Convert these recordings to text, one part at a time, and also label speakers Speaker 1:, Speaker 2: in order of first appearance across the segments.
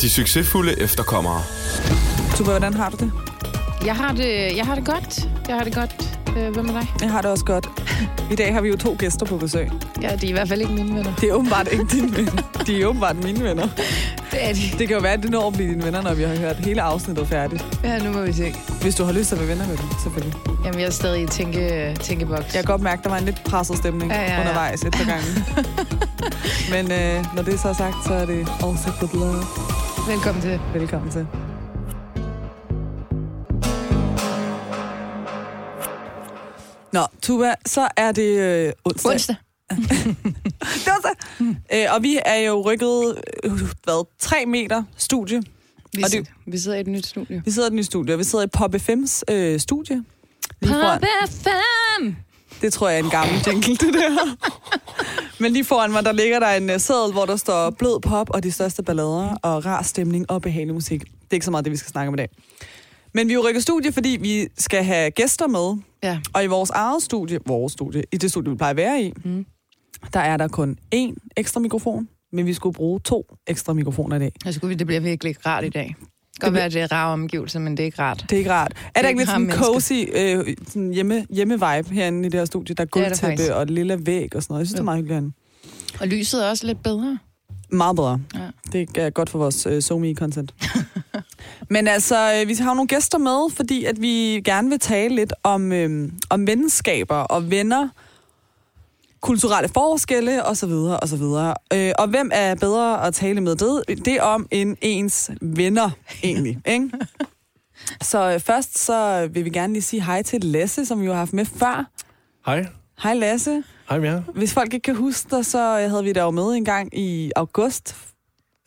Speaker 1: De succesfulde efterkommere.
Speaker 2: Tuba, hvordan har du det?
Speaker 3: Jeg har det, jeg har det godt. Jeg har det godt. Øh, Hvad med dig?
Speaker 2: Jeg har det også godt. I dag har vi jo to gæster på besøg.
Speaker 3: Ja, de er i hvert fald ikke mine venner.
Speaker 2: Det er åbenbart ikke dine venner. De er åbenbart mine venner.
Speaker 3: Det er de.
Speaker 2: Det kan jo være, at det når at blive dine venner, når vi har hørt hele afsnittet færdigt.
Speaker 3: Ja, nu må vi se.
Speaker 2: Hvis du har lyst til at være venner med dem, selvfølgelig.
Speaker 3: Jamen, jeg er stadig i tænke, tænkeboks.
Speaker 2: Jeg kan godt mærke, at der var en lidt presset stemning ja, ja, ja. undervejs et par gange. Men øh, når det er så er sagt, så er det also good love.
Speaker 3: Velkommen til.
Speaker 2: Velkommen til. Nå, Tuba, så er det øh, onsdag.
Speaker 3: Onsdag.
Speaker 2: Det var så. Øh, og vi er jo rykket, øh, hvad, tre meter studie.
Speaker 3: Vi,
Speaker 2: Og det-
Speaker 3: sidder, vi sidder i et nyt studie.
Speaker 2: Vi sidder i et nyt studie, og vi sidder i Pop FM's øh, studie. Lige foran.
Speaker 3: FM!
Speaker 2: Det tror jeg er en gammel jingle, det der. Men lige foran mig, der ligger der en øh, seddel, hvor der står blød pop og de største ballader, og rar stemning og behagelig musik. Det er ikke så meget det, vi skal snakke om i dag. Men vi er jo rykket studie, fordi vi skal have gæster med.
Speaker 3: Ja,
Speaker 2: Og i vores eget studie, vores studie, i det studie, vi plejer at være i, mm.
Speaker 3: Mm.
Speaker 2: der er der kun én ekstra mikrofon, men vi skulle bruge to ekstra mikrofoner i dag.
Speaker 3: jeg skulle, det bliver virkelig ikke rart i dag. Det
Speaker 2: Det
Speaker 3: kan godt være, at det er rare omgivelser, men det er ikke rart.
Speaker 2: Det er ikke rart. Er der
Speaker 3: er
Speaker 2: ikke lidt
Speaker 3: ikke
Speaker 2: sådan en
Speaker 3: rare
Speaker 2: cozy øh, sådan hjemme, hjemme-vibe herinde i det her studie? Der er
Speaker 3: Det er der
Speaker 2: gulvtæppe
Speaker 3: faktisk.
Speaker 2: og lille væg og sådan noget. Jeg synes, det er
Speaker 3: Jo.
Speaker 2: meget hyggeligt herinde.
Speaker 3: Og lyset er også lidt bedre.
Speaker 2: Meget bedre. Ja.
Speaker 3: Ja.
Speaker 2: Det er godt for vores øh, SoMe-content. Men altså, øh, vi har jo nogle gæster med, fordi at vi gerne vil tale lidt om, øh, om venskaber og venner, kulturelle forskelle osv. osv. Øh, og hvem er bedre at tale med det? Det er om end ens venner, egentlig. Ikke? Så øh, først så vil vi gerne lige sige hej til Lasse, som vi jo har haft med før.
Speaker 4: Hej.
Speaker 2: Hej Lasse.
Speaker 4: Hej med jer.
Speaker 2: Hvis folk ikke kan huske dig, så øh, havde vi dig jo med en gang i august.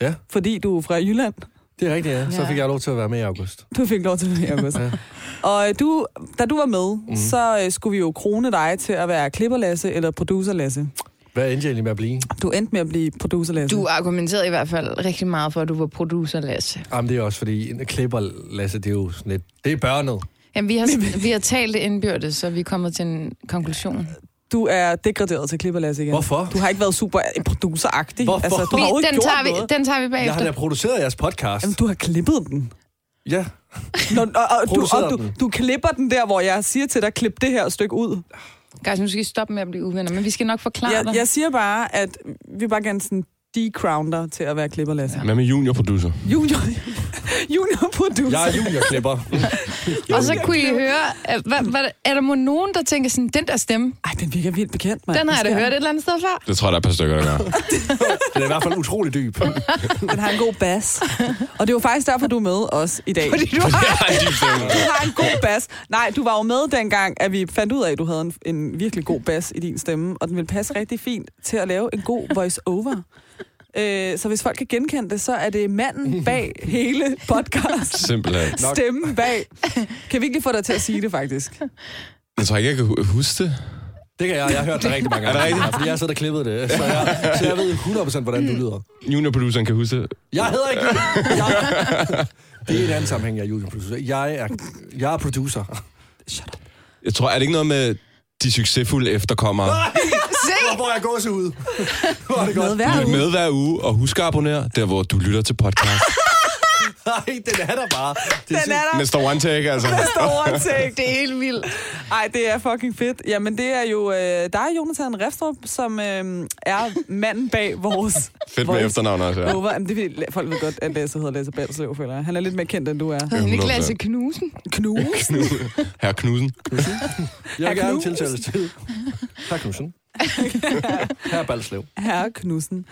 Speaker 4: Ja.
Speaker 2: Fordi du er fra Jylland.
Speaker 4: Det er rigtigt, ja. Så
Speaker 3: Ja.
Speaker 4: fik jeg lov til at være med i august.
Speaker 2: Du fik lov til det i august.
Speaker 4: Ja.
Speaker 2: Og øh, du, da du var med,
Speaker 4: Mhm.
Speaker 2: mm. så øh, skulle vi jo krone dig til at være klipperlasse eller producerlasse.
Speaker 4: Hvad endte jeg egentlig med at blive?
Speaker 2: Du endte med at blive producerlasse.
Speaker 3: Du argumenterede i hvert fald rigtig meget for, at du var producer, Lasse.
Speaker 4: Jamen, det er også fordi, en klipper, Lasse, det er jo sådan lidt... Det er børnet.
Speaker 3: Jamen, vi har, vi har talt det indbyrdes, så vi er kommet til en konklusion.
Speaker 2: du er degraderet til klipperlasse igen.
Speaker 4: Hvorfor?
Speaker 2: Du har ikke været super produceragtig. Altså,
Speaker 4: Hvorfor?
Speaker 2: du har
Speaker 3: Vi,
Speaker 2: jo ikke
Speaker 3: den,
Speaker 2: gjort
Speaker 3: tager vi,
Speaker 2: noget.
Speaker 3: den tager vi
Speaker 4: Jeg har
Speaker 3: bagefter.
Speaker 4: da produceret jeres podcast.
Speaker 2: Jamen, du har klippet den.
Speaker 4: Ja.
Speaker 2: Nå, og, og, du,
Speaker 4: Produceret
Speaker 2: og du,
Speaker 4: den.
Speaker 2: du klipper den der, hvor jeg siger til dig, klip det her stykke ud.
Speaker 3: Guys, nu skal I stoppe med at blive uvenner, men vi skal nok forklare
Speaker 2: Jeg,
Speaker 3: dig.
Speaker 2: jeg siger bare, at vi bare gerne sådan decrown dig til at være klipperlasse. Ja.
Speaker 5: Hvad med juniorproducer?
Speaker 2: Junior, junior producer.
Speaker 4: Jeg er juniorklipper.
Speaker 3: Og så kunne I høre, øh, hvad, hvad, er der mon nogen, der tænker sådan, den der stemme,
Speaker 2: Ej, den virker vildt bekendt, mand.
Speaker 3: den har jeg da
Speaker 2: Hvad sker
Speaker 3: hørt et eller andet sted før.
Speaker 5: Det tror jeg, der er et par stykker, der gør.
Speaker 4: Den er i hvert fald utrolig dyb.
Speaker 2: der? Den har en god bas. Og det er jo faktisk derfor, du er med os i dag.
Speaker 3: Fordi du har...
Speaker 5: Ej, de stemmer.
Speaker 2: Du har en god bas. Nej, du var jo med dengang, at vi fandt ud af, at du havde en, en virkelig god bas i din stemme, og den ville passe rigtig fint til at lave en god voice-over. Øh, så hvis folk kan genkende det, så er det manden bag hele podcast.
Speaker 5: Simpelthen.
Speaker 2: Stemmen bag. Kan vi ikke lige få dig til at sige det, faktisk?
Speaker 5: Jeg tror ikke, jeg kan hu- huske det.
Speaker 4: Det kan jeg. Jeg har hørt det rigtig mange gange.
Speaker 5: Er det rigtigt?
Speaker 4: Ja, Fordi jeg sidder og klippede det. Så jeg, så jeg ved 100% hvordan du lyder.
Speaker 5: Juniorproduceren kan huske det.
Speaker 4: Jeg hedder ikke... Jeg... Det er en anden sammenhæng, jeg er juniorproducer. Jeg er, jeg er producer.
Speaker 5: Jeg tror, er det ikke noget med de succesfulde efterkommere?
Speaker 4: Hvor får jeg gåsehud? Hvor er det
Speaker 2: Med
Speaker 4: godt.
Speaker 2: hver
Speaker 5: Lyt
Speaker 2: uge.
Speaker 5: med hver uge, og husk at abonnere, der hvor du lytter til podcast.
Speaker 4: Nej, den er der bare. Det
Speaker 2: Den er der.
Speaker 5: Næste one take, altså.
Speaker 2: Store ting.
Speaker 3: Det er helt vildt.
Speaker 2: Ej, det er fucking fedt. Jamen, det er jo øh, dig, Jonathan Refstrup, som øh, er manden bag vores...
Speaker 5: Fedt med
Speaker 2: vores
Speaker 5: efternavn også, ja.
Speaker 2: Over. Jamen, det er, fordi, folk ved godt, at Lasse hedder Lasse Balslev, føler jeg. Han er lidt mere kendt, end du er.
Speaker 3: Hedder han ikke
Speaker 5: 100%.
Speaker 3: Lasse Knudsen?
Speaker 2: Knus.
Speaker 5: Herre Knudsen.
Speaker 3: Mm.
Speaker 4: Jeg vil
Speaker 2: Herr
Speaker 4: gerne
Speaker 2: Knudsen.
Speaker 4: tiltales til. Herr Knudsen. Herr Balslev.
Speaker 2: Herre Knudsen.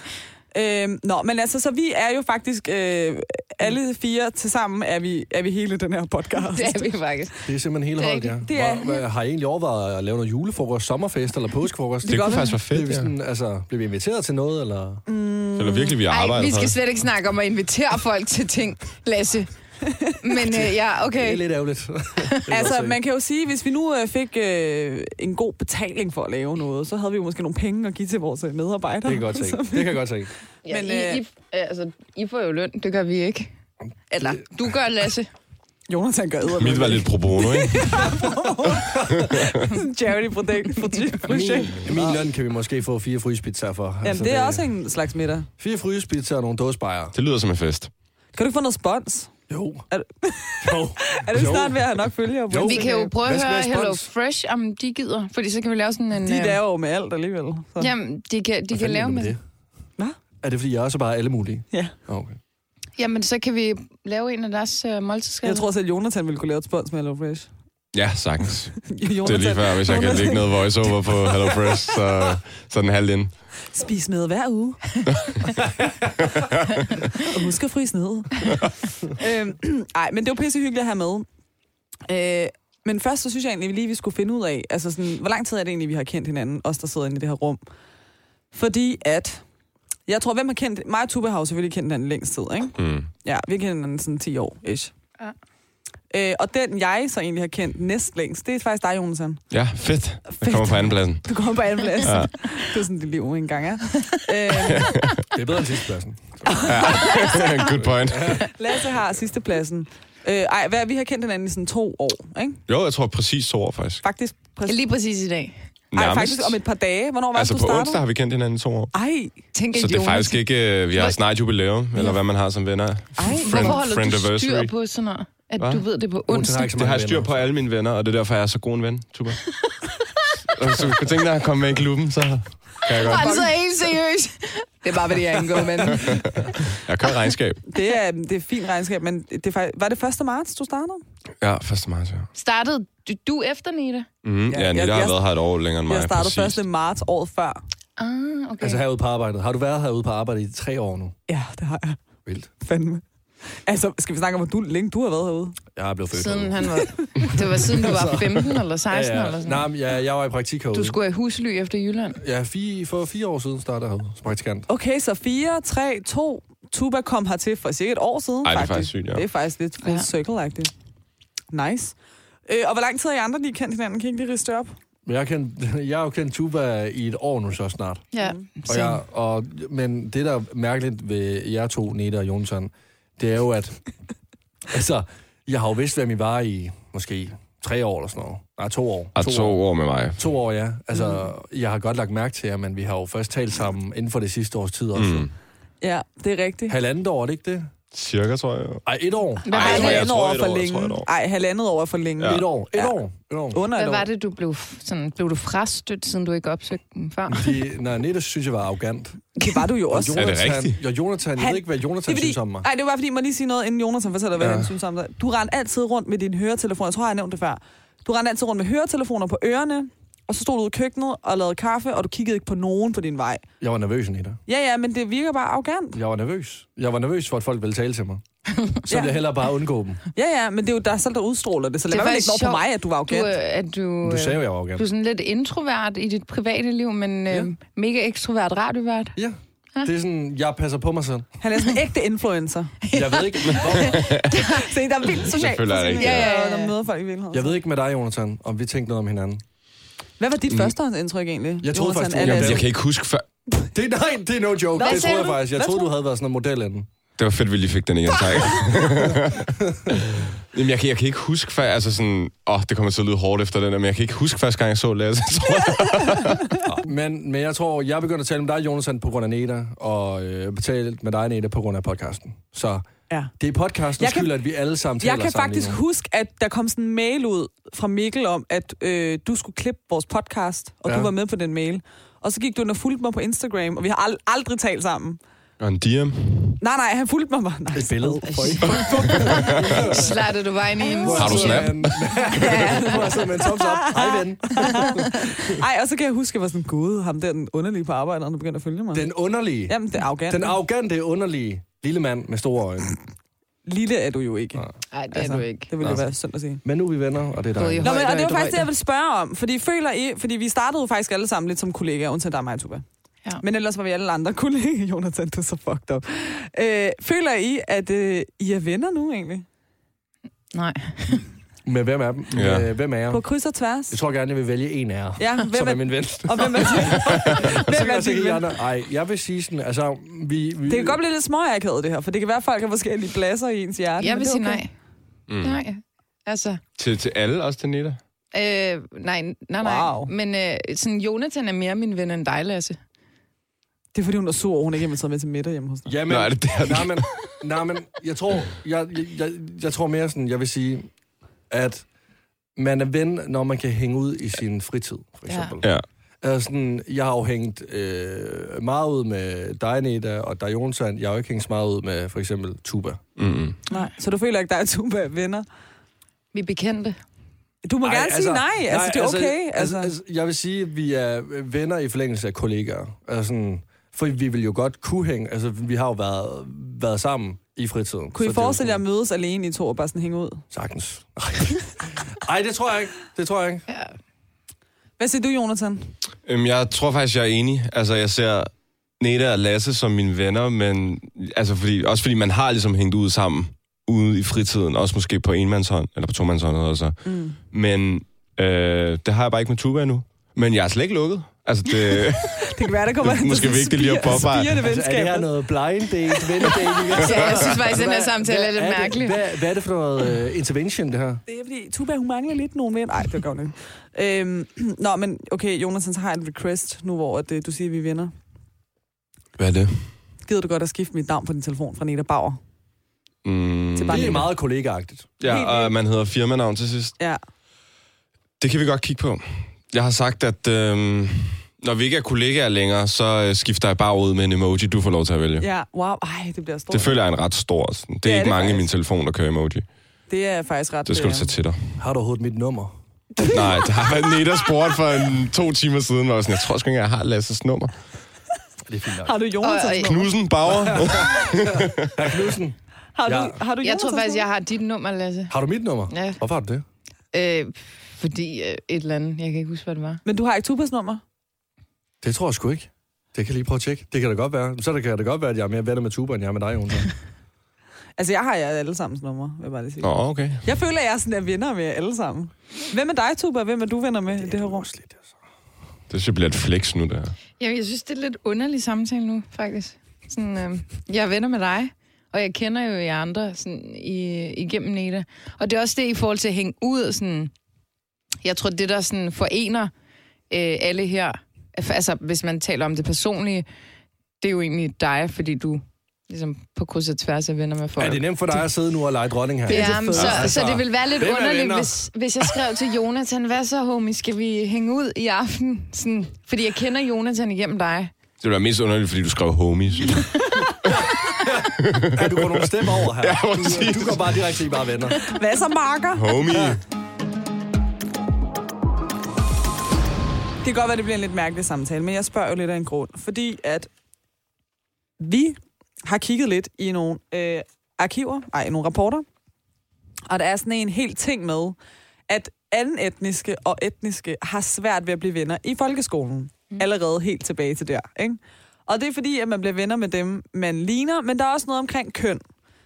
Speaker 2: Øhm, nå, men altså, så vi er jo faktisk... Øh, alle fire til sammen er vi, er vi hele den her podcast.
Speaker 3: Det er vi faktisk.
Speaker 4: Det er simpelthen hele
Speaker 3: Det er
Speaker 4: holdet, ja.
Speaker 3: rigtigt.
Speaker 2: Det er-
Speaker 4: Hvor, hvad, har I egentlig overvejet at lave noget julefrokost, sommerfest eller påskefrokost?
Speaker 5: Det kunne
Speaker 2: godt
Speaker 5: faktisk være
Speaker 4: Blev
Speaker 5: fedt,
Speaker 4: vi
Speaker 5: ja.
Speaker 4: sådan, altså, blev vi inviteret til noget, eller?
Speaker 5: Eller virkelig, vi
Speaker 3: Ej,
Speaker 5: arbejder
Speaker 3: vi
Speaker 5: for
Speaker 3: skal
Speaker 5: det.
Speaker 3: slet ikke snakke om at invitere folk til ting, Lasse. Men øh, ja,
Speaker 4: Det er
Speaker 3: okay.
Speaker 4: lidt ærgerligt. Det kan jeg
Speaker 2: Altså,
Speaker 4: godt se.
Speaker 2: man kan jo sige, hvis vi nu øh, fik øh, en god betaling for at lave noget, så havde vi jo måske nogle penge at give til vores øh, medarbejdere.
Speaker 4: Det kan jeg godt se. Det kan jeg godt se.
Speaker 3: Ja,
Speaker 2: Men,
Speaker 3: I, I, altså, I får jo løn, det gør vi ikke. Eller, du gør, Lasse.
Speaker 2: Jonathan gør æder.
Speaker 5: Mit var lidt pro bono, ikke?
Speaker 2: charity projekt. projekt.
Speaker 4: Min, min løn kan vi måske få fire frysepizzaer for.
Speaker 2: Jamen,
Speaker 4: Altså,
Speaker 2: det er også en slags middag.
Speaker 4: Fire frysepizzaer og nogle dåsbejere.
Speaker 5: Det lyder som en fest.
Speaker 2: Kan du ikke få noget spons?
Speaker 4: Jo.
Speaker 2: Er du-
Speaker 4: jo.
Speaker 2: Er det
Speaker 4: Jo.
Speaker 2: snart ved at have nok følgere? på
Speaker 4: Jo.
Speaker 2: Instagram?
Speaker 3: Vi kan jo prøve
Speaker 4: Hvad
Speaker 3: at
Speaker 4: skal
Speaker 3: høre
Speaker 4: være spons?
Speaker 3: Hello Fresh, om de gider. Fordi så kan vi lave sådan en...
Speaker 2: De
Speaker 3: øh,
Speaker 2: laver jo med alt alligevel. Så.
Speaker 3: Jamen, de kan, de kan
Speaker 4: Hvad fanden er
Speaker 3: lave
Speaker 4: der
Speaker 3: med
Speaker 4: det?
Speaker 3: det.
Speaker 2: Hvad?
Speaker 4: Er det, fordi jeg også bare er alle mulige?
Speaker 2: Ja.
Speaker 4: Okay.
Speaker 3: Jamen, så kan vi lave en af deres uh, måltidsskaller.
Speaker 2: Jeg tror selv, Jonathan ville kunne lave et spons med HelloFresh.
Speaker 5: Ja, sagtens.
Speaker 2: Jonathan,
Speaker 5: Det er lige før, hvis jeg kan
Speaker 2: Jonathan,
Speaker 5: lægge noget voiceover på HelloFresh, så, så er den halv ind.
Speaker 2: Spis med hver uge. og husk at fryse ned. øhm, ej, men det var pissehyggeligt at have med. Øh, men først så synes jeg egentlig lige, vi skulle finde ud af, altså sådan, hvor lang tid er det egentlig, vi har kendt hinanden, os der sidder inde i det her rum. Fordi at, jeg tror, hvem har kendt, mig og Tuba har jo selvfølgelig kendt hinanden længst tid, ikke?
Speaker 5: Mm.
Speaker 2: Ja, vi har kendt hinanden sådan 10 år, ish.
Speaker 3: Ja.
Speaker 2: Øh, og den, jeg så egentlig har kendt næst længst, det er faktisk dig, Jonathan.
Speaker 5: Ja, fedt. Jeg kommer på andenpladsen.
Speaker 2: Du kommer på anden plads. Ja.
Speaker 5: Ja.
Speaker 2: Det er sådan, det liv engang er. øh,
Speaker 4: Det er bedre end sidstepladsen.
Speaker 5: Ja. Good point.
Speaker 2: Lasse har sidste pladsen. Øh, ej, hvad, vi har kendt hinanden i sådan to år, ikke?
Speaker 5: Jo, jeg tror præcis to år, faktisk.
Speaker 2: Faktisk. Præcis.
Speaker 3: Lige præcis i dag.
Speaker 2: Ej, faktisk om et par dage. Hvornår var
Speaker 5: Altså
Speaker 2: det,
Speaker 5: på
Speaker 2: du startede?
Speaker 5: onsdag har vi kendt hinanden i to år.
Speaker 2: Ej,
Speaker 3: Tænk,
Speaker 5: Så
Speaker 3: at
Speaker 5: det er
Speaker 3: Jonas-
Speaker 5: faktisk ikke, øh, vi har
Speaker 3: Nej.
Speaker 5: snart jubileum, eller
Speaker 2: Ja.
Speaker 5: hvad man har som venner. Friend-
Speaker 3: Hvorfor holder du styr
Speaker 5: friendiversary.
Speaker 3: på sådan noget? At
Speaker 5: Hva?
Speaker 3: du ved det på
Speaker 4: Hun har
Speaker 3: onsdag.
Speaker 4: ikke så
Speaker 5: Det har
Speaker 4: mange
Speaker 5: jeg styr
Speaker 4: venner.
Speaker 5: på alle mine venner, og det er derfor, jeg er så god en ven, Tuba. Og så kunne tænke dig at komme med i klubben, så kan jeg godt.
Speaker 3: Altså, helt seriøst. Det er bare, fordi jeg er en god mand.
Speaker 5: Jeg kører regnskab.
Speaker 2: det er, det er fint regnskab, men det er, fakt- var det 1. marts, du startede?
Speaker 5: Ja, 1. marts, ja.
Speaker 3: Startede du, du efter Nita?
Speaker 5: Mm,
Speaker 2: Ja,
Speaker 5: ja, Nita
Speaker 2: jeg-
Speaker 5: har
Speaker 2: jeg-
Speaker 5: været her et år længere end mig.
Speaker 2: jeg startede
Speaker 5: præcis.
Speaker 2: 1. marts året før.
Speaker 3: Ah, okay.
Speaker 4: Altså herude på arbejdet. Har du været herude på arbejdet i tre år nu?
Speaker 2: Ja, det har jeg
Speaker 4: Vildt.
Speaker 2: fandme. Altså, skal vi snakke om, hvor du, længe du har været herude?
Speaker 4: Jeg er blevet født
Speaker 3: siden
Speaker 4: herude.
Speaker 3: han var, det var siden du var 15 eller 16
Speaker 4: Altså- ja,
Speaker 3: eller
Speaker 4: ja.
Speaker 3: sådan
Speaker 4: Nej, men jeg, jeg var i praktik herude.
Speaker 3: Du skulle i husly efter Jylland.
Speaker 4: Ja, fi, for fire år siden startede jeg herude som praktikant.
Speaker 2: Okay, så 4, 3, 2. Tuba kom hertil for cirka et år siden,
Speaker 5: Ej, det er
Speaker 2: faktisk.
Speaker 5: faktisk sygt, ja.
Speaker 2: Det er faktisk lidt full
Speaker 3: Ja.
Speaker 2: circle-agtigt. Nice. Øh, og hvor lang tid har I andre lige kendt hinanden? Kan I ikke lige riste det op?
Speaker 4: Men jeg, kan, jeg har jo kendt Tuba i et år nu så snart.
Speaker 3: Ja,
Speaker 4: Og
Speaker 3: Mm. så
Speaker 4: jeg, og, men det, der er mærkeligt ved jer to, Neda og Jonsson, det er jo, at altså, jeg har jo vidst, hvem I var i måske tre år eller sådan noget. Nej, to år.
Speaker 5: Og Ah, to år med mig.
Speaker 4: To år, ja. Altså, mm. jeg har godt lagt mærke til jer, men vi har jo først talt sammen inden for det sidste års tid også. Mm.
Speaker 5: Mm.
Speaker 2: Ja, det er rigtigt.
Speaker 4: Halvandet år, er det ikke det?
Speaker 5: Cirka, tror jeg.
Speaker 4: Ej, et år.
Speaker 3: Hvad var
Speaker 5: Ej,
Speaker 3: det-
Speaker 5: tror jeg-
Speaker 2: halvandet år er
Speaker 5: et
Speaker 2: for
Speaker 5: år, jeg tror
Speaker 2: længe.
Speaker 5: et år.
Speaker 2: Ej, halvandet år er for længe.
Speaker 5: Ja.
Speaker 4: Et år. Et
Speaker 2: Ja.
Speaker 4: år. Et år.
Speaker 2: Under et
Speaker 3: Hvad
Speaker 2: år.
Speaker 3: var det, du blev, f- sådan, blev du frastødt, siden du ikke opsøgte den før?
Speaker 4: De, nej, Nette synes jeg var arrogant.
Speaker 2: Det var du jo også.
Speaker 5: Er det rigtigt?
Speaker 4: Og Jonathan, jeg
Speaker 2: Han-
Speaker 4: ved ikke, hvad Jonathan
Speaker 2: Det er fordi,
Speaker 4: synes om mig.
Speaker 2: nej, det var fordi, man lige sige noget, inden Jonathan fortæller, hvad
Speaker 4: Ja.
Speaker 2: ja. han synes om dig. Du rendte altid rundt med din høretelefon. Jeg tror, jeg har nævnt det før. Du rendte altid rundt med høretelefoner på ørerne, og så stod du ude i køkkenet og lavede kaffe, og du kiggede ikke på nogen på din vej.
Speaker 4: Jeg var nervøs, Nita.
Speaker 2: Ja, ja, men det virker bare arrogant.
Speaker 4: Jeg var nervøs. Jeg var nervøs for, at folk ville tale til mig. Så
Speaker 2: Ja.
Speaker 4: ville jeg hellere bare undgå dem.
Speaker 2: Ja, ja, men det er jo dig selv, der udstråler det, så lad
Speaker 3: Det er
Speaker 2: være med at
Speaker 3: faktisk
Speaker 2: lægge det over på
Speaker 3: sjovt.
Speaker 2: mig, at du var
Speaker 3: Du,
Speaker 2: arrogant.
Speaker 3: øh, at du,
Speaker 4: Du
Speaker 3: øh,
Speaker 4: sagde jo, jeg var arrogant.
Speaker 3: du er sådan lidt introvert i dit private liv, men øh, mega ekstrovert radiovært.
Speaker 4: Ja. Det er sådan, jeg passer på mig selv.
Speaker 2: Han er sådan en ægte influencer.
Speaker 4: Jeg ved ikke, hvor,
Speaker 2: Se, der er vildt socialt. øh,
Speaker 5: føler jeg
Speaker 2: ikke.
Speaker 5: ikke,
Speaker 2: Ja,
Speaker 3: ja.
Speaker 2: ja, ja. Der møder folk i virkeligheden.
Speaker 4: jeg ved ikke med dig, Jonathan, om vi tænkte noget om hinanden.
Speaker 2: Hvad var dit førstehåndsindtryk egentlig?
Speaker 4: Mm. Jeg troede faktisk,
Speaker 2: Allan?
Speaker 4: du-
Speaker 5: Jamen, jeg kan ikke huske før.
Speaker 4: Det, nej, det er no joke.
Speaker 2: Hvad
Speaker 4: det
Speaker 2: sagde
Speaker 4: tror jeg
Speaker 2: du?
Speaker 4: faktisk. Jeg
Speaker 2: Hvad
Speaker 4: troede,
Speaker 2: tror
Speaker 4: du
Speaker 2: du?
Speaker 4: havde været sådan en model inden.
Speaker 5: Det var fedt, vi lige fik den igen, tak. Jamen, jeg kan, jeg kan ikke huske før, altså sådan, åh, oh, det kommer til at lyde hårdt efter den, der, men jeg kan ikke huske første gang, jeg så Lasse, tror jeg.
Speaker 4: Men, men jeg tror, jeg begyndte at tale med dig, Jonathan, på grund af Neda, og øh, tale med dig, Neda, på grund af podcasten. Så
Speaker 2: Ja.
Speaker 4: det er podcasten
Speaker 2: Jeg kan-
Speaker 4: skyld, at vi alle sammen taler
Speaker 2: Jeg kan
Speaker 4: sammen lige
Speaker 2: faktisk
Speaker 4: nu.
Speaker 2: huske, at der kom sådan en mail ud fra Mikkel om, at øh, du skulle klippe vores podcast, og ja.
Speaker 4: Ja.
Speaker 2: du var med på den mail. Og så gik du ind og fulgte mig på Instagram, og vi har ald- aldrig talt sammen.
Speaker 5: Og en DM.
Speaker 2: Nej, nej, han fulgte mig bare. Nej,
Speaker 4: et billede. For I.
Speaker 3: Slattede du vejen i en...
Speaker 5: Har du snap?
Speaker 4: Hvor jeg sidder med en thumbs up. Hej, ven.
Speaker 2: Ej, og så kan jeg huske, at jeg var sådan, gud, ham der den underlige på arbejdet, han begyndte at følge mig. Den...
Speaker 4: Den underlige.
Speaker 2: Jamen, det er arrogant.
Speaker 4: Den arrogante, underlige lille mand med store øjne.
Speaker 2: Lille er du jo ikke.
Speaker 4: Nej,
Speaker 3: Nej, det er du ikke.
Speaker 2: Det ville jo
Speaker 4: Altså.
Speaker 2: være synd at sige.
Speaker 4: Men nu er vi venner, og det er
Speaker 3: Gået i
Speaker 4: dig.
Speaker 2: Nå, men, og det
Speaker 3: højde,
Speaker 2: var faktisk det,
Speaker 3: højde.
Speaker 2: jeg ville spørge om. Fordi, føler I, fordi vi startede jo faktisk alle sammen lidt som kollegaer, undtagen dig og mig, Tuba.
Speaker 3: Ja.
Speaker 2: Men ellers var vi alle andre kollegaer. Jonathan, du er så fucked up. Øh, føler I, at øh, I er venner nu egentlig?
Speaker 3: Nej.
Speaker 4: Men hvem er dem?
Speaker 5: Ja.
Speaker 4: Ja. Hvem er jeg?
Speaker 2: På kryds og tværs?
Speaker 4: Jeg tror gerne, jeg vil vælge en af jer.
Speaker 2: Ja, hvem
Speaker 4: Som
Speaker 2: er,
Speaker 4: er min ven.
Speaker 2: og hvem er,
Speaker 4: Så
Speaker 2: hvem
Speaker 4: kan
Speaker 2: er
Speaker 4: jeg se
Speaker 2: din
Speaker 4: de
Speaker 2: ven?
Speaker 4: andre. Ej, jeg vil sige sådan, altså, vi... vi
Speaker 2: Det kan godt blive lidt småakavet, det her, for det kan være, at folk har forskellige pladser i ens hjerte.
Speaker 3: Jeg
Speaker 2: men
Speaker 3: vil
Speaker 2: det er
Speaker 3: sige
Speaker 2: okay.
Speaker 3: nej.
Speaker 5: Mm.
Speaker 3: Nej, altså...
Speaker 5: Til, til alle, også til Nita?
Speaker 3: Øh, nej, nej, nej.
Speaker 2: Wow.
Speaker 3: Men øh, sådan, Jonathan er mere min ven end dig, Lasse.
Speaker 2: Det er fordi, hun er sur, og hun ikke har taget med til middag hjemme hos dig.
Speaker 4: Jamen,
Speaker 5: Nå, er det der?
Speaker 4: Nej, men, nej, men jeg, tror, jeg, jeg, jeg, jeg tror mere sådan, jeg vil sige, at man er ven, når man kan hænge ud i sin fritid, for
Speaker 3: Ja.
Speaker 4: eksempel.
Speaker 5: Ja.
Speaker 4: Altså sådan, jeg har jo hængt øh, meget ud med dig, Neda, og dig, Jonsson. Jeg har jo ikke hængt så meget ud med, for eksempel, Tuba.
Speaker 5: Mm-hmm.
Speaker 2: Nej. Så du føler ikke, der er Tuba venner?
Speaker 3: Vi er bekendte.
Speaker 2: Du må Ej, gerne altså, sige nej. Altså, nej, det er okay.
Speaker 4: Altså, altså, jeg vil sige, at vi er venner i forlængelse af kollegaer. Altså sådan, for vi vil jo godt kunne hænge. Altså, vi har jo været, været sammen i fritiden.
Speaker 2: Kunne
Speaker 4: Så
Speaker 2: I
Speaker 4: det er jo
Speaker 2: forestille jer at
Speaker 4: sådan-
Speaker 2: mødes alene i to og bare sådan hænge ud?
Speaker 4: Sagtens. Nej, det tror jeg ikke. Det tror jeg ikke.
Speaker 3: Ja.
Speaker 2: Hvad siger du, Jonathan?
Speaker 5: Øhm, jeg tror faktisk, jeg er enig. Altså, jeg ser Neda og Lasse som mine venner, men altså, fordi, også fordi man har ligesom hængt ud sammen ude i fritiden, også måske på enmandshånd, eller på tomandshånd, eller så. Mm. Men øh, det har jeg bare ikke med Tuba endnu. Men jeg er slet ikke lukket. Altså, det,
Speaker 2: Det kan være, der kommer
Speaker 5: Det er måske
Speaker 2: sådan
Speaker 5: vigtigt lige at
Speaker 2: spir-
Speaker 5: påpege.
Speaker 2: spirende
Speaker 4: Altså, er det her
Speaker 2: venskaber.
Speaker 4: noget blind date, ven date?
Speaker 3: Ja, jeg synes faktisk, den her
Speaker 4: Hvad-
Speaker 3: samtale er
Speaker 4: hvad
Speaker 3: lidt
Speaker 4: det-
Speaker 3: mærkelig.
Speaker 4: Hvad, hvad er det for noget uh, intervention, det her?
Speaker 2: Det er fordi, Tuba, hun mangler lidt nogen venner. Nej, det gør hun ikke. Øhm, nå, men okay, Jonathan, så har jeg en request nu, hvor at, øh, du siger, at vi er venner.
Speaker 5: hvad er det?
Speaker 2: Gider du godt at skifte mit navn på din telefon fra Neta Bauer?
Speaker 5: Mm,
Speaker 2: Til bare
Speaker 4: Det er
Speaker 2: Neta.
Speaker 4: meget kollegaagtigt.
Speaker 5: ja,
Speaker 2: helt
Speaker 5: og
Speaker 2: vildt.
Speaker 5: man hedder firmanavn til sidst.
Speaker 2: Ja.
Speaker 5: Det kan vi godt kigge på. Jeg har sagt, at øh, når vi ikke er kollegaer længere, så øh, skifter jeg bare ud med en emoji, du får lov til at vælge.
Speaker 2: ja, wow. Ej, det bliver stort.
Speaker 5: Det føler jeg er en ret stor. Sådan. Det er
Speaker 2: Ja,
Speaker 5: ja, ikke
Speaker 2: det er
Speaker 5: mange i
Speaker 2: faktisk.
Speaker 5: min telefon, der kører emoji.
Speaker 2: Det er faktisk ret...
Speaker 5: Det skal du
Speaker 2: øh,
Speaker 5: tage til dig.
Speaker 4: Har du overhovedet mit nummer?
Speaker 5: Nej, det har været Neda spurgt for en, to timer siden. Hvor jeg, var sådan, jeg tror sgu ikke, jeg har Lasses nummer.
Speaker 4: Det er fint nok.
Speaker 2: Har du Jonathans
Speaker 3: Og- og-
Speaker 2: nummer?
Speaker 5: Knudsen, Bauer.
Speaker 4: Hr. Knudsen,
Speaker 2: Har du,
Speaker 4: Ja.
Speaker 2: har du
Speaker 3: Jeg
Speaker 2: Jonathans
Speaker 3: tror faktisk,
Speaker 2: nummer?
Speaker 3: jeg har dit nummer, Lasse.
Speaker 4: har du mit nummer?
Speaker 3: Ja.
Speaker 4: Hvorfor har du det?
Speaker 3: Øh, fordi øh, et eller andet. Jeg kan ikke huske, hvad det var.
Speaker 2: Men du har ikke Tubas nummer?
Speaker 4: Det tror jeg sgu ikke. Det kan jeg lige prøve at tjekke. Det kan da godt være. Så kan det godt være, at jeg er mere venner med Tuba, end jeg er med dig, Jonas.
Speaker 2: Altså, jeg har jer alle sammens nummer, vil jeg bare lige sige.
Speaker 5: Nå, okay.
Speaker 2: Jeg føler, at jeg er sådan er venner med jer alle sammen. Hvem er dig, Tuba? Hvem er du venner med i det her rum?
Speaker 5: Det synes jeg bliver et flex nu, der.
Speaker 3: Jamen, jeg synes, det er lidt underlig samtale nu, faktisk. Sådan, øh, jeg er venner med dig, og jeg kender jo jer andre sådan, i, igennem Neda. Og det er også det i forhold til at hænge ud. Sådan, jeg tror, det der sådan, forener øh, alle her, altså hvis man taler om det personlige, det er jo egentlig dig, fordi du ligesom på kryds og tværs er venner med folk.
Speaker 4: Er det nemt for dig at sidde nu og lege dronning her?
Speaker 3: Ja, men så,
Speaker 4: Altså,
Speaker 3: så det ville være lidt
Speaker 4: hvem er
Speaker 3: underligt,
Speaker 4: venner?
Speaker 3: hvis, hvis jeg skrev til Jonathan, hvad så homie, skal vi hænge ud i aften? Sådan, fordi jeg kender Jonathan igennem dig.
Speaker 5: Det bliver mest underligt, fordi du skrev homies.
Speaker 4: Ja, du går nogle step over her.
Speaker 5: præcis.
Speaker 4: du, du går bare direkte i bare venner.
Speaker 2: Hvad så, Marker?
Speaker 5: Homie.
Speaker 2: Det kan godt være, det bliver en lidt mærkelig samtale, men jeg spørger jo lidt af en grund. Fordi at vi har kigget lidt i nogle øh, arkiver, nej, nogle rapporter, og der er sådan en hel ting med, at anden etniske og etniske har svært ved at blive venner i folkeskolen. Mm. Allerede helt tilbage til der, ikke? Og det er fordi, at man bliver venner med dem, man ligner, men der er også noget omkring køn.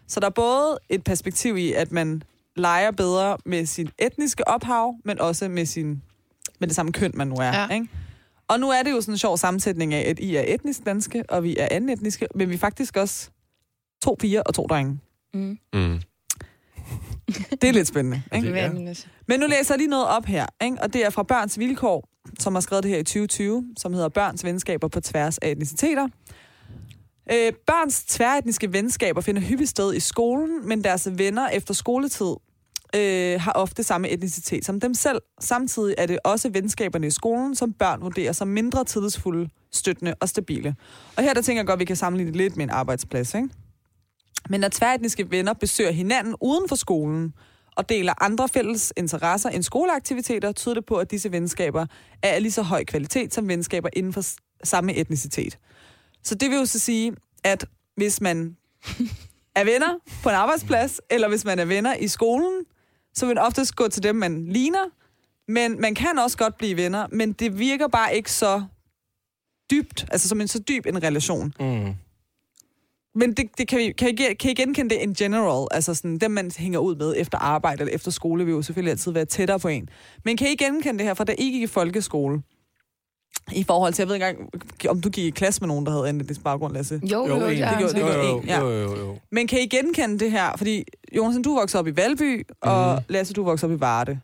Speaker 2: Så der er både et perspektiv i, at man leger bedre med sin etniske ophav, men også med, sin, med det samme køn, man nu er.
Speaker 3: Ja.
Speaker 2: Ja. Ikke? Og nu er det jo sådan en sjov sammensætning af, at I er etnisk danske, og vi er anden etniske, men vi er faktisk også to piger og to drenge.
Speaker 3: Mm.
Speaker 5: Mm.
Speaker 2: Det er lidt spændende. Ikke?
Speaker 4: Det er-
Speaker 3: altså.
Speaker 2: Men nu læser jeg lige noget op her, ikke? og det er fra Børns Vilkår, som har skrevet det her i 2020, som hedder Børns venskaber på tværs af etniciteter. Øh, børns tværetniske venskaber finder hyppigt sted i skolen, men deres venner efter skoletid øh, har ofte samme etnicitet som dem selv. Samtidig er det også venskaberne i skolen, som børn vurderer som mindre tillidsfulde, støttende og stabile. Og her der tænker jeg godt, at vi kan sammenligne det lidt med en arbejdsplads. Ikke? Men når tværetniske venner besøger hinanden uden for skolen og deler andre fælles interesser end skoleaktiviteter, tyder det på, at disse venskaber er af lige så høj kvalitet som venskaber inden for s- samme etnicitet. Så det vil jo så sige, at hvis man er venner på en arbejdsplads, eller hvis man er venner i skolen, så vil man oftest gå til dem, man ligner. Men man kan også godt blive venner, men det virker bare ikke så dybt, altså som en så dyb en relation.
Speaker 4: Mm.
Speaker 2: Men det, det kan, vi, kan, I, ge- kan I genkende det in general? Altså sådan, dem, man hænger ud med efter arbejde eller efter skole, vil jo selvfølgelig altid være tættere på en. Men kan I genkende det her fra, da I gik i folkeskole? I forhold til, jeg ved ikke engang, om du gik i klasse med nogen, der havde anden baggrund, Lasse.
Speaker 3: Jo, jo, jo,
Speaker 4: egentlig.
Speaker 3: det, altså- har
Speaker 2: Det
Speaker 3: han
Speaker 2: gjorde-
Speaker 3: sagt.
Speaker 2: det
Speaker 4: jo,
Speaker 2: gjorde en,
Speaker 4: jo,
Speaker 2: ja.
Speaker 4: jo, jo, jo.
Speaker 2: Men kan I genkende det her? Fordi, Jonas, du voksede op i Valby, og
Speaker 4: Mhm.
Speaker 2: Lasse, du voksede op i Varde.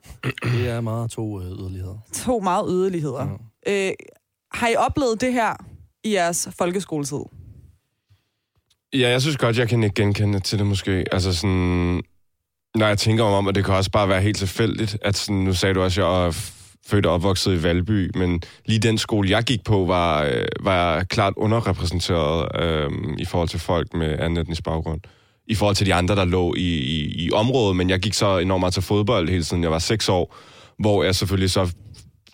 Speaker 4: Det er meget to øh, yderligheder.
Speaker 2: To meget yderligheder.
Speaker 4: Ja.
Speaker 2: Øh, har I oplevet det her i jeres folkeskoletid?
Speaker 5: Ja, jeg synes godt, jeg kan ikke genkende til det måske. Altså sådan, når jeg tænker om, at det kan også bare være helt tilfældigt, at sådan, nu sagde du også, at jeg er f- født og opvokset i Valby, men lige den skole, jeg gik på, var, øh, var jeg klart underrepræsenteret øh, i forhold til folk med anden etnisk baggrund. I forhold til de andre, der lå i, i, i området, men jeg gik så enormt meget til fodbold hele tiden. Jeg var seks år, hvor jeg selvfølgelig så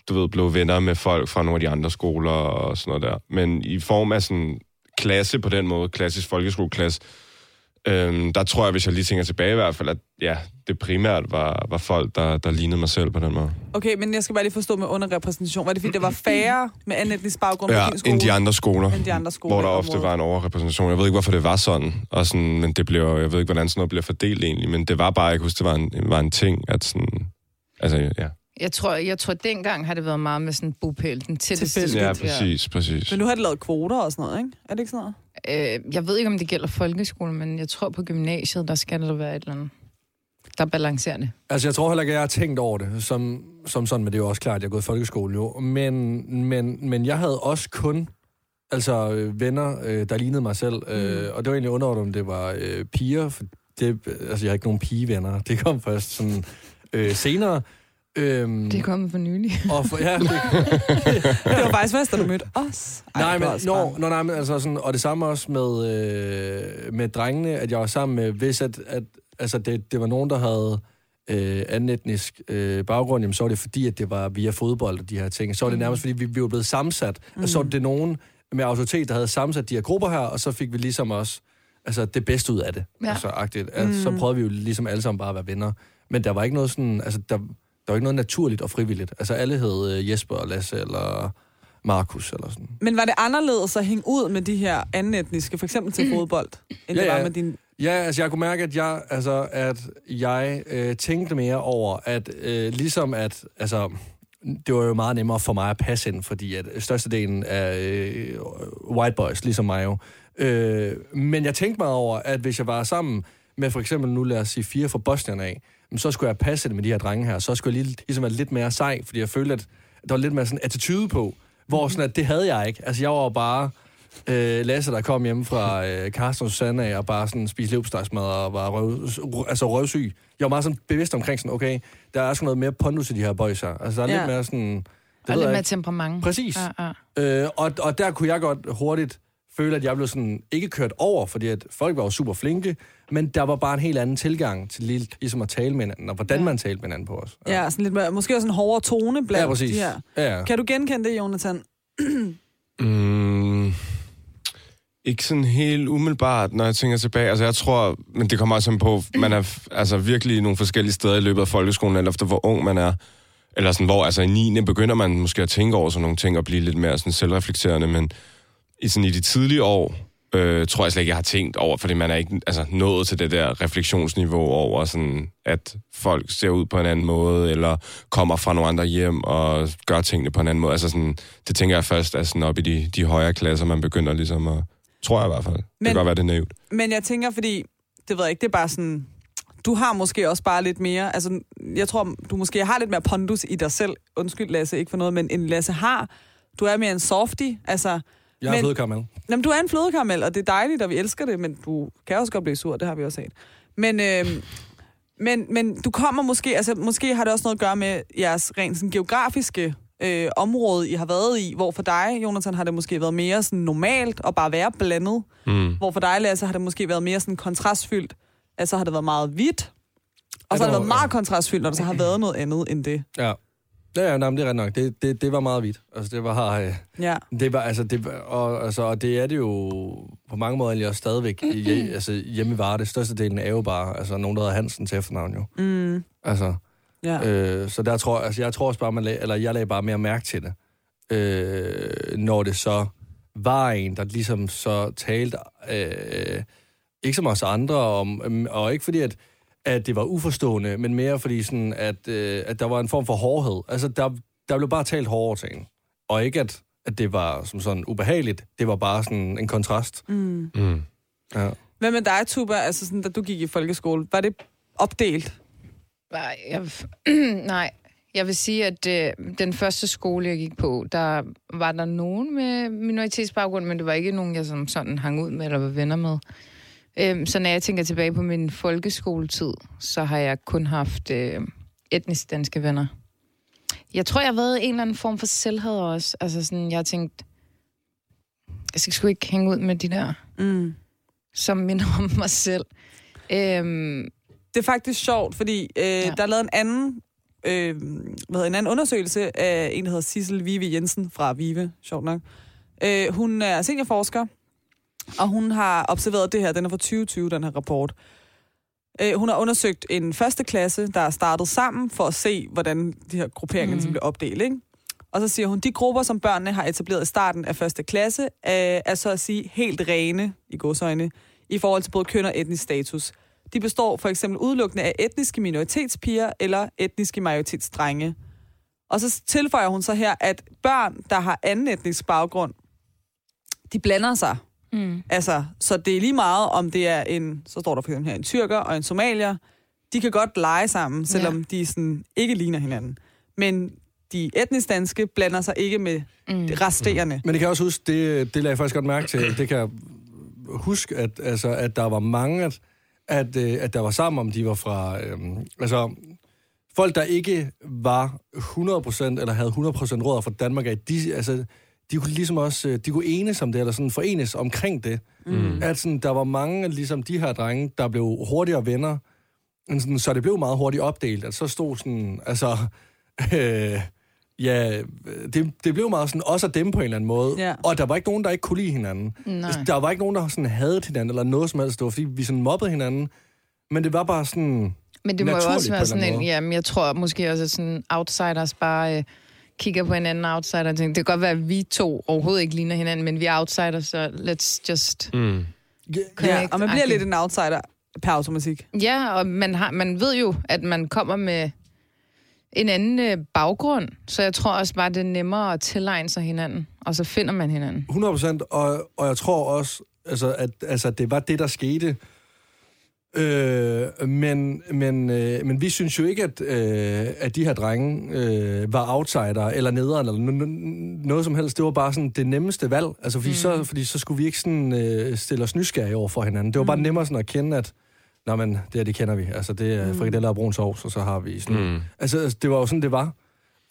Speaker 5: du ved, blev venner med folk fra nogle af de andre skoler og sådan noget der. Men i form af sådan klasse på den måde, klassisk folkeskoleklasse, øhm, der tror jeg, hvis jeg lige tænker tilbage i hvert fald, at ja, det primært var, var folk, der, der lignede mig selv på den måde.
Speaker 2: Okay, men jeg skal bare lige forstå med underrepræsentation. Var det, fordi der var færre med anden etnisk baggrund på din skole,
Speaker 5: end de andre skoler,
Speaker 2: end de andre skoler?
Speaker 5: hvor der
Speaker 2: i
Speaker 5: ofte
Speaker 2: området?
Speaker 5: var en overrepræsentation. Jeg ved ikke, hvorfor det var sådan, og sådan men det blev, jeg ved ikke, hvordan sådan noget bliver fordelt egentlig, men det var bare, jeg kunne huske, det var en, var en ting, at sådan, altså ja.
Speaker 3: Jeg tror, jeg tror, dengang har det været meget med sådan bopæl, den tætteste
Speaker 2: Tilfældigt.
Speaker 5: Ja, præcis, præcis.
Speaker 2: Men nu har de lavet kvoter og sådan noget, ikke? Er det ikke sådan noget?
Speaker 3: Øh, jeg ved ikke, om det gælder folkeskole, men jeg tror på gymnasiet, der skal der være et eller andet, der balancerer det.
Speaker 4: Altså, jeg tror heller ikke, at jeg har tænkt over det, som, som sådan, men det er jo også klart, at jeg har gået i folkeskole jo. Men, men, men jeg havde også kun altså, øh, venner, øh, der lignede mig selv. Øh, og det var egentlig underordnet, om det var øh, piger. For det, altså, jeg har ikke nogen pigevenner. Det kom først sådan, øh, senere. Øhm,
Speaker 3: Det er kommet for nylig.
Speaker 4: og for, ja, det,
Speaker 2: Det var faktisk fast, at du mødte os. Ej,
Speaker 4: Nej,
Speaker 2: det
Speaker 4: men,
Speaker 2: var også
Speaker 4: no,
Speaker 2: bare-
Speaker 4: no, nej, men altså sådan, og det samme også med, øh, med drengene, at jeg var sammen med, hvis at, at altså det, det var nogen, der havde øh, anden etnisk øh, baggrund, jamen, så var det fordi, at det var via fodbold og de her ting. Så var det nærmest, fordi vi, vi var blevet sammensat, mm. og så var det nogen med autoritet, der havde sammensat de her grupper her, og så fik vi ligesom også altså, det bedste ud af det.
Speaker 3: Ja.
Speaker 4: Ja. Altså, agtigt. Altså, Så prøvede vi jo ligesom alle sammen bare at være venner. Men der var ikke noget sådan, altså der, der var ikke noget naturligt og frivilligt. Altså alle hed øh, Jesper og Lasse eller Markus eller sådan.
Speaker 2: Men var det anderledes at hænge ud med de her anden etniske, for eksempel til fodbold, end
Speaker 4: Ja,
Speaker 2: det var
Speaker 4: ja.
Speaker 2: med din...
Speaker 4: Ja, altså jeg kunne mærke, at jeg, altså, at jeg øh, tænkte mere over, at øh, ligesom at, altså, det var jo meget nemmere for mig at passe ind, fordi at størstedelen af øh, white boys, ligesom mig jo. Øh, men jeg tænkte meget over, at hvis jeg var sammen med for eksempel, nu lad os sige fire fra Bosnien af, jamen, så skulle jeg passe ind med de her drenge her, så skulle jeg lige, ligesom være lidt mere sej, fordi jeg følte, at der var lidt mere sådan attitude på, hvor sådan, at det havde jeg ikke. Altså jeg var jo bare øh, Lasse, der kom hjem fra øh, Carsten og Susanne af, og bare sådan spiste leverpostejsmad og var røv, røv- altså røvsyg. Jeg var meget sådan bevidst omkring sådan, okay, der er sgu noget mere pondus i de her boys her. Altså, der er
Speaker 2: Ja.
Speaker 4: ja. lidt mere sådan...
Speaker 3: Og
Speaker 4: Det ved
Speaker 3: lidt
Speaker 4: jeg
Speaker 3: mere
Speaker 4: ikke.
Speaker 3: temperament.
Speaker 4: Præcis.
Speaker 3: Ja, ja.
Speaker 4: Øh, og, og der kunne jeg godt hurtigt føle, at jeg blev sådan ikke kørt over, fordi at folk var jo super flinke, men der var bare en helt anden tilgang til lige, ligesom at tale med hinanden, og hvordan ja. man talte med hinanden på os.
Speaker 2: Ja, sådan lidt, mere- måske også en hårdere tone
Speaker 4: ja
Speaker 2: blandt
Speaker 4: præcis.
Speaker 2: de her.
Speaker 4: Ja.
Speaker 2: Kan du genkende det, Jonathan?
Speaker 5: Mm, ikke sådan helt umiddelbart, når jeg tænker tilbage. Altså, jeg tror, men det kommer også an på, man er f- altså, virkelig nogle forskellige steder i løbet af folkeskolen, alt efter hvor ung man er. Eller sådan, hvor altså, i 9. begynder man måske at tænke over sådan nogle ting og blive lidt mere sådan, selvreflekterende, men i, sådan, i de tidlige år, øh, tror jeg slet ikke, jeg har tænkt over, fordi man er ikke altså, nået til det der refleksionsniveau over, sådan, at folk ser ud på en anden måde, eller kommer fra nogle andre hjem og gør tingene på en anden måde. Altså, sådan, det tænker jeg først er sådan op i de, de højere klasser, man begynder ligesom at... Tror jeg i hvert fald. Men... Det
Speaker 2: Men-
Speaker 5: kan godt være, det er naivt.
Speaker 2: Men jeg tænker, fordi, det ved jeg ikke, det er bare sådan, du har måske også bare lidt mere, altså jeg tror, du måske har lidt mere pondus i dig selv. Undskyld, Lasse, ikke for noget, men en Lasse har. Du er mere en softie, altså...
Speaker 4: Jeg har
Speaker 2: men-
Speaker 4: fået karamel.
Speaker 2: Jamen, du er en flødekaramel, og det er dejligt, og vi elsker det, men du kan også godt blive sur, det har vi også set. Men, øh, men, men du kommer måske, altså måske har det også noget at gøre med jeres rent sådan, geografiske øh, område, I har været i, hvor for dig, Jonathan, har det måske været mere sådan normalt at bare være blandet, mm. hvor for dig, Lasse, har det måske været mere sådan kontrastfyldt, altså har det været meget hvidt, og så har det
Speaker 4: Ja, der
Speaker 2: været
Speaker 4: var-
Speaker 2: meget kontrastfyldt, når der så har været noget andet end det.
Speaker 4: Ja. Ja, ja nej, men det er ret nok. Det, det, det var meget vidt. Altså, det var... Øh,
Speaker 2: Ja.
Speaker 4: Det var, altså, det var, og, altså, og det er det jo på mange måder egentlig også stadigvæk i, altså, hjemme i Varde. Størstedelen er jo bare altså, nogen, der hedder Hansen til efternavn jo. Mm. Altså,
Speaker 2: ja.
Speaker 4: øh, så der tror, altså, jeg tror også bare, man lag, eller jeg lagde bare mere mærke til det. Øh, når det så var en, der ligesom så talte øh, ikke som os andre, om, øhm, og ikke fordi, at, at det var uforstående, men mere fordi, sådan, at, øh, at der var en form for hårdhed. Altså, der, der blev bare talt hårdere til en. Og ikke, at, at det var som sådan ubehageligt. Det var bare sådan en kontrast.
Speaker 2: Mm.
Speaker 5: Mm.
Speaker 4: Ja.
Speaker 2: Hvad med dig, Tuba? Altså, sådan, da du gik i folkeskole, var det opdelt?
Speaker 3: Nej, jeg, nej. Jeg vil sige, at øh, den første skole, jeg gik på, der var der nogen med minoritetsbaggrund, men det var ikke nogen, jeg som sådan hang ud med eller var venner med. Øhm, så når jeg tænker tilbage på min folkeskoletid, så har jeg kun haft øh, etnisk danske venner. Jeg tror, jeg har været en eller anden form for selvhed også. Altså sådan, jeg har tænkt, jeg skal sgu ikke hænge ud med de der,
Speaker 2: Mm.
Speaker 3: som minder om mig selv. Øhm,
Speaker 2: Det er faktisk sjovt, fordi øh, ja. der er lavet en anden, øh, hvad hedder, en anden undersøgelse af en, der hedder Sissel Vive Jensen fra Vive, sjovt nok. Øh, hun er seniorforsker, og hun har observeret det her. Den er fra 2020, den her rapport. Øh, hun har undersøgt en første klasse, der er startet sammen for at se, hvordan de her grupperinger mm.
Speaker 3: Mhm.
Speaker 2: ligesom bliver opdelt. Ikke? Og så siger hun, de grupper, som børnene har etableret i starten af første klasse, øh, er så at sige helt rene i godsøjne i forhold til både køn og etnisk status. De består for eksempel udelukkende af etniske minoritetspiger eller etniske majoritetsdrenge. Og så tilføjer hun så her, at børn, der har anden etnisk baggrund, de blander sig
Speaker 3: mm,
Speaker 2: Altså, så det er lige meget, om det er en, så står der for eksempel her, en tyrker og en somalier. De kan godt lege sammen, selvom ja. de sådan ikke ligner hinanden. Men de etnisk danske blander sig ikke med
Speaker 3: mm.
Speaker 2: de resterende.
Speaker 4: Men det kan jeg også huske, det, det lagde jeg faktisk godt mærke til, det kan jeg huske, at, altså, at der var mange, at, at, øh, at der var sammen, om de var fra... Øhm, altså, folk, der ikke var 100% eller havde 100% råd fra Danmark, af, de, altså, de kunne ligesom også øh, de kunne enes om det, eller sådan forenes omkring det. Mm. At sådan, der var mange, ligesom de her drenge, der blev hurtigere venner, men sådan, så det blev meget hurtigt opdelt, at så stod sådan, altså, øh, ja, det, det blev meget sådan også af dem på en eller anden måde,
Speaker 2: Ja.
Speaker 4: og der var ikke nogen, der ikke kunne lide hinanden. Altså,
Speaker 3: Nej.
Speaker 4: Der var ikke nogen, der sådan havde hinanden, eller noget som helst, det var, fordi vi sådan mobbede hinanden, men det var bare sådan,
Speaker 3: Men det må jo
Speaker 4: naturligt
Speaker 3: også
Speaker 4: på
Speaker 3: være
Speaker 4: en
Speaker 3: sådan
Speaker 4: eller
Speaker 3: en,
Speaker 4: anden
Speaker 3: jamen, jeg tror måske også, at sådan outsiders bare øh, kigger på en anden outsider og tænker, det kan godt være, at vi to overhovedet ikke ligner hinanden, men vi er outsiders, så let's just...
Speaker 5: Mm.
Speaker 2: Ja,
Speaker 3: Connect,
Speaker 2: og man bliver
Speaker 3: agtigt.
Speaker 2: lidt en outsider per automatik.
Speaker 3: Ja, og man, har, man ved jo, at man kommer med en anden øh, baggrund, så jeg tror også bare, det er nemmere at tilegne sig hinanden, og så finder man hinanden.
Speaker 4: 100%, og, og jeg tror også, altså, at altså, det var det, der skete. Øh, men, men, øh, men vi synes jo ikke, at, øh, at de her drenge øh, var outsider eller nederen eller no- no- noget som helst. Det var bare sådan det nemmeste valg, altså, fordi, mm. så, fordi så skulle vi ikke sådan, øh, stille os nysgerrige over for hinanden. Det var bare nemmere sådan at kende, at Nå, men det her, det kender vi. Altså, det er frikadeller og brun sovs, og så har vi sådan... Mm.
Speaker 5: Mm.
Speaker 4: Altså, altså, det var jo sådan, det var.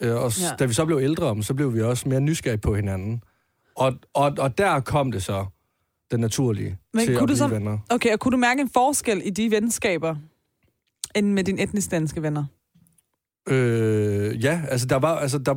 Speaker 4: Øh, og ja.
Speaker 2: Ja.
Speaker 4: da vi så blev ældre om, så blev vi også mere nysgerrige på hinanden. Og, og, og der kom det så, den naturlige,
Speaker 2: Men
Speaker 4: til
Speaker 2: kunne
Speaker 4: at
Speaker 2: du
Speaker 4: blive
Speaker 2: så-
Speaker 4: venner.
Speaker 2: Okay, og kunne du mærke en forskel i de venskaber, end med dine etnisk danske venner?
Speaker 4: Øh, ja, altså der var, altså, der,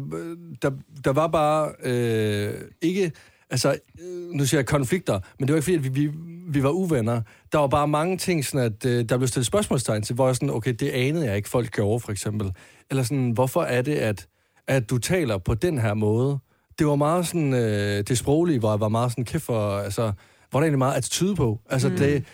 Speaker 4: der, der var bare øh, ikke, altså øh, nu siger jeg konflikter, men det var ikke fordi, at vi, vi, vi var uvenner. Der var bare mange ting, sådan at øh, der blev stillet spørgsmålstegn til, hvor jeg sådan, okay, det anede jeg ikke, folk gjorde for eksempel. Eller sådan, hvorfor er det, at, at du taler på den her måde? Det var meget sådan, øh, det sproglige, hvor jeg var meget sådan, kæft for, altså, hvor er der egentlig meget at tyde på? Altså mm. det,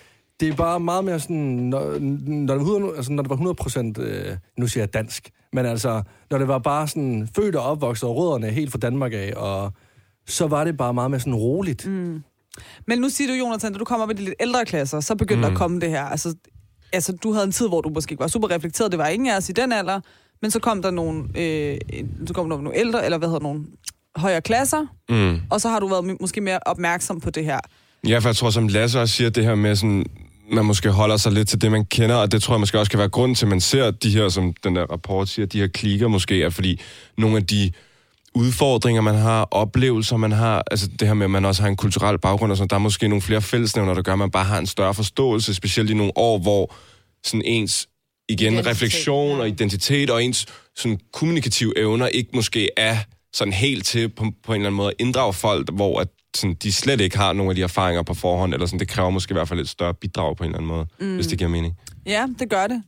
Speaker 4: det er bare meget mere sådan, når, når, det, var 100 altså, når det var 100%, øh, nu siger jeg dansk, men altså, når det var bare sådan født og opvokset og rødderne helt fra Danmark af, og så var det bare meget mere sådan roligt. Mm.
Speaker 2: Men nu siger du, Jonathan, da du kom op i de lidt ældre klasser, så begyndte
Speaker 5: Mhm.
Speaker 2: mm. der at komme det her. Altså, altså, du havde en tid, hvor du måske ikke var super reflekteret. Det var ingen af os i den alder. Men så kom der nogle, øh, en- så kom der nogle ældre, eller hvad hedder nogle højere klasser.
Speaker 5: Mm.
Speaker 2: Og så har du været m- måske mere opmærksom på det her.
Speaker 5: Ja, for jeg tror, som Lasse også siger, det her med sådan, man måske holder sig lidt til det, man kender, og det tror jeg måske også kan være grund til, at man ser de her, som den der rapport siger, de her klikker måske, er fordi nogle af de udfordringer, man har, oplevelser, man har, altså det her med, at man også har en kulturel baggrund, og sådan, der er måske nogle flere fællesnævner, der gør, at man bare har en større forståelse, specielt i nogle år, hvor sådan ens igen,
Speaker 3: Identitet,
Speaker 5: refleksion
Speaker 3: ja.
Speaker 5: og identitet og ens sådan, kommunikative evner ikke måske er sådan helt til på, på en eller anden måde at inddrage folk, hvor at, sådan, de slet ikke har nogle af de erfaringer på forhånd, eller sådan, det kræver måske i hvert fald et større bidrag på en eller anden måde, mm. hvis det giver mening.
Speaker 2: Ja, det gør det.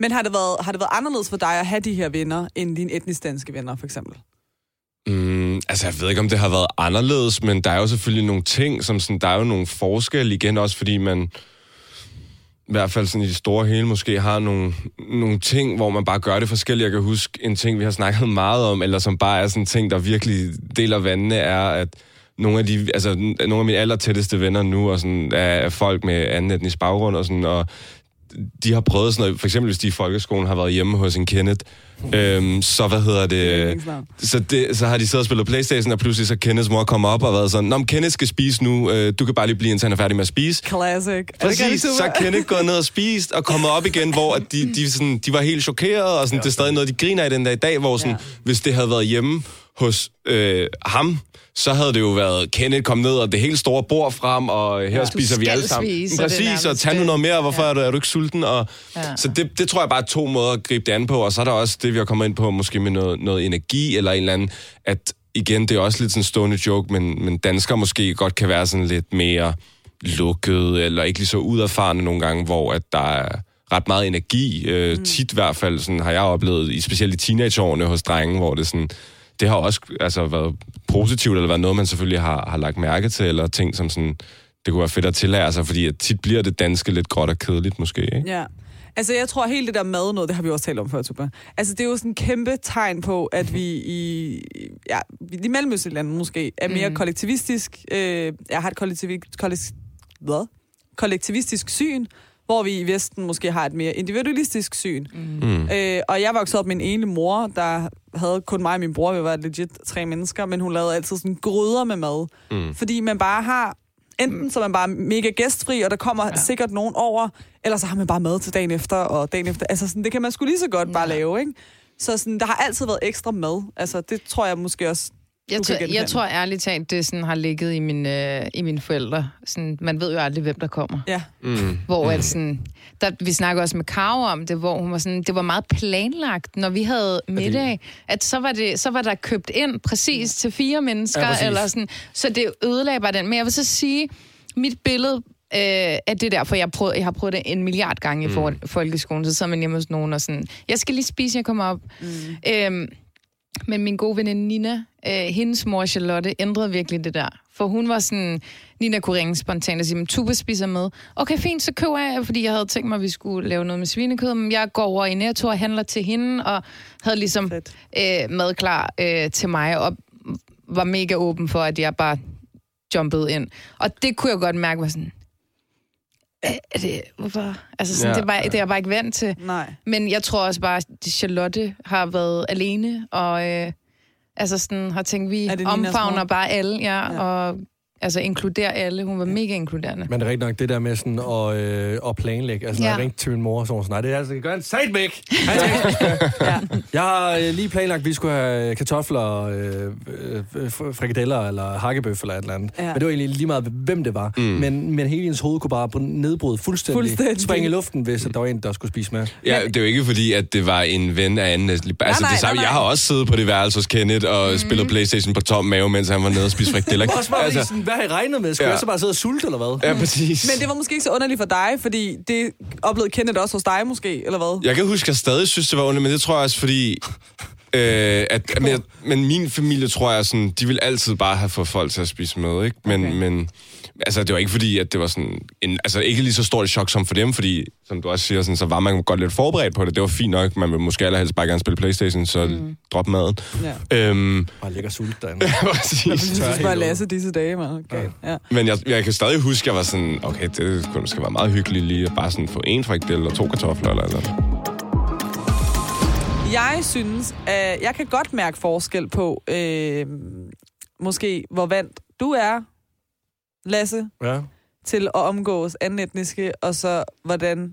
Speaker 2: Men har det, været, har det været anderledes for dig at have de her venner, end dine etnisk danske venner, for eksempel?
Speaker 5: Mm, altså, jeg ved ikke, om det har været anderledes, men der er jo selvfølgelig nogle ting, som sådan, der er jo nogle forskelle igen, også fordi man... i hvert fald sådan i det store hele, måske har nogle, nogle ting, hvor man bare gør det forskelligt. Jeg kan huske en ting, vi har snakket meget om, eller som bare er sådan en ting, der virkelig deler vandene, er, at nogle af, de, altså, n- nogle af mine allertætteste venner nu, og sådan, er, er folk med anden etnisk baggrund, og, sådan, og de har prøvet sådan noget, for eksempel hvis de i folkeskolen har været hjemme hos en Kenneth, øhm, så hvad hedder det,
Speaker 2: Yndlingsnavn.
Speaker 5: så, det, så har de siddet og spillet Playstation, og pludselig så Kenneths mor kommer op og har været sådan, Nå, men Kenneth skal spise nu, øh, du kan bare lige blive, indtil han er færdig med at spise.
Speaker 2: Classic.
Speaker 5: Præcis,
Speaker 2: Er det
Speaker 5: så er Kenneth gået ned og spist og kommet op igen, hvor at de, de, sådan, de var helt chokerede, og sådan, det er stadig noget, de griner i den dag i dag, hvor sådan,
Speaker 2: Ja.
Speaker 5: hvis det havde været hjemme hos øh, ham, så havde det jo været, Kenneth kom ned, og det helt store bord frem, og her ja, spiser vi
Speaker 3: skal
Speaker 5: alle sammen.
Speaker 3: spise, og det er
Speaker 5: Præcis,
Speaker 3: nærmest
Speaker 5: og tag nu
Speaker 3: det.
Speaker 5: noget mere, hvorfor
Speaker 3: Ja.
Speaker 5: er, du, er du ikke sulten? Og,
Speaker 3: Ja.
Speaker 5: ja. Så det, det tror jeg bare er to måder at gribe det an på, og så er der også det, vi har kommet ind på, måske med noget, noget energi, eller en eller anden, at igen, det er også lidt sådan en stående joke, men, men danskere måske godt kan være sådan lidt mere lukket, eller ikke lige så uderfarne nogle gange, hvor at der er ret meget energi, øh, mm. tit i hvert fald, sådan har jeg oplevet, i specielt i teenageårene hos drenge, hvor det sådan, det har også altså, været positivt, eller været noget, man selvfølgelig har, har lagt mærke til, eller ting som sådan, det kunne være fedt at tillære sig, fordi at tit bliver det danske lidt gråt og kedeligt måske, ikke?
Speaker 2: Ja. Altså, jeg tror helt det der mad noget, det har vi også talt om før, Tuba. Altså, det er jo sådan en kæmpe tegn på, at vi i, ja, i mellemøstlige lande måske er mere mm. kollektivistisk. Øh, jeg har et kollektivi, kollektiv, hvad? kollektivistisk syn, hvor vi i Vesten måske har et mere individualistisk syn. Mm. Øh, og jeg voksede op med en ene mor, der havde kun mig og min bror, vi var legit tre mennesker, men hun lavede altid sådan gryder med mad. Mm. Fordi man bare har, enten så er man bare mega gæstfri, og der kommer ja. sikkert nogen over, eller så har man bare mad til dagen efter, og dagen efter. Altså sådan, det kan man sgu lige så godt bare lave, ikke? Så sådan, der har altid været ekstra mad. Altså, det tror jeg måske også,
Speaker 3: Jeg
Speaker 2: du
Speaker 3: tror,
Speaker 2: kan genkende.
Speaker 3: jeg tror ærligt talt, det sådan har ligget i mine, øh, i mine forældre. Sådan, man ved jo aldrig, hvem der kommer.
Speaker 2: Ja,
Speaker 3: Hvor
Speaker 4: Mm.
Speaker 3: at sådan, der, vi snakker også med Karo om det, hvor hun var sådan, det var meget planlagt, når vi havde middag, at så var, det, så var der købt ind præcis til fire mennesker,
Speaker 4: Ja, præcis.
Speaker 3: ja, eller sådan, så det ødelagde bare den. Men jeg vil så sige, mit billede øh, af det der, for jeg, prøvede, jeg har prøvet det en milliard gange
Speaker 4: Mm.
Speaker 3: i for, folkeskolen, så sidder man hjemme hos nogen og sådan, jeg skal lige spise, jeg kommer op. Mm. Øhm, men min gode veninde Nina, øh, hendes mor Charlotte, ændrede virkelig det der. For hun var sådan, Nina kunne ringe spontant og sige, men Tuba spiser med. Okay, fint, så køber jeg, fordi jeg havde tænkt mig, at vi skulle lave noget med svinekød, men jeg går over i Netto og handler til hende, og havde ligesom
Speaker 2: Fedt.
Speaker 3: øh, mad klar øh, til mig, og var mega åben for, at jeg bare jumpede ind. Og det kunne jeg godt mærke, var sådan, "Øh, er det, hvorfor? Altså sådan,
Speaker 5: Ja,
Speaker 3: ja, det, var, det er jeg bare ikke vant til.
Speaker 2: nej.
Speaker 3: Men jeg tror også bare, at Charlotte har været alene, og øh, altså sådan, har tænkt, vi
Speaker 2: Er det Ninas
Speaker 3: omfavner
Speaker 2: mor?
Speaker 3: bare alle, ja,
Speaker 2: Ja.
Speaker 3: ja. og altså inkluderer alle. Hun var mega inkluderende.
Speaker 4: Men det er rigtig nok det der med sådan at, øh, at planlægge. Altså, når
Speaker 3: Ja.
Speaker 4: jeg ringte til min mor, så var hun sådan, nej, det er altså, det gør en sejt væk. Altså, Jeg har øh, lige planlagt, at vi skulle have kartofler, øh, øh, fr- frikadeller eller hakkebøf eller et eller andet.
Speaker 2: Ja.
Speaker 4: Ja. Men det var egentlig lige meget, hvem det var. Mm. Men, men hele ens hoved kunne bare br- nedbryde fuldstændig.
Speaker 2: Fuldstændig.
Speaker 4: Springe i luften, hvis at der var en, der skulle spise med.
Speaker 5: Ja, det er jo ikke fordi, at det var en ven af anden. Altså, nej,
Speaker 2: nej,
Speaker 5: det samme,
Speaker 2: nej, Mhm. nej.
Speaker 5: jeg har også siddet på det værelse hos Kenneth og mm. spillet Playstation på tom mave, mens han var nede og spiste frikadeller.
Speaker 4: Også bare altså, sådan, hvad har I regnet med? Skulle ja.
Speaker 5: Ja.
Speaker 4: jeg så bare sidde og sulte, eller hvad?
Speaker 5: ja, præcis.
Speaker 2: Men det var måske ikke så underligt for dig, fordi det oplevede Kenneth også hos dig måske, eller hvad?
Speaker 5: Jeg kan huske, at jeg stadig synes, det var ondt, men det tror jeg også, fordi... Øh, at, men, jeg, men min familie, tror jeg, sådan, de ville altid bare have fået folk til at spise med, ikke? Men, okay. men altså, det var ikke fordi, at det var sådan... En, altså, ikke lige så stort et chok som for dem, fordi, som du også siger, sådan, så var man godt lidt forberedt på det. Det var fint nok. Man ville måske allerhelst bare gerne spille Playstation, så mm. drop maden.
Speaker 2: Ja.
Speaker 5: Øhm,
Speaker 4: Bare ligger sulte derinde.
Speaker 5: præcis.
Speaker 2: Jeg synes
Speaker 4: helt
Speaker 2: bare,
Speaker 4: ud.
Speaker 2: Lasse disse dage, man. Okay. Ja.
Speaker 5: Men jeg, jeg kan stadig huske, at jeg var sådan, okay, det kunne måske være meget hyggeligt lige at bare sådan få en frikadelle og to kartofler eller eller.
Speaker 2: Jeg synes, at jeg kan godt mærke forskel på, øh, måske hvor vant du er, Lasse,
Speaker 4: Ja.
Speaker 2: til at omgås anden etniske, og så hvordan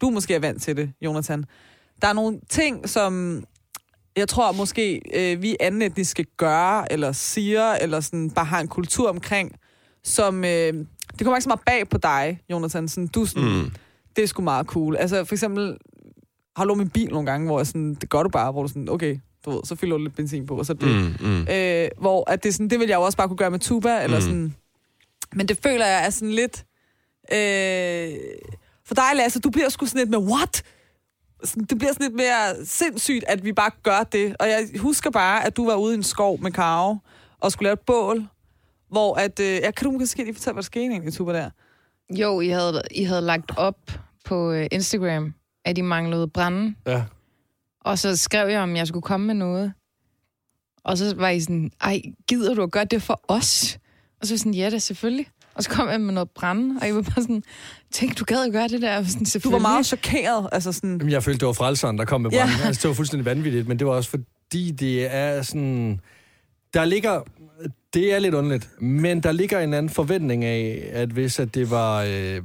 Speaker 2: du måske er vant til det, Jonathan. Der er nogle ting, som jeg tror måske, øh, vi anden etniske gør, eller siger, eller sådan bare har en kultur omkring, som... Øh, det kommer ikke så meget bag på dig, Jonathan. Sådan, du er sådan, mm. det er sgu meget cool. Altså for eksempel, har du lånt min bil nogle gange, hvor jeg sådan, det gør du bare, hvor du sådan, okay, du ved, så fylder du lidt benzin på, og så er det. Mm.
Speaker 5: mm.
Speaker 2: Øh, hvor at det, er sådan, det vil jeg jo også bare kunne gøre med tuba, eller mm. sådan. Men det føler jeg er sådan lidt... Øh, for dig, Lasse, du bliver sgu sådan lidt med, what? Sådan, Det bliver sådan lidt mere sindssygt, at vi bare gør det. Og jeg husker bare, at du var ude i en skov med Karo, og skulle lave et bål, hvor at... Øh, jeg kan du måske lige fortælle, hvad der skete egentlig i tuba der?
Speaker 3: Jo, I havde, I havde lagt op på øh, Instagram, at de manglede brænde.
Speaker 4: Ja.
Speaker 3: Og så skrev jeg, om jeg skulle komme med noget. Og så var I sådan, ej, gider du at gøre det for os? Og så var jeg sådan, ja da, selvfølgelig. Og så kom jeg med noget brænde, og I var bare sådan, tænk, du gad at gøre det der. Og jeg var sådan,
Speaker 2: Du var
Speaker 3: selvfølgelig.
Speaker 2: meget chokeret, altså sådan...
Speaker 4: Jamen, jeg følte, det var frelseren, der kom med
Speaker 2: Ja.
Speaker 4: branden. Ja. Altså, det var fuldstændig vanvittigt, men det var også fordi, det er sådan... Der ligger... Det er lidt underligt, men der ligger en anden forventning af, at hvis at det var... Øh,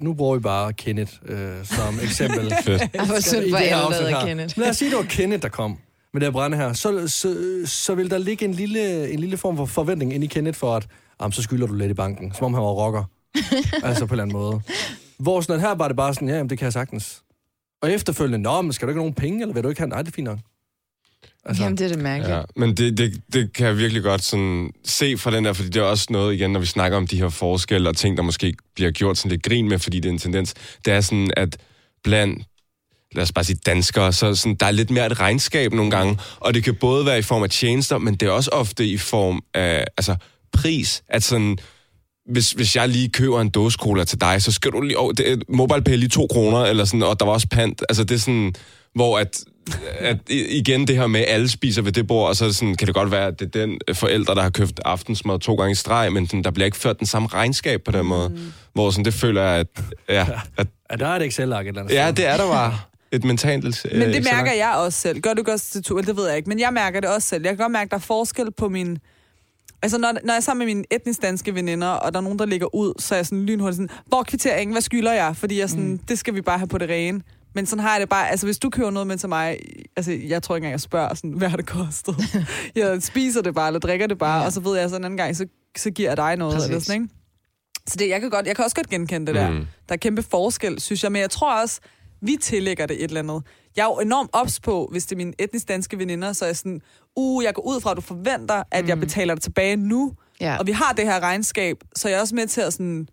Speaker 4: nu bruger vi bare Kenneth øh, som eksempel.
Speaker 5: Fedt.
Speaker 3: Ej, hvor synd
Speaker 4: I
Speaker 3: for
Speaker 4: det her
Speaker 3: alle,
Speaker 4: afsnit
Speaker 3: der
Speaker 4: her.
Speaker 3: Kenneth.
Speaker 4: Lad os sige, det var Kenneth, der kom med det her brænde her. Så, så, så vil der ligge en lille, en lille form for forventning ind i Kenneth for, at jamen, så skylder du lidt i banken, som om han var rocker. altså på en eller anden måde. Hvor sådan, at her var det bare sådan, ja, jamen, det kan jeg sagtens. Og efterfølgende, nå, men skal du ikke have nogen penge, eller vil du ikke have? Nej, det er fint nok. Altså,
Speaker 3: Jamen, det er det mærkeligt.
Speaker 5: Ja, men det, det, det kan jeg virkelig godt sådan se fra den der, fordi det er også noget, igen, når vi snakker om de her forskelle og ting, der måske bliver gjort sådan lidt grin med, fordi det er en tendens. Det er sådan, at blandt lad os bare sige danskere, så sådan, der er lidt mere et regnskab nogle gange, og det kan både være i form af tjenester, men det er også ofte i form af altså, pris, at sådan, hvis, hvis jeg lige køber en dåse cola til dig, så skal du lige... Oh, det, mobile pay lige to kroner, eller sådan, og der var også pant. Altså, det er sådan, hvor at, at i- igen det her med, at alle spiser ved det bord, og så er det sådan, kan det godt være, at det er den forældre, der har købt aftensmad to gange i streg, men sådan, der bliver ikke ført den samme regnskab på den måde. Mm. Hvor sådan, det føler jeg, at, ja, at
Speaker 4: ja, der er et Excel-ark et eller andet
Speaker 5: ja,
Speaker 4: sted.
Speaker 5: det er der bare. Et mentalt... øh,
Speaker 2: Men det
Speaker 5: ekstra-
Speaker 2: mærker jeg også selv. Gør du ikke også til tur? Det ved jeg ikke, men jeg mærker det også selv. Jeg kan godt mærke, at der er forskel på min... Altså, når, når jeg er sammen med mine etnisk danske veninder, og der er nogen, der ligger ud, så er jeg sådan lynhurtigt sådan, hvor er kvitteringen, hvad skylder jeg? Fordi jeg sådan, mm. det skal vi bare have på det rene. Men sådan har jeg det bare, altså hvis du køber noget med til mig, altså jeg tror ikke engang, jeg spørger sådan, hvad har det kostet? jeg spiser det bare, eller drikker det bare, ja.
Speaker 3: Ja.
Speaker 2: og så ved jeg så en anden gang, så, så giver jeg dig noget.
Speaker 3: Præcis.
Speaker 2: Eller sådan, ikke? Så det, jeg, kan godt, jeg kan også godt genkende det der.
Speaker 5: Mm.
Speaker 2: Mm. Der er kæmpe forskel, synes jeg. Men jeg tror også, vi tillægger det et eller andet. Jeg er jo enormt ops på, hvis det er mine etnisk danske veninder, så er jeg sådan, uh, jeg går ud fra, at du forventer, at mm. jeg betaler dig tilbage nu.
Speaker 3: Ja.
Speaker 2: Og vi har det her regnskab, så jeg er også med til at sådan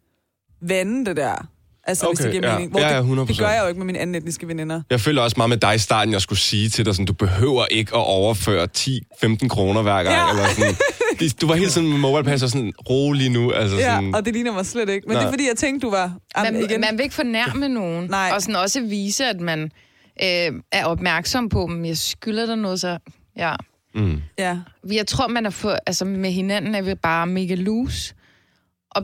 Speaker 2: vende det der. Altså, hvis
Speaker 5: Okay,
Speaker 2: det giver
Speaker 5: ja.
Speaker 2: mening.
Speaker 5: Ja, ja,
Speaker 2: det,
Speaker 5: 100%.
Speaker 2: det gør jeg jo ikke med mine anden etniske veninder.
Speaker 5: Jeg føler også meget med dig i starten, jeg skulle sige til dig, sådan, du behøver ikke at overføre 10-15 kroner hver gang.
Speaker 2: Ja.
Speaker 5: Ja. Eller sådan. Det- Du var helt sådan med MobilePass og sådan, rolig nu. Altså sådan,
Speaker 2: Ja, og det ligner mig slet ikke. Men Nej.
Speaker 5: Nej.
Speaker 2: det er, fordi jeg tænkte, du var... Am,
Speaker 3: man,
Speaker 2: igen.
Speaker 3: man vil ikke fornærme nogen.
Speaker 2: Nej.
Speaker 3: Og sådan også vise, at man øh, er opmærksom på, om jeg skylder dig noget, så... Ja.
Speaker 5: mm.
Speaker 2: ja.
Speaker 3: Jeg tror, man er for, altså, med hinanden er vi bare mega loose. Og,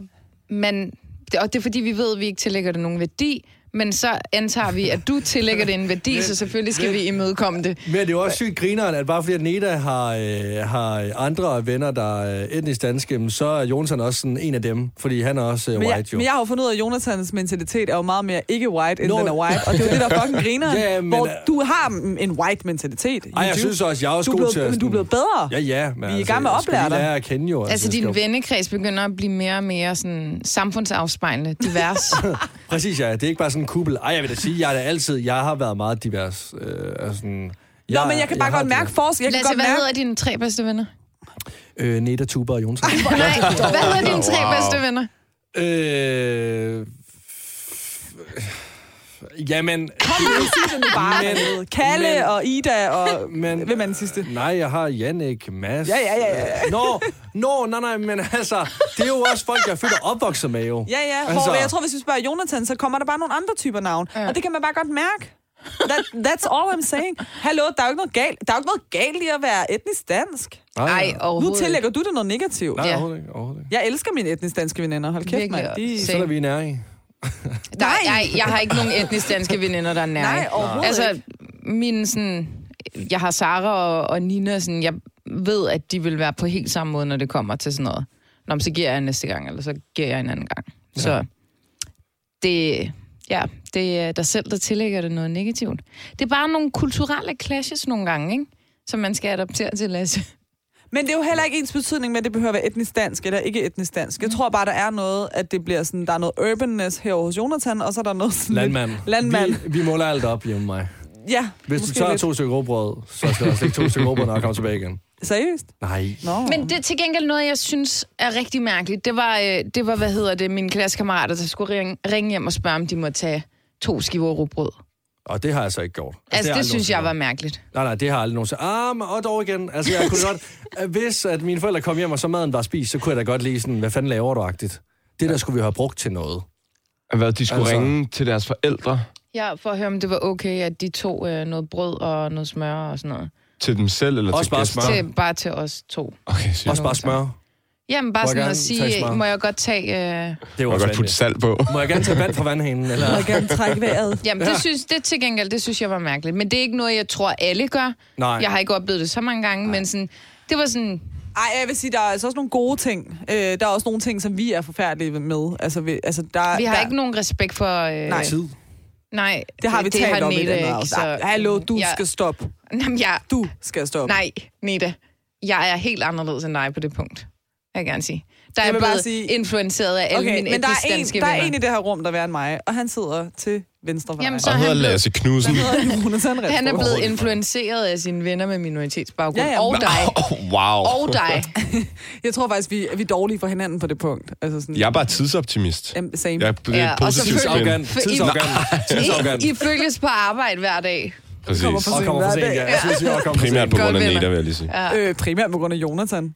Speaker 3: man, og det er fordi, vi ved, at vi ikke tillægger det nogen værdi, men så antager vi, at du tillægger det en værdi, så selvfølgelig skal vi imødekomme det.
Speaker 4: Men det er jo også sygt grineren, at bare fordi at Neda har, øh, har andre venner, der er etnisk danske, jamen, så er Jonsson også sådan en af dem, fordi han er også øh,
Speaker 2: Men
Speaker 4: white,
Speaker 2: jeg,
Speaker 4: jo.
Speaker 2: men jeg har jo fundet ud af, at Jonathans mentalitet er jo meget mere ikke white, end
Speaker 4: Nå.
Speaker 2: den er white. Og det er jo det, der fucking griner.
Speaker 4: Ja, men,
Speaker 2: hvor
Speaker 4: øh,
Speaker 2: du har en white mentalitet.
Speaker 4: Ej, jeg synes også, jeg er også
Speaker 2: du er
Speaker 4: god
Speaker 2: blevet,
Speaker 4: til at
Speaker 2: Men du er
Speaker 4: sådan-
Speaker 2: blevet bedre.
Speaker 4: Ja, ja. Men
Speaker 2: Vi er i gang med at
Speaker 4: jeg skal
Speaker 2: oplære
Speaker 4: lige
Speaker 2: dig.
Speaker 4: lære at kende jo.
Speaker 3: Altså,
Speaker 4: jeg skal
Speaker 3: din
Speaker 4: jo-
Speaker 3: vennekreds begynder at blive mere og mere sådan, samfundsafspejlende, divers.
Speaker 4: Præcis, ja. Det er ikke bare sådan en kubbel. Ej, jeg vil da sige, jeg er da altid... Jeg har været meget divers. Øh, altså, sådan-
Speaker 2: Nå, men jeg kan bare
Speaker 4: har
Speaker 2: godt
Speaker 4: det.
Speaker 2: mærke forskel. Jeg kan
Speaker 3: Lasse,
Speaker 2: godt
Speaker 3: hvad
Speaker 2: mærke...
Speaker 3: hedder dine tre bedste venner?
Speaker 4: Øh, Neda, Tuba og Jonsson.
Speaker 3: Nej, hvad hedder dine tre
Speaker 5: Wow.
Speaker 3: bedste venner?
Speaker 4: øh... Jamen...
Speaker 2: Kom nu, sig det nu bare.
Speaker 4: Men-
Speaker 2: Kalle
Speaker 4: men-
Speaker 2: og Ida og...
Speaker 4: Men,
Speaker 2: Hvem er den sidste?
Speaker 4: Nej, jeg har Jannik, Mads.
Speaker 2: Ja, ja, ja, ja.
Speaker 4: Nå, nå, nej, nej, men altså, det er jo også folk, jeg er født og opvokset med, jo.
Speaker 2: Ja, ja. Altså... Jeg tror, hvis vi spørger Jonathan, så kommer der bare nogle andre typer navn. Ja.
Speaker 3: Ja.
Speaker 2: Og det kan man bare godt mærke. That, that's all I'm saying. Hallo, der er jo ikke noget galt, der er jo ikke noget galt i at være etnisk dansk.
Speaker 3: Nej,
Speaker 2: Nu
Speaker 3: overhovedet ikke.
Speaker 2: tillægger du det noget negativt.
Speaker 4: Nej,
Speaker 3: Ja.
Speaker 4: overhovedet ikke, overhovedet ikke.
Speaker 2: Jeg elsker mine etnisk danske veninder. Hold kæft,
Speaker 3: Virkelig.
Speaker 2: mand. De...
Speaker 3: Se.
Speaker 4: Så er vi i næring.
Speaker 3: Der,
Speaker 2: Nej.
Speaker 3: nej. Jeg, jeg har ikke nogen etnisk danske veninder, der er nære.
Speaker 2: Nej, overhovedet altså...
Speaker 3: Altså, min sådan... Jeg har Sara og, og Nina, sådan, jeg ved, at de vil være på helt samme måde, når det kommer til sådan noget. Nå, men så giver jeg næste gang, eller så giver jeg en anden gang. Ja. Så det, ja, det er dig selv, der tillægger det noget negativt. Det er bare nogle kulturelle clashes nogle gange, ikke? som man skal adaptere til, Lasse.
Speaker 2: Men det er jo heller ikke ens betydning med, at det behøver at være etnisk dansk eller ikke etnisk dansk.
Speaker 3: Mm.
Speaker 2: Jeg tror bare, der er noget, at det bliver sådan, der er noget urbanness herovre hos Jonathan, og så er der noget sådan lidt-
Speaker 4: Landmand.
Speaker 2: Landmand.
Speaker 4: Vi, vi måler alt op hjemme mig.
Speaker 2: Ja,
Speaker 4: Hvis
Speaker 2: måske
Speaker 4: du tager
Speaker 2: lidt.
Speaker 4: to stykker råbrød, så skal der også ikke to stykker råbrød, når jeg kommer tilbage igen.
Speaker 2: Seriøst?
Speaker 4: Nej.
Speaker 2: Nå.
Speaker 3: Men det er til gengæld noget, jeg synes er rigtig mærkeligt. Det var, øh, det var hvad hedder det, mine klassekammerater, der skulle ringe, ringe hjem og spørge, om de måtte tage to skiver rugbrød.
Speaker 4: Og Altså, det har jeg så ikke gjort.
Speaker 3: Altså,
Speaker 4: har
Speaker 3: det,
Speaker 4: aldrig
Speaker 3: det synes
Speaker 4: nogensinde
Speaker 3: jeg var
Speaker 4: gjort.
Speaker 3: mærkeligt.
Speaker 4: Nej, nej, det har jeg aldrig nogensinde. Ah, men- og dog igen. Altså, jeg kunne godt... at Hvis at mine forældre kom hjem, og så maden var spist, så kunne jeg da godt lige sådan, hvad fanden laver du-agtigt? Det der skulle vi have brugt til noget.
Speaker 5: Hvad, de skulle
Speaker 4: Altså-
Speaker 5: altså... ringe til deres forældre,
Speaker 3: Ja, for at høre, om det var okay, at de tog øh, noget brød og noget smør og sådan noget.
Speaker 5: til dem selv eller
Speaker 4: Også
Speaker 5: til
Speaker 4: bare
Speaker 5: gæster?
Speaker 4: smør.
Speaker 3: Til, bare til os to.
Speaker 5: Okay, sygt.
Speaker 4: Også bare smør.
Speaker 3: Jamen, bare
Speaker 4: Må jeg
Speaker 3: sådan
Speaker 4: gerne
Speaker 3: at
Speaker 4: tage
Speaker 3: sige,
Speaker 4: smør?
Speaker 3: må jeg godt tage... Øh,
Speaker 4: Det er jo
Speaker 5: Man kan
Speaker 4: også
Speaker 5: godt putte
Speaker 4: vanvittigt.
Speaker 5: salt på.
Speaker 4: Må jeg gerne tage vand fra vandhanen? Eller?
Speaker 2: Jeg vil gerne trække vejret.
Speaker 3: Jamen, det,
Speaker 4: Ja.
Speaker 3: synes, det til gengæld, det synes jeg var mærkeligt. Men det er ikke noget, jeg tror, alle gør.
Speaker 4: Nej.
Speaker 3: Jeg har ikke oplevet det så mange gange, men sådan, det var sådan...
Speaker 2: Ej, jeg vil sige, der er altså også nogle gode ting. Øh, der er også nogle ting, som vi er forfærdelige med. Altså, vi, altså der,
Speaker 3: Vi har
Speaker 2: der,
Speaker 3: ikke nogen respekt for... Øh,
Speaker 2: Nej.
Speaker 4: Tid.
Speaker 3: nej,
Speaker 2: Det har vi
Speaker 3: det
Speaker 2: talt om i
Speaker 3: Neda
Speaker 2: den her
Speaker 3: ikke,
Speaker 2: også.
Speaker 3: så-
Speaker 2: Hallo, du
Speaker 3: jeg,
Speaker 2: skal stoppe.
Speaker 3: Jamen, jeg,
Speaker 2: Du skal stoppe.
Speaker 3: nej, Neda. Jeg er helt anderledes end dig på det punkt. Jeg vil jeg gerne sige. Der er
Speaker 2: Jeg
Speaker 3: jeg
Speaker 2: vil bare
Speaker 3: blevet sige...
Speaker 2: sige-
Speaker 3: influenceret af alle
Speaker 2: Okay,
Speaker 3: mine
Speaker 2: men der er, en,
Speaker 3: etnisk danske
Speaker 2: der er
Speaker 3: venner.
Speaker 2: en i det her rum, der er værre end mig, og han sidder til venstre for
Speaker 3: Jamen,
Speaker 2: mig.
Speaker 3: så
Speaker 5: Og
Speaker 3: er
Speaker 5: hedder
Speaker 3: han blevet-
Speaker 5: Lasse Knudsen.
Speaker 2: Hvad hedder Jonas Henrik?
Speaker 3: Han er blevet influenceret af sine venner med minoritetsbaggrund.
Speaker 2: Ja,
Speaker 3: Ja,
Speaker 2: ja.
Speaker 3: ja. Og dig.
Speaker 5: Oh, wow.
Speaker 3: Og dig.
Speaker 2: Jeg tror faktisk, vi, vi er dårlige for hinanden på det punkt. Altså sådan,
Speaker 5: Jeg er bare tidsoptimist.
Speaker 2: Jamen, same.
Speaker 5: Jeg er det er
Speaker 3: Ja,
Speaker 5: et
Speaker 3: og
Speaker 5: positivt
Speaker 3: selvfølgelig-
Speaker 5: spin.
Speaker 3: For
Speaker 4: Tidsafgand.
Speaker 3: I-
Speaker 4: Tidsafgand. Tidsafgand.
Speaker 3: I, I følges på arbejde hver dag.
Speaker 5: Præcis.
Speaker 2: for
Speaker 4: Og kommer for
Speaker 2: Hver
Speaker 4: sent,
Speaker 2: dag.
Speaker 4: ja. Jeg synes, jeg kommer for
Speaker 5: Primært
Speaker 4: sent.
Speaker 5: på grund af
Speaker 3: Godt venner.
Speaker 5: Neda, vil jeg lige sige.
Speaker 2: Øh, primært på grund af Jonathan.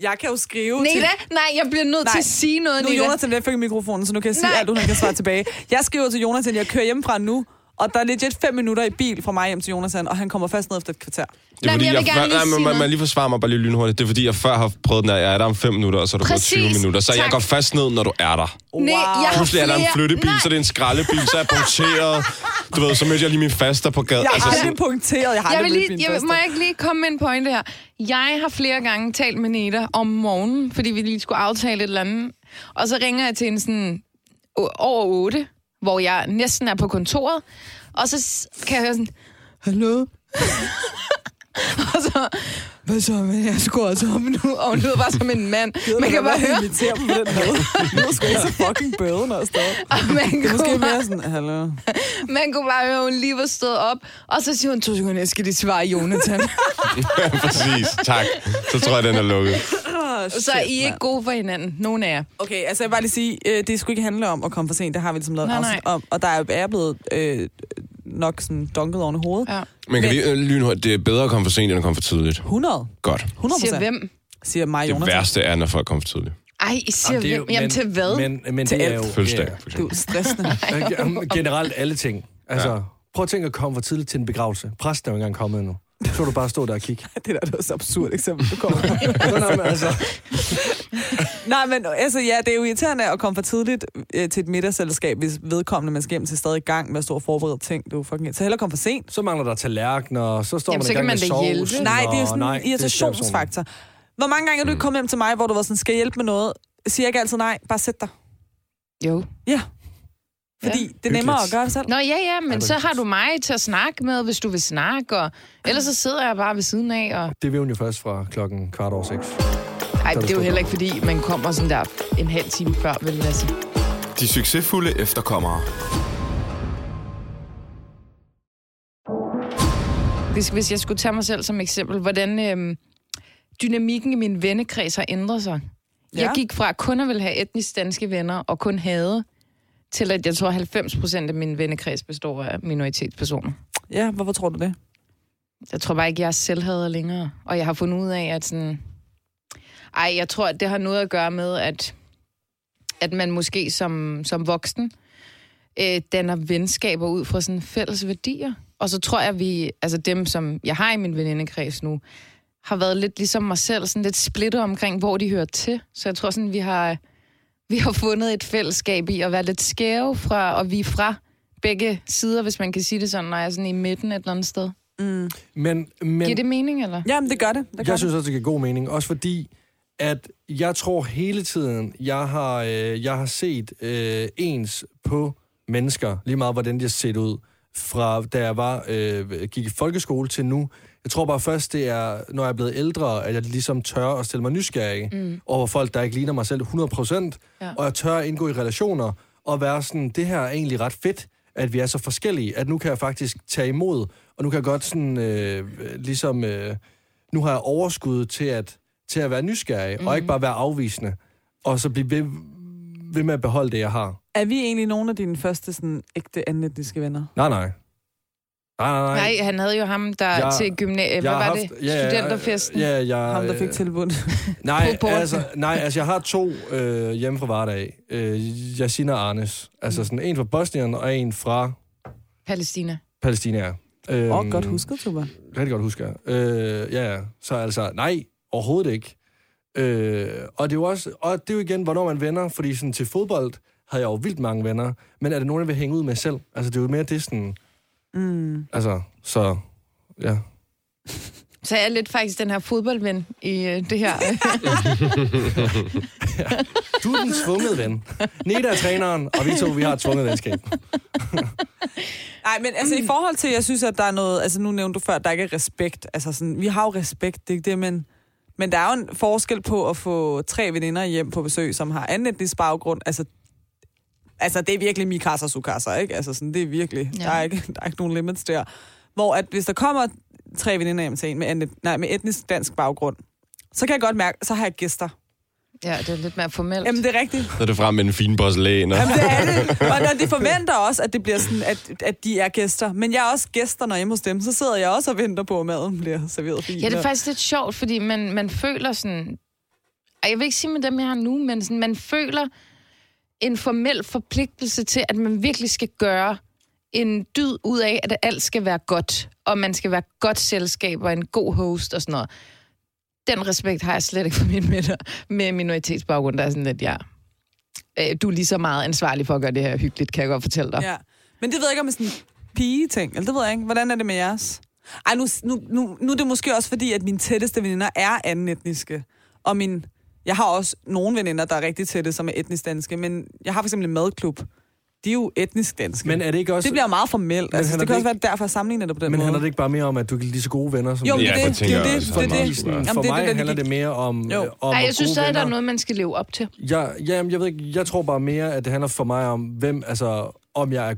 Speaker 2: Jeg kan jo skrive til...
Speaker 3: Neda, nej, jeg bliver nødt
Speaker 2: Nej.
Speaker 3: til at sige noget,
Speaker 2: Nu er
Speaker 3: Neda.
Speaker 2: Jonathan ved at flytte mikrofonen, så nu kan jeg sige
Speaker 3: Nej.
Speaker 2: alt, hun kan svare tilbage. Jeg skriver til Jonathan, jeg kører hjemmefra nu, og der er legit fem minutter i bil fra mig hjem til Jonathan, og han kommer først ned efter et kvarter.
Speaker 5: Det er
Speaker 3: Nej, men
Speaker 5: fordi,
Speaker 3: jeg vil gerne lige
Speaker 5: nej,
Speaker 3: sige
Speaker 5: man, man,
Speaker 3: noget.
Speaker 5: man lige forsvarer mig bare lige lynhurtigt. Det er fordi, jeg før har prøvet den her, jeg er der om 5 minutter, og så er der gået
Speaker 3: Præcis.
Speaker 5: 20 minutter. Så jeg
Speaker 3: Tak.
Speaker 5: går fast ned, når du er der.
Speaker 3: Nej, jeg har
Speaker 5: Pludselig er der en
Speaker 3: flere-
Speaker 5: flyttebil,
Speaker 3: Nej.
Speaker 5: så er det en skraldebil, så er jeg punkteret. Du ved, så mødte jeg lige min faster på gaden. Altså,
Speaker 2: Jeg har
Speaker 5: sådan-
Speaker 2: aldrig punkteret, jeg har
Speaker 3: Jeg
Speaker 2: aldrig
Speaker 3: vil
Speaker 2: mødt
Speaker 3: lige,
Speaker 2: mine
Speaker 3: jeg, vil-
Speaker 2: faster.
Speaker 3: må jeg ikke lige komme med en pointe her? Jeg har flere gange talt med Neda om morgenen, fordi vi lige skulle aftale et eller andet. Og så ringer jeg til en sådan o- over 8, hvor jeg næsten er på kontoret. Og så s- kan jeg høre sådan, hallo? og så, hvad så, men jeg skulle også op nu. Og hun lyder bare som en mand. Man kan bare høre,
Speaker 2: irritere dem på den måde. Nu er sgu ikke så fucking bøden også der.
Speaker 3: og man
Speaker 2: Det er
Speaker 3: kunne
Speaker 2: måske
Speaker 3: bare-
Speaker 2: mere sådan, hallo.
Speaker 3: Man kunne bare høre, at hun lige var stået op, og så siger hun, to sekunder, jeg skal lige svare Jonathan.
Speaker 5: Præcis, tak. Så tror jeg, den er lukket.
Speaker 2: Oh,
Speaker 3: så er I ikke gode for hinanden, nogen af jer.
Speaker 2: Okay, altså jeg vil bare lige sige, øh, det skulle ikke handle om at komme for sent. Det har vi ligesom lavet
Speaker 3: Nej,
Speaker 2: nej,
Speaker 3: nej.
Speaker 2: afsnit om. Og der er jeg er blevet øh, nok sådan dunket oven i hovedet.
Speaker 3: Ja.
Speaker 5: Men kan vi øh, lynhurtigt, det er bedre at komme for sent, end at komme for tidligt.
Speaker 2: 100.
Speaker 5: Godt.
Speaker 2: 100
Speaker 3: Siger hvem?
Speaker 2: Siger mig,
Speaker 5: Det
Speaker 2: Jonas.
Speaker 5: værste er, når folk kommer for tidligt.
Speaker 3: Ej, I siger
Speaker 4: Jamen, det er
Speaker 3: hvem?
Speaker 4: jo-
Speaker 3: Jamen
Speaker 4: men-
Speaker 3: til hvad? Men,
Speaker 4: Men, men
Speaker 2: Til
Speaker 4: det er
Speaker 2: alt.
Speaker 4: jo...
Speaker 5: Fødselsdag,
Speaker 4: ja.
Speaker 5: for
Speaker 2: Det er jo
Speaker 5: eksempel.
Speaker 2: stressende.
Speaker 4: Jamen, Generelt alle ting. Altså, prøv at tænke at komme for tidligt til en begravelse. Præsten er jo ikke engang kommet endnu. Så kan du bare stå der og kigge.
Speaker 2: det der er da også et absurd eksempel, du kommer med.
Speaker 4: Nå, nej, men altså,
Speaker 2: Nej, men altså, ja, det er jo irriterende at komme for tidligt øh, til et middagsselskab, hvis vedkommende, man skal hjem til, stadig i gang med at stå og forberede ting. Det er jo fucking... Så hellere komme for sent.
Speaker 4: så mangler der tallerkener, og så står
Speaker 3: Jamen,
Speaker 4: man
Speaker 3: så
Speaker 4: i gang
Speaker 3: kan man
Speaker 4: med
Speaker 3: da hjælpe.
Speaker 4: sovsen,
Speaker 2: Nej, det er Mm. jo
Speaker 4: og-
Speaker 2: sådan
Speaker 4: nej,
Speaker 2: en
Speaker 4: det er irritationsfaktor.
Speaker 2: irritationsfaktor. Hvor mange gange er du ikke kommet hjem til mig, hvor du var sådan, skal jeg hjælpe med noget? Siger jeg ikke altid nej, bare sæt dig.
Speaker 3: jo.
Speaker 2: Ja. Fordi ja. det er nemmere at
Speaker 4: Hyggeligt.
Speaker 2: gøre det selv.
Speaker 3: Nå ja, ja,
Speaker 4: Ej,
Speaker 3: men så har du mig til at snakke med, hvis du vil snakke, og ellers så sidder jeg bare ved siden af, og
Speaker 4: Det vil hun jo først fra klokken kvart over seks.
Speaker 3: ej, det er jo heller ikke, fordi man kommer sådan der en halv time før, vil jeg sige.
Speaker 1: De succesfulde efterkommere.
Speaker 3: Hvis, hvis jeg skulle tage mig selv som eksempel, hvordan øhm, dynamikken i min vennekreds har ændret sig. Ja. Jeg gik fra kun at ville have etnisk danske venner og kun havde, til at jeg tror 90 procent af min vennekreds består af minoritetspersoner.
Speaker 2: Ja, hvorfor tror du det?
Speaker 3: Jeg tror bare ikke, jeg selv hader længere. Og jeg har fundet ud af, at sådan... Ej, jeg tror, at det har noget at gøre med, at, at man måske som, som voksen øh, danner venskaber ud fra sådan fælles værdier. Og så tror jeg, at vi, altså dem, som jeg har i min venindekreds nu, har været lidt ligesom mig selv, sådan lidt splittet omkring, hvor de hører til. Så jeg tror sådan, vi har, vi har fundet et fællesskab i at være lidt skæve fra, og vi er fra begge sider, hvis man kan sige det sådan, når jeg er sådan i midten et eller andet sted.
Speaker 4: Men, men
Speaker 3: Giver det mening, eller?
Speaker 2: Jamen, det gør det. det gør
Speaker 4: jeg synes også, det giver god mening. Også fordi, at jeg tror hele tiden, jeg har, øh, jeg har set øh, ens på mennesker, lige meget hvordan de har set ud, fra da jeg var, øh, gik i folkeskole til nu. Jeg tror bare først, det er, når jeg er blevet ældre, at jeg ligesom tør at stille mig nysgerrig mm. over folk, der ikke ligner mig selv 100%, ja.
Speaker 3: Ja.
Speaker 4: og jeg tør at indgå i relationer og være sådan, det her er egentlig ret fedt, at vi er så forskellige, at nu kan jeg faktisk tage imod, og nu kan jeg godt sådan, øh, ligesom... Øh, nu har jeg overskud til at, til at være nysgerrig, mm. og
Speaker 3: Mhm.
Speaker 4: ikke bare være afvisende, og så blive ved, ved med at beholde det, jeg har.
Speaker 2: Er vi egentlig nogle af dine første sådan, ægte anlætniske venner?
Speaker 4: Nej, nej. Nej, nej, nej.
Speaker 3: Nej, han havde jo ham, der
Speaker 4: Jeg-
Speaker 3: til gymnasiet... Hvad
Speaker 4: Jeg har
Speaker 3: var
Speaker 4: haft-
Speaker 3: det? Studenterfesten?
Speaker 4: Ja, ja, jeg,
Speaker 2: Ham, der fik tilbudt.
Speaker 4: Nej,
Speaker 3: På porten.
Speaker 4: altså, nej, altså jeg har to øh, hjemme fra hverdag. Øh, Yasina og Arnes.
Speaker 3: Mm.
Speaker 4: Altså sådan en fra Bosnien og en fra
Speaker 3: Palæstina.
Speaker 4: Palæstina. Øhm,
Speaker 2: Åh, godt husket, Tuba.
Speaker 4: Rigtig godt husker jeg. Øh, ja, ja. Så altså, nej, overhovedet ikke. Øh, og, det er jo også, og det er jo igen, hvornår man venner, fordi sådan til fodbold havde jeg jo vildt mange venner, men er det nogen, jeg vil hænge ud med selv? Altså, det er jo mere det sådan,
Speaker 2: Mm.
Speaker 4: altså, så, ja.
Speaker 3: Så jeg er lidt faktisk den her fodboldven i øh, det her.
Speaker 4: Du er den tvunget ven. Neda er træneren, og vi to, vi har et tvunget venskab.
Speaker 2: Nej, men altså i forhold til, jeg synes, at der er noget... Altså nu nævnte du før, at der ikke er respekt. Altså sådan, vi har jo respekt, det er ikke det, men... Men der er jo en forskel på at få tre veninder hjem på besøg, som har anden etnisk baggrund. Altså, altså det er virkelig mikasser sukasser, ikke? Altså sådan, det er virkelig...
Speaker 3: Ja.
Speaker 2: Ja. Der, er ikke, der er ikke nogen limits der. Hvor at hvis der kommer tre veninder hjem til en med, anden, nej, med etnisk dansk baggrund, så kan jeg godt mærke, så har jeg gæster.
Speaker 3: ja, det er lidt mere formelt.
Speaker 2: Jamen, det er rigtigt.
Speaker 5: Så er det frem med en fin porcelæn. Og...
Speaker 2: Jamen, det er det. Og når de forventer også, at det bliver sådan, at, at de er gæster. Men jeg er også gæster, når jeg er hjemme hos dem. Så sidder jeg også og venter på, at maden bliver serveret. Fordi
Speaker 3: Ja, det er faktisk lidt sjovt, fordi man, man føler sådan... Ej, Jeg vil ikke sige med dem, jeg har nu, men sådan, man føler en formel forpligtelse til, at man virkelig skal gøre en dyd ud af, at alt skal være godt, og man skal være godt selskab og en god host og sådan noget. Den respekt har jeg slet ikke for min middag med minoritetsbaggrund, der er sådan lidt, ja, øh, du er lige så meget ansvarlig for at gøre det her hyggeligt, kan jeg godt fortælle dig.
Speaker 2: ja. Men det ved jeg ikke, om det er sådan pige-ting. Eller det ved jeg ikke. Hvordan er det med jeres? Ej, nu, nu, nu, nu er det måske også fordi, at mine tætteste veninder er anden etniske. Og min, jeg har også nogle veninder, der er rigtig tætte, som er etnisk danske. Men jeg har for eksempel en madklub. De er jo etnisk danske.
Speaker 4: Men er det ikke også...
Speaker 2: det bliver jo meget formelt. Altså, det
Speaker 4: handler
Speaker 2: kan
Speaker 4: det
Speaker 2: også være derfor, at sammenligne det på den
Speaker 4: Men
Speaker 2: måde.
Speaker 4: handler det ikke bare mere om, at du er lige så gode venner, som
Speaker 2: Jo,
Speaker 4: du
Speaker 2: men
Speaker 4: er?
Speaker 2: det,
Speaker 5: Ja,
Speaker 2: er det,
Speaker 5: det tænker jeg
Speaker 2: det, er det,
Speaker 5: også,
Speaker 2: det,
Speaker 5: der er
Speaker 2: er
Speaker 5: meget
Speaker 2: det.
Speaker 5: sgu være.
Speaker 2: Jamen,
Speaker 4: Sådan, for
Speaker 2: det er
Speaker 4: mig
Speaker 2: det, der
Speaker 4: handler
Speaker 2: ligger-
Speaker 4: det mere om...
Speaker 2: Jo.
Speaker 4: øh, om
Speaker 3: Ej,
Speaker 4: at
Speaker 3: jeg synes
Speaker 4: gode
Speaker 3: stadig, der er
Speaker 4: venner-
Speaker 3: noget, man skal leve op til.
Speaker 4: Jeg, ja, jamen, jeg ved ikke, jeg tror bare mere, at det handler for mig om, hvem, altså, om jeg er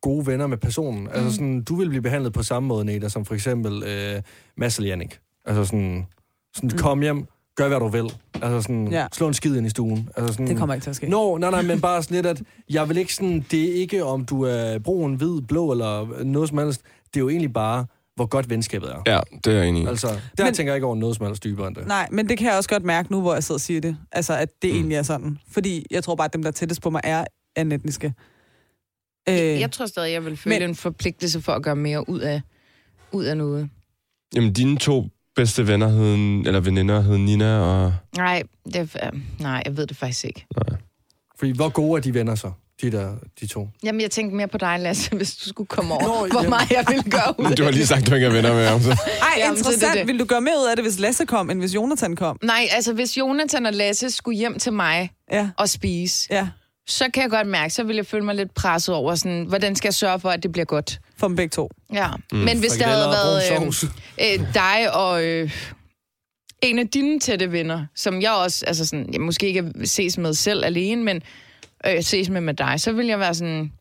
Speaker 4: gode venner med personen. Mm. Altså sådan, du vil blive behandlet på samme måde, Neda, som for eksempel øh, Mads eller Jannik. Altså sådan, sådan mm. kom hjem, gør hvad du vil. Altså sådan,
Speaker 2: Ja.
Speaker 4: ja. slå en skid ind i stuen. Altså sådan,
Speaker 2: Det kommer ikke til at ske.
Speaker 4: Nå, nej, nej, men bare sådan lidt, at jeg vil ikke sådan, det er ikke, om du er brun, hvid, blå eller noget som helst. Det er jo egentlig bare, hvor godt venskabet er.
Speaker 5: Ja, det er jeg enig i.
Speaker 4: Altså, der
Speaker 2: Men-
Speaker 4: men... tænker jeg ikke over noget som helst dybere end det.
Speaker 2: Nej, men det kan jeg også godt mærke nu, hvor jeg sidder og siger det. Altså, at det mm. egentlig er sådan. Fordi jeg tror bare, at dem, der er tættest på mig, er anetniske. Øh,
Speaker 3: Jeg tror stadig, jeg vil føle
Speaker 2: Men-
Speaker 3: men... en forpligtelse for at gøre mere ud af, ud af noget.
Speaker 5: Jamen, dine to bedste venner hed, eller veninder hed Nina og...
Speaker 3: Nej, det, er- øh, nej, jeg ved det faktisk ikke.
Speaker 4: Fordi hvor gode er de venner så, de der, de to?
Speaker 3: Jamen, jeg tænkte mere på dig, Lasse, hvis du skulle komme over,
Speaker 4: Nå,
Speaker 3: Nå, hvor
Speaker 4: ja.
Speaker 3: meget jeg ville gøre ud af
Speaker 5: Du har lige
Speaker 3: det.
Speaker 5: sagt, du ikke er venner med ham. Så.
Speaker 2: Ej,
Speaker 3: Jamen, så er det
Speaker 2: interessant.
Speaker 3: det.
Speaker 2: Vil du gøre mere ud af det, hvis Lasse kom, end hvis Jonathan kom?
Speaker 3: Nej, altså, hvis Jonathan og Lasse skulle hjem til mig
Speaker 2: Ja,
Speaker 3: og spise,
Speaker 2: ja.
Speaker 3: så kan jeg godt mærke, så ville jeg føle mig lidt presset over, sådan, hvordan skal jeg sørge for, at det bliver godt?
Speaker 2: For dem begge to.
Speaker 3: Ja, mm, men hvis det havde været
Speaker 4: Frikadeller og brun sovs.
Speaker 3: øh, øh, dig og øh, en af dine tætte venner, som jeg også, altså sådan, jeg måske ikke ses med selv alene, men øh, ses med med dig, så ville jeg være sådan,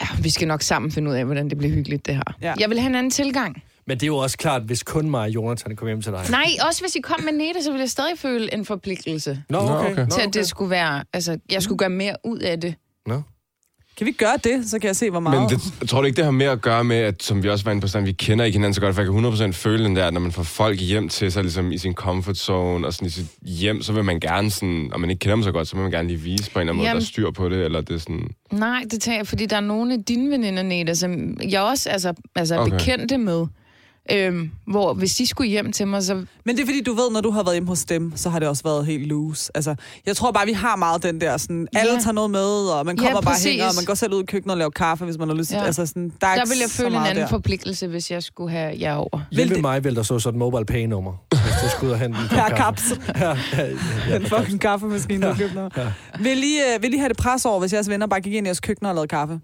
Speaker 3: ja, vi skal nok sammen finde ud af, hvordan det bliver hyggeligt, det her.
Speaker 2: Ja.
Speaker 3: Ja. Jeg vil have en anden tilgang.
Speaker 4: Men det er jo også klart, hvis kun mig og Jonathan kom hjem til dig.
Speaker 3: Nej, også hvis I kom med Nete, så ville jeg stadig føle en forpligtelse
Speaker 4: Nå, okay.
Speaker 5: okay.
Speaker 4: Nå,
Speaker 3: til,
Speaker 4: okay.
Speaker 3: at det skulle være, altså, jeg skulle gøre mere ud af det.
Speaker 4: Nå.
Speaker 2: Kan vi gøre det, så kan jeg se, hvor meget...
Speaker 5: Men det, jeg tror du ikke, det har mere at gøre med, at som vi også var inde på, sådan, vi kender ikke hinanden så godt, for jeg kan 100% føle den der, at når man får folk hjem til sig ligesom i sin comfort zone og sådan i sit hjem, så vil man gerne sådan, og man ikke kender dem så godt, så vil man gerne lige vise på en eller anden måde,
Speaker 3: Jamen.
Speaker 5: der er styr på det, eller det er sådan...
Speaker 3: Nej, det tager jeg, fordi der er nogle af dine veninder, Neda, som jeg også altså, altså er
Speaker 5: Okay.
Speaker 3: okay. bekendte med. Øhm, hvor hvis de skulle hjem til mig, så...
Speaker 2: Men det er fordi, du ved, når du har været hjemme hos dem, så har det også været helt loose. Altså, jeg tror bare, vi har meget den der sådan, alle
Speaker 3: Ja.
Speaker 2: tager noget med, og man
Speaker 3: Ja,
Speaker 2: kommer bare
Speaker 3: præcis.
Speaker 2: hænger, og man går selv ud i køkkenet og laver kaffe, hvis man har lyst til
Speaker 3: Ja.
Speaker 2: ja. altså, sådan, der, er
Speaker 3: Der
Speaker 2: ikke
Speaker 3: ville jeg
Speaker 2: så
Speaker 3: føle en
Speaker 2: meget
Speaker 3: anden
Speaker 2: der.
Speaker 3: forpligtelse, hvis jeg skulle have jer over.
Speaker 4: Hjemme
Speaker 2: Vil
Speaker 4: ved
Speaker 2: det-
Speaker 4: mig ville der så sådan et mobile pay-nummer, hvis du skulle ud og hente en kop
Speaker 2: Per
Speaker 4: kaffe.
Speaker 2: kaps. Den fucking kaffemaskine, du købte ja. vil, I, øh, vil I have det pres over, hvis jeres venner bare gik ind i jeres køkken og lavede kaffe?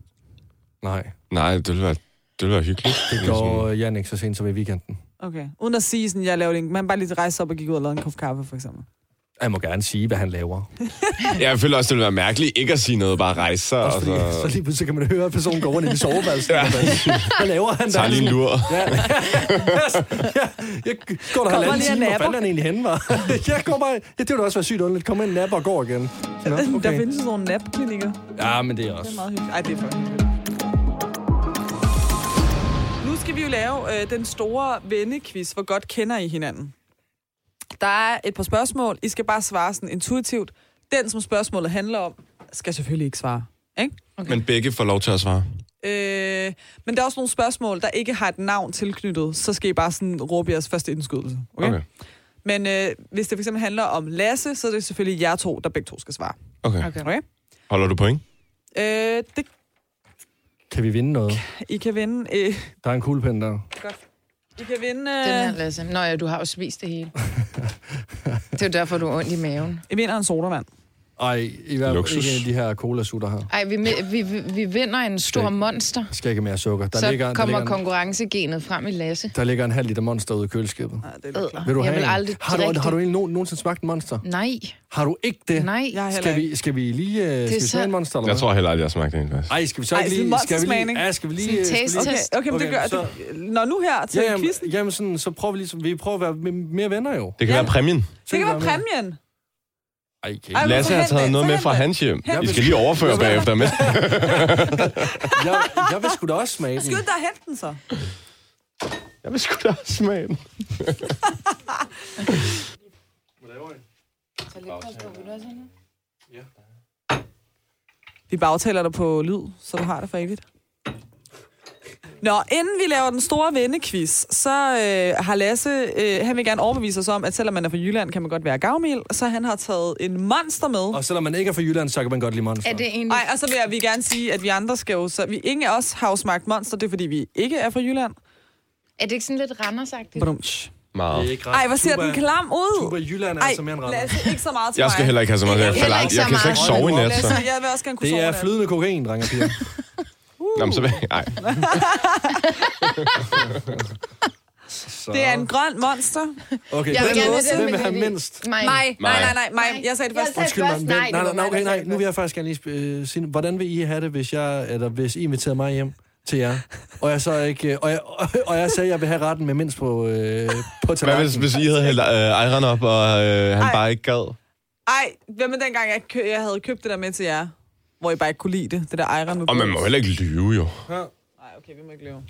Speaker 4: Nej,
Speaker 5: Nej, det ville være, det ville være hyggeligt.
Speaker 4: det gjorde Jan ikke så sent som i weekenden.
Speaker 2: Okay. Uden at sige sådan, jeg lavede en... Man bare lige rejste sig op og gik ud og lavede en kop kaffe, for eksempel.
Speaker 4: Jeg må gerne sige, hvad han laver.
Speaker 5: Jeg føler også, det ville være mærkeligt ikke at sige noget, bare rejse sig,
Speaker 4: Også
Speaker 5: og
Speaker 4: fordi, så
Speaker 5: så
Speaker 4: lige pludselig kan man høre, at personen går rundt i soveværelsen. Altså- Ja. Hvad laver han der?
Speaker 5: tager lige en lur.
Speaker 4: Ja. ja. Jeg går der halvanden
Speaker 2: lige og
Speaker 4: time, hvor
Speaker 2: napper.
Speaker 4: fanden er han egentlig henne var. jeg går bare, ja, det ville også være sygt underligt. Kom ind, napper og går igen. Nå,
Speaker 2: Okay. Der
Speaker 4: okay.
Speaker 2: findes jo sådan nogle napklinikker. Det
Speaker 4: Ja, men det er
Speaker 2: er
Speaker 4: også.
Speaker 2: meget hyggeligt. Ej, det er for skal vi jo lave øh, den store vennequiz. Hvor godt kender I hinanden? Der er et par spørgsmål. I skal bare svare sådan intuitivt. Den, som spørgsmålet handler om, skal selvfølgelig ikke svare. Ikke?
Speaker 5: Men begge får lov til at svare.
Speaker 2: Øh, men der er også nogle spørgsmål, der ikke har et navn tilknyttet. Så skal I bare sådan råbe jeres første indskydelse. Okay? okay. Men øh, hvis det for eksempel handler om Lasse, så er det selvfølgelig jer to, der begge to skal svare.
Speaker 5: Okay. okay.
Speaker 3: Okay.
Speaker 2: Okay?
Speaker 5: Holder du point?
Speaker 2: Øh, det,
Speaker 4: Kan vi vinde noget?
Speaker 2: I kan vinde... Øh,
Speaker 4: Der er en kuglepen der.
Speaker 2: I kan vinde...
Speaker 3: Den her,
Speaker 2: Øh,
Speaker 3: Lasse. Nå ja, du har jo spist det hele. det er jo derfor, du har ondt i maven.
Speaker 2: I vinder en sodavand.
Speaker 4: Ej, i hvert fald
Speaker 5: Luksus.
Speaker 4: ikke en af de her cola-sutter her.
Speaker 3: Ej, vi, mi- vi, vi, vi vinder en stor
Speaker 4: Stik.
Speaker 3: monster.
Speaker 4: Der skal ikke mere sukker. Der,
Speaker 3: så
Speaker 4: ligger, der,
Speaker 3: kommer
Speaker 4: ligger en,
Speaker 3: konkurrencegenet frem i Lasse.
Speaker 4: der ligger en halv liter monster ude i køleskabet.
Speaker 2: Nej, det er lidt
Speaker 3: Ædler.
Speaker 2: klart.
Speaker 4: Vil du
Speaker 3: jeg
Speaker 4: have
Speaker 3: vil
Speaker 4: en?
Speaker 3: aldrig
Speaker 4: har, du,
Speaker 3: drikke
Speaker 4: har du
Speaker 3: det.
Speaker 4: egentlig nogen- nogensinde smagt en monster?
Speaker 3: Nej,
Speaker 4: Har du ikke det?
Speaker 3: nej.
Speaker 2: Jeg har heller
Speaker 4: Skal
Speaker 2: ikke.
Speaker 4: vi, skal vi lige øh, skal vi
Speaker 3: så-
Speaker 4: smage en monster? Eller
Speaker 5: Jeg
Speaker 4: hvad?
Speaker 5: tror heller aldrig, jeg har smagt det egentlig, faktisk.
Speaker 4: Ej, skal vi så
Speaker 2: Ej,
Speaker 4: ikke
Speaker 2: sådan
Speaker 4: lige... Skal vi
Speaker 2: monstersmagning.
Speaker 4: lige ja, skal vi lige...
Speaker 3: Sådan
Speaker 4: øh, skal vi lige-
Speaker 3: taste
Speaker 2: Okay, okay, men det gør...
Speaker 4: så-
Speaker 2: Det, når nu her til
Speaker 4: Ja,
Speaker 2: ja,
Speaker 4: jamen,
Speaker 2: quizzen.
Speaker 4: jamen sådan, så prøver vi ligesom, vi prøver at være m- mere venner jo.
Speaker 5: Det kan
Speaker 2: Ja.
Speaker 5: være præmien.
Speaker 2: Det kan være præmien.
Speaker 4: Ej, okay.
Speaker 2: Ej,
Speaker 5: Lasse har
Speaker 2: forhent
Speaker 5: taget
Speaker 2: det,
Speaker 5: noget med fra
Speaker 2: forhent
Speaker 5: hans hjem.
Speaker 2: Hent
Speaker 5: I
Speaker 4: det.
Speaker 5: skal lige overføre bagefter. Men...
Speaker 4: jeg, jeg vil sgu da også smage den.
Speaker 2: Skynd dig og hent den så.
Speaker 5: Jeg vil sgu da også smage den.
Speaker 2: Vi bagtaler dig på lyd, så du har det for evigt. Nå, inden vi laver den store vennequiz, så øh, har Lasse, øh, han vil gerne overbevise os om, at selvom man er fra Jylland, kan man godt være gavmild, så han har taget en monster med.
Speaker 4: Og selvom man ikke er fra Jylland, så kan man godt lide monster.
Speaker 3: Er det egentlig...
Speaker 2: Nej, og så vil jeg, vi gerne sige, at vi andre skal jo, så vi ingen af os har jo smagt monster, det er fordi vi ikke er fra Jylland.
Speaker 3: Er det ikke sådan lidt randersagtigt?
Speaker 2: Badumtsch.
Speaker 5: Meget.
Speaker 4: er ikke ret.
Speaker 2: Ej, hvor ser
Speaker 4: Tuba-
Speaker 2: den klam
Speaker 4: Tuba
Speaker 2: ud.
Speaker 4: Jylland er
Speaker 2: Ej,
Speaker 4: altså mere end ret.
Speaker 2: Lasse, ikke så meget til
Speaker 5: Jeg skal
Speaker 2: mig.
Speaker 5: heller ikke have så meget. Jeg,
Speaker 3: Heller
Speaker 5: falder,
Speaker 3: ikke
Speaker 5: jeg
Speaker 3: så
Speaker 5: kan slet ikke
Speaker 3: meget.
Speaker 5: sove i nat, så.
Speaker 2: Lasse, jeg vil også gerne kunne
Speaker 4: Det
Speaker 2: sove
Speaker 4: er
Speaker 2: med dig.
Speaker 4: flydende kokain, drenge og piger.
Speaker 5: Nå, men så vil jeg... Ej.
Speaker 4: Så.
Speaker 2: Det er en grøn monster.
Speaker 4: Okay,
Speaker 3: Jeg vil
Speaker 4: hvem,
Speaker 3: gerne have den
Speaker 4: hvem
Speaker 3: med
Speaker 4: vil have
Speaker 3: lidt i.
Speaker 4: mindst?
Speaker 3: Nej.
Speaker 2: Nej, nej, nej, nej, nej. Jeg sagde det først.
Speaker 3: Jeg
Speaker 4: Undskyld mig,
Speaker 3: først.
Speaker 4: men,
Speaker 3: Nej,
Speaker 4: nej,
Speaker 3: det
Speaker 4: nej,
Speaker 3: var mig,
Speaker 4: nej, okay,
Speaker 3: der
Speaker 4: nej,
Speaker 3: sagde
Speaker 4: nu vil jeg faktisk gerne lige øh, sige, hvordan vil I have det, hvis jeg, eller hvis I inviterede mig hjem til jer, og jeg så ikke, øh, og jeg, og jeg sagde, at jeg vil have retten med mindst på, øh, på
Speaker 5: Hvad hvis,
Speaker 4: tallerkenen?
Speaker 5: hvis I havde hældt øh, Iron op, og øh, han
Speaker 2: Ej.
Speaker 5: bare ikke gad?
Speaker 2: Ej, hvad med dengang, jeg, kø- jeg havde købt det der med til jer? Hvor I bare ikke kunne lide det, det der Iron med
Speaker 5: Og man må heller ikke lyve, jo.
Speaker 2: Nej, okay, vi må ikke leve.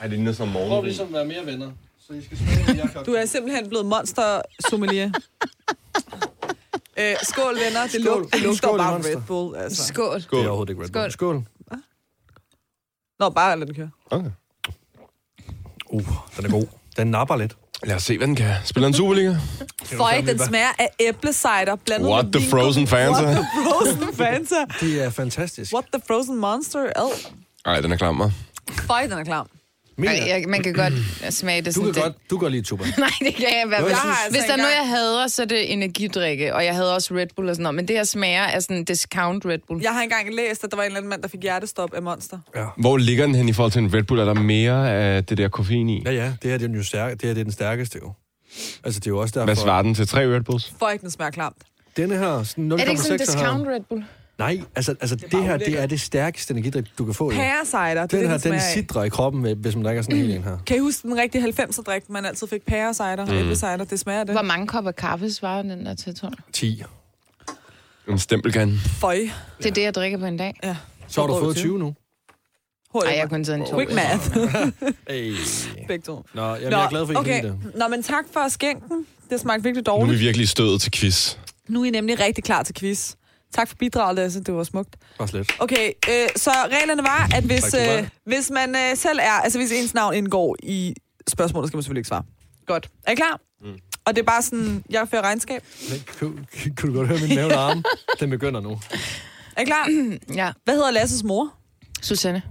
Speaker 5: Ej, det ligner som morgen.
Speaker 4: ligesom at være mere venner, så I skal smage, jeg
Speaker 2: Du er simpelthen blevet monster sommelier. øh, skål, venner. Det,
Speaker 4: Skål.
Speaker 2: lug, det lugter
Speaker 4: Skål,
Speaker 2: bare
Speaker 4: monster.
Speaker 2: Red Bull, altså.
Speaker 3: Skål.
Speaker 4: Det er overhovedet ikke Red Bull. Skål.
Speaker 2: Nå, bare lad den køre.
Speaker 5: Okay.
Speaker 4: Uh, den er god. Den napper lidt.
Speaker 5: Lad os se, hvad den kan. Spiller en Superliga?
Speaker 2: Føj, den smager af æblecider blandet
Speaker 5: What
Speaker 2: med
Speaker 5: the
Speaker 2: vingummi.
Speaker 5: frozen Fanta?
Speaker 2: What the frozen Fanta.
Speaker 4: Det er fantastisk.
Speaker 2: What the frozen monster. Oh,
Speaker 5: Ej, den er klam, mig.
Speaker 2: føj, den er klam.
Speaker 4: Mia,
Speaker 3: Ej, jeg, man kan godt smage det
Speaker 4: du
Speaker 3: sådan. den-
Speaker 4: kan godt, du kan godt lide tuber.
Speaker 3: Nej, det kan jeg i hvert fald.
Speaker 4: Jeg har
Speaker 3: ikke.
Speaker 2: altså
Speaker 3: Hvis der er
Speaker 2: engang-
Speaker 3: noget, jeg hader, så er det energidrikke, og jeg hader også Red Bull og sådan noget. Men det, jeg smager, er sådan discount Red Bull.
Speaker 2: Jeg har engang læst, at der var en eller anden mand, der fik hjertestop af monster.
Speaker 5: Hvor ligger den hen i forhold til en Red Bull? Er der mere af det der koffein i?
Speaker 4: Ja, ja, det her det er, den jo stærk, det her det er den stærkeste jo. Altså, det er jo også derfor...
Speaker 5: Hvad svarer den til? Tre Red Bulls?
Speaker 2: Føj, den smager klamt.
Speaker 4: Denne her, sådan 0,6
Speaker 3: Er det ikke sådan
Speaker 4: her.
Speaker 3: discount Red Bull?
Speaker 4: Nej, altså, altså det,
Speaker 2: bare
Speaker 4: her, det
Speaker 2: ulækkert.
Speaker 4: er det stærkeste energidrik, du kan få. jo.
Speaker 2: Pæresider, det er
Speaker 4: Den
Speaker 2: det,
Speaker 4: her,
Speaker 2: den
Speaker 4: den
Speaker 2: smager af.
Speaker 4: sidder i kroppen, øh, hvis man drikker sådan en hel en her.
Speaker 2: Kan I huske den rigtige 90'er-drik, man altid fik pæresider
Speaker 4: Mhm.
Speaker 2: og æblesider? Det smager af det.
Speaker 3: Hvor mange kopper kaffe svarer den der til, tror du?
Speaker 4: 10.
Speaker 5: En stempelkan.
Speaker 2: Føj.
Speaker 3: Det er det, jeg drikker på en dag.
Speaker 2: Ja.
Speaker 4: Så har du fået 20 nu.
Speaker 2: Hurtigt.
Speaker 3: Nej, jeg har kun taget en to.
Speaker 2: Quick math.
Speaker 4: Ey.
Speaker 2: Begge to.
Speaker 4: Nå, jamen, jeg er glad for, at I okay.
Speaker 2: okay.
Speaker 4: kan lide det.
Speaker 2: Nå, men tak for skænken. Det smagte virkelig
Speaker 5: Nu er
Speaker 2: dårligt.
Speaker 5: vi virkelig stødet til quiz.
Speaker 2: Nu er I nemlig rigtig klar til quiz. Tak for bidraget, Lasse. Det var smukt.
Speaker 4: Bare slet.
Speaker 2: Okay, øh, så reglerne var, at hvis,
Speaker 4: Tak, du var.
Speaker 2: øh, hvis man øh, selv er... Altså, hvis ens navn indgår i spørgsmålet, skal man selvfølgelig ikke svare. Godt. Er I klar? Mm. Og det er bare sådan, jeg fører regnskab.
Speaker 4: Men, kunne, kunne- kunne du godt høre min mave og arme? Den begynder nu.
Speaker 2: Er I klar?
Speaker 3: Ja,
Speaker 2: Hvad hedder Lasses mor?
Speaker 3: Susanne.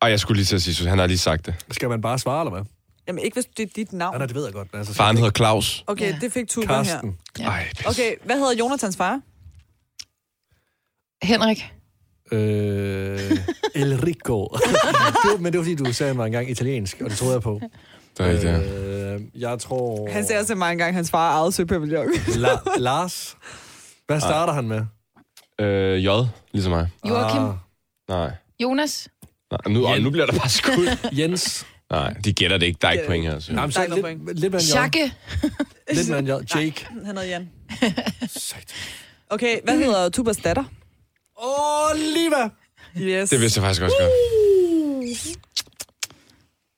Speaker 5: Og jeg skulle lige til at sige, han har lige sagt det.
Speaker 4: Skal man bare svare, eller hvad?
Speaker 2: Jamen, ikke hvis det er dit
Speaker 4: Ja,
Speaker 2: navn.
Speaker 4: nej, det ved jeg godt. men Altså,
Speaker 5: Faren hedder Claus.
Speaker 2: Okay,
Speaker 3: Ja.
Speaker 2: det fik Tuba her.
Speaker 4: Karsten.
Speaker 5: Ej, pis.
Speaker 2: Okay, hvad hedder Jonathans far?
Speaker 3: Henrik.
Speaker 4: Øh, Elrico. det var, men det var, fordi du sagde, at han var engang italiensk, og det troede jeg på.
Speaker 5: Det er rigtigt, ja.
Speaker 4: øh, jeg tror...
Speaker 2: Han ser også mange gange, hans far ejede søpavillon.
Speaker 4: La- Lars. Hvad starter han med?
Speaker 5: Øh, J, ligesom mig.
Speaker 3: Joachim.
Speaker 4: Ah,
Speaker 5: Nej.
Speaker 3: Jonas.
Speaker 5: Nej nu, og nu bliver der bare skudt.
Speaker 4: Jens.
Speaker 5: Nej, de gætter det ikke. Der er ikke point her. altså. Så.
Speaker 4: Jamen,
Speaker 2: Der
Speaker 4: så
Speaker 2: er ikke noget
Speaker 4: lidt, lidt med en J.
Speaker 3: Jakke.
Speaker 4: Lidt med en J. Jake.
Speaker 2: Han hedder Jan.
Speaker 4: Satan.
Speaker 2: Okay, hvad hedder Tubas datter?
Speaker 4: Oliver!
Speaker 2: Yes.
Speaker 5: Det vidste jeg faktisk også godt.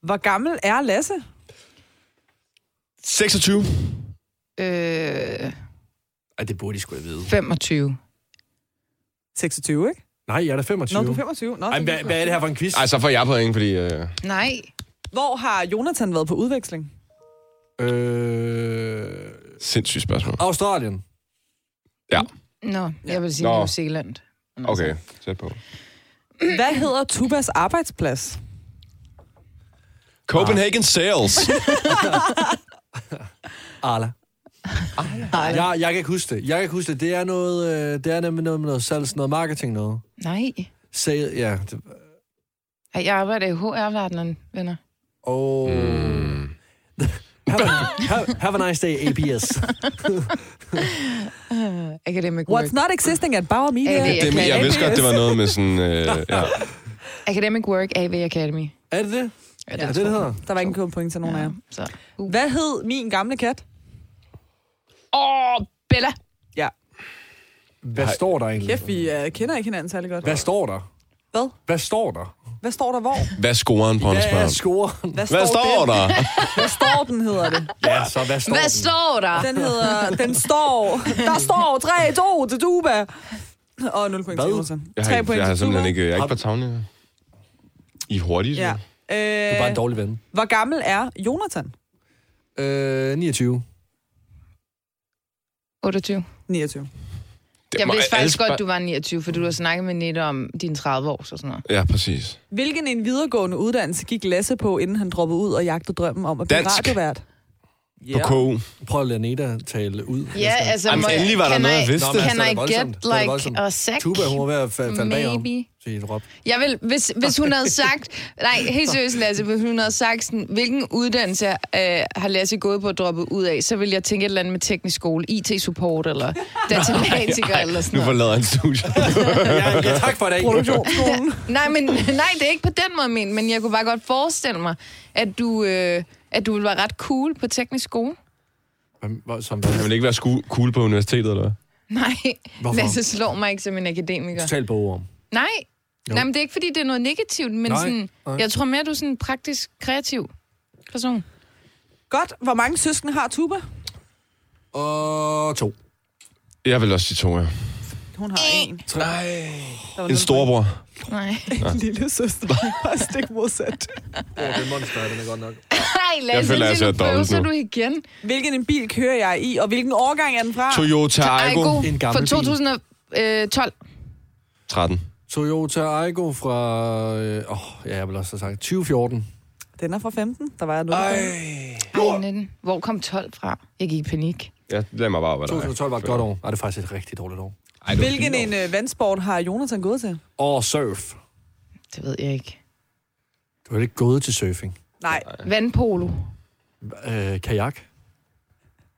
Speaker 2: Hvor gammel er Lasse?
Speaker 5: 26.
Speaker 3: Øh,
Speaker 4: Ej, det burde de skulle vide.
Speaker 3: 25.
Speaker 2: 26, ikke?
Speaker 4: Nej, jeg er da 25.
Speaker 2: Nå, du er 25. Nå,
Speaker 4: Ej,
Speaker 2: det
Speaker 4: hvad, hvad er det her for en quiz?
Speaker 5: Ej, så får jeg point, fordi... Øh...
Speaker 3: Nej.
Speaker 2: Hvor har Jonathan været på udveksling?
Speaker 4: Øh,
Speaker 5: Sindssygt spørgsmål.
Speaker 4: Australien.
Speaker 5: Ja,
Speaker 3: Nå, jeg vil sige
Speaker 5: Nå.
Speaker 3: New Zealand. Men altså,
Speaker 5: okay. Sæt på.
Speaker 2: Hvad hedder Tubas arbejdsplads?
Speaker 5: Copenhagen Sales.
Speaker 4: Arla.
Speaker 3: Nej.
Speaker 4: Jeg, jeg kan ikke huske det. Jeg kan ikke huske det. Det er, noget, øh, det er nemlig noget med noget salgs, noget marketing noget.
Speaker 3: Nej.
Speaker 4: Sale, ja. Det,
Speaker 3: Ej, Jeg arbejder i HR-verdenen, venner.
Speaker 4: oh. mm. have, a- have, have, a nice day, APS. Ah.
Speaker 3: Academic work.
Speaker 2: What's not existing at Bauer Media?
Speaker 3: Ja, det er-
Speaker 5: Dem, jeg vidste godt, det var noget med sådan... Øh, ja.
Speaker 3: Academic work, AV Academy.
Speaker 4: er det det?
Speaker 3: Ja,
Speaker 4: Er det det, det hedder?
Speaker 2: Der var ingen gode point til nogen af jer.
Speaker 3: Så.
Speaker 2: Hvad hed min gamle kat?
Speaker 3: Åh, oh, Bella.
Speaker 2: Ja.
Speaker 4: Hvad står der egentlig?
Speaker 2: Kæft, vi uh, kender ikke hinanden særlig godt.
Speaker 4: Hvad står der?
Speaker 2: Hvad?
Speaker 4: Hvad står der?
Speaker 2: Hvad står der hvor?
Speaker 5: Hvad scorer en
Speaker 4: Hvad er
Speaker 5: pornosparm?
Speaker 4: scoren?
Speaker 5: Hvad står
Speaker 2: den?
Speaker 5: der?
Speaker 2: Hvad står den, hedder det.
Speaker 4: Ja, så hvad står
Speaker 3: Hvad
Speaker 4: den?
Speaker 3: står der?
Speaker 2: Den hedder, den står, der står 3, 2 til Tuba. Og 0 point til
Speaker 4: Hvad?
Speaker 2: Jonathan.
Speaker 5: Jeg har,
Speaker 2: 3
Speaker 5: ikke,
Speaker 2: point
Speaker 5: jeg har
Speaker 2: til Tuba.
Speaker 5: simpelthen ikke... Jeg er ikke på tavlen. jeg. I er hurtigt.
Speaker 2: Ja.
Speaker 5: Ja.
Speaker 4: Du er bare
Speaker 2: Øh,
Speaker 4: en dårlig ven.
Speaker 2: hvor gammel er Jonathan?
Speaker 4: Øh, 29.
Speaker 3: 28.
Speaker 2: 29.
Speaker 3: Jeg vidste faktisk godt, du var 29, for du har snakket med Nette om dine 30 år og sådan noget.
Speaker 5: Ja, præcis.
Speaker 2: Hvilken en videregående uddannelse gik Lasse på, inden han droppede ud og jagtede drømmen om at blive
Speaker 5: Dansk.
Speaker 2: radiovært?
Speaker 5: På KU.
Speaker 4: Prøv at lade Neda tale ud.
Speaker 3: Ja, altså...
Speaker 5: Jamen,
Speaker 3: må jeg-
Speaker 5: endelig var der
Speaker 3: can
Speaker 5: noget, jeg
Speaker 3: I-
Speaker 5: vidste.
Speaker 4: Nå, men
Speaker 3: Can
Speaker 4: altså,
Speaker 3: I
Speaker 4: det er
Speaker 3: get
Speaker 4: voldsomt. Det er voldsomt.
Speaker 3: like a sack?
Speaker 4: Tuba, hun var ved at fa- falde bagom.
Speaker 3: Maybe.
Speaker 4: Sige et råb.
Speaker 3: Jeg vil, hvis, hvis hun havde sagt... Nej, helt seriøst, Lasse, hvis hun havde sagt, sådan, hvilken uddannelse øh, har Lasse gået på at droppe ud af, så ville jeg tænke et eller andet med teknisk skole, IT-support eller datamatiker eller sådan
Speaker 5: Nu
Speaker 3: noget.
Speaker 5: forlader han studiet.
Speaker 4: ja, ja, tak for i dag.
Speaker 2: Produktionsskolen.
Speaker 3: Nej, men, nej, det er ikke på den måde men, men jeg kunne bare godt forestille mig, at du, øh, at du ville være ret cool på teknisk skole.
Speaker 4: Hvem- hvor- Som
Speaker 5: Han vil ikke være sku- cool på universitetet, eller hvad?
Speaker 3: Nej,
Speaker 4: Hvorfor?
Speaker 3: Lasse slår mig ikke som en akademiker.
Speaker 4: Totalt på ord.
Speaker 3: Nej. Nej, men det er ikke, fordi det er noget negativt, men
Speaker 4: Nej,
Speaker 3: sådan,
Speaker 4: nej.
Speaker 3: jeg tror mere, du er sådan en praktisk, kreativ person.
Speaker 2: Godt. Hvor mange søskende har Tuba?
Speaker 4: Og to.
Speaker 5: Jeg vil også sige to, ja.
Speaker 2: Hun har en.
Speaker 5: Nej.
Speaker 2: Der var
Speaker 5: En
Speaker 2: nul
Speaker 5: storbror.
Speaker 2: Ah.
Speaker 3: Nej.
Speaker 2: point. En lille søster. Bare stik modsat.
Speaker 4: Åh, det er monster, den er godt nok.
Speaker 3: Nej, Lasse,
Speaker 5: Jeg føler, jeg ser
Speaker 3: nu
Speaker 5: dobbelt
Speaker 3: bøvser
Speaker 5: nu.
Speaker 3: du igen.
Speaker 2: Hvilken en bil kører jeg i, og hvilken årgang er den fra?
Speaker 5: Toyota Aygo.
Speaker 4: En gammel
Speaker 3: for
Speaker 4: bil.
Speaker 3: 2012.
Speaker 5: 13.
Speaker 4: Toyota Aygo fra... øh, Åh, øh, ja, jeg vil også have sagt 2014.
Speaker 2: Den er fra 15. Der var jeg 0 point.
Speaker 3: Ej, 19. Hvor kom 12 fra? Jeg gik i panik.
Speaker 5: Ja, lad mig bare være dig.
Speaker 4: 2012 var et godt år. Ej, det er faktisk et rigtig dårligt år.
Speaker 5: Ej, det var
Speaker 2: Hvilken
Speaker 5: fint
Speaker 2: en øh, vandsport har Jonathan gået til?
Speaker 4: Og surf.
Speaker 3: Det ved jeg ikke.
Speaker 4: Du har ikke gået til surfing.
Speaker 2: Nej.
Speaker 3: Vandpolo.
Speaker 4: Øh, kajak.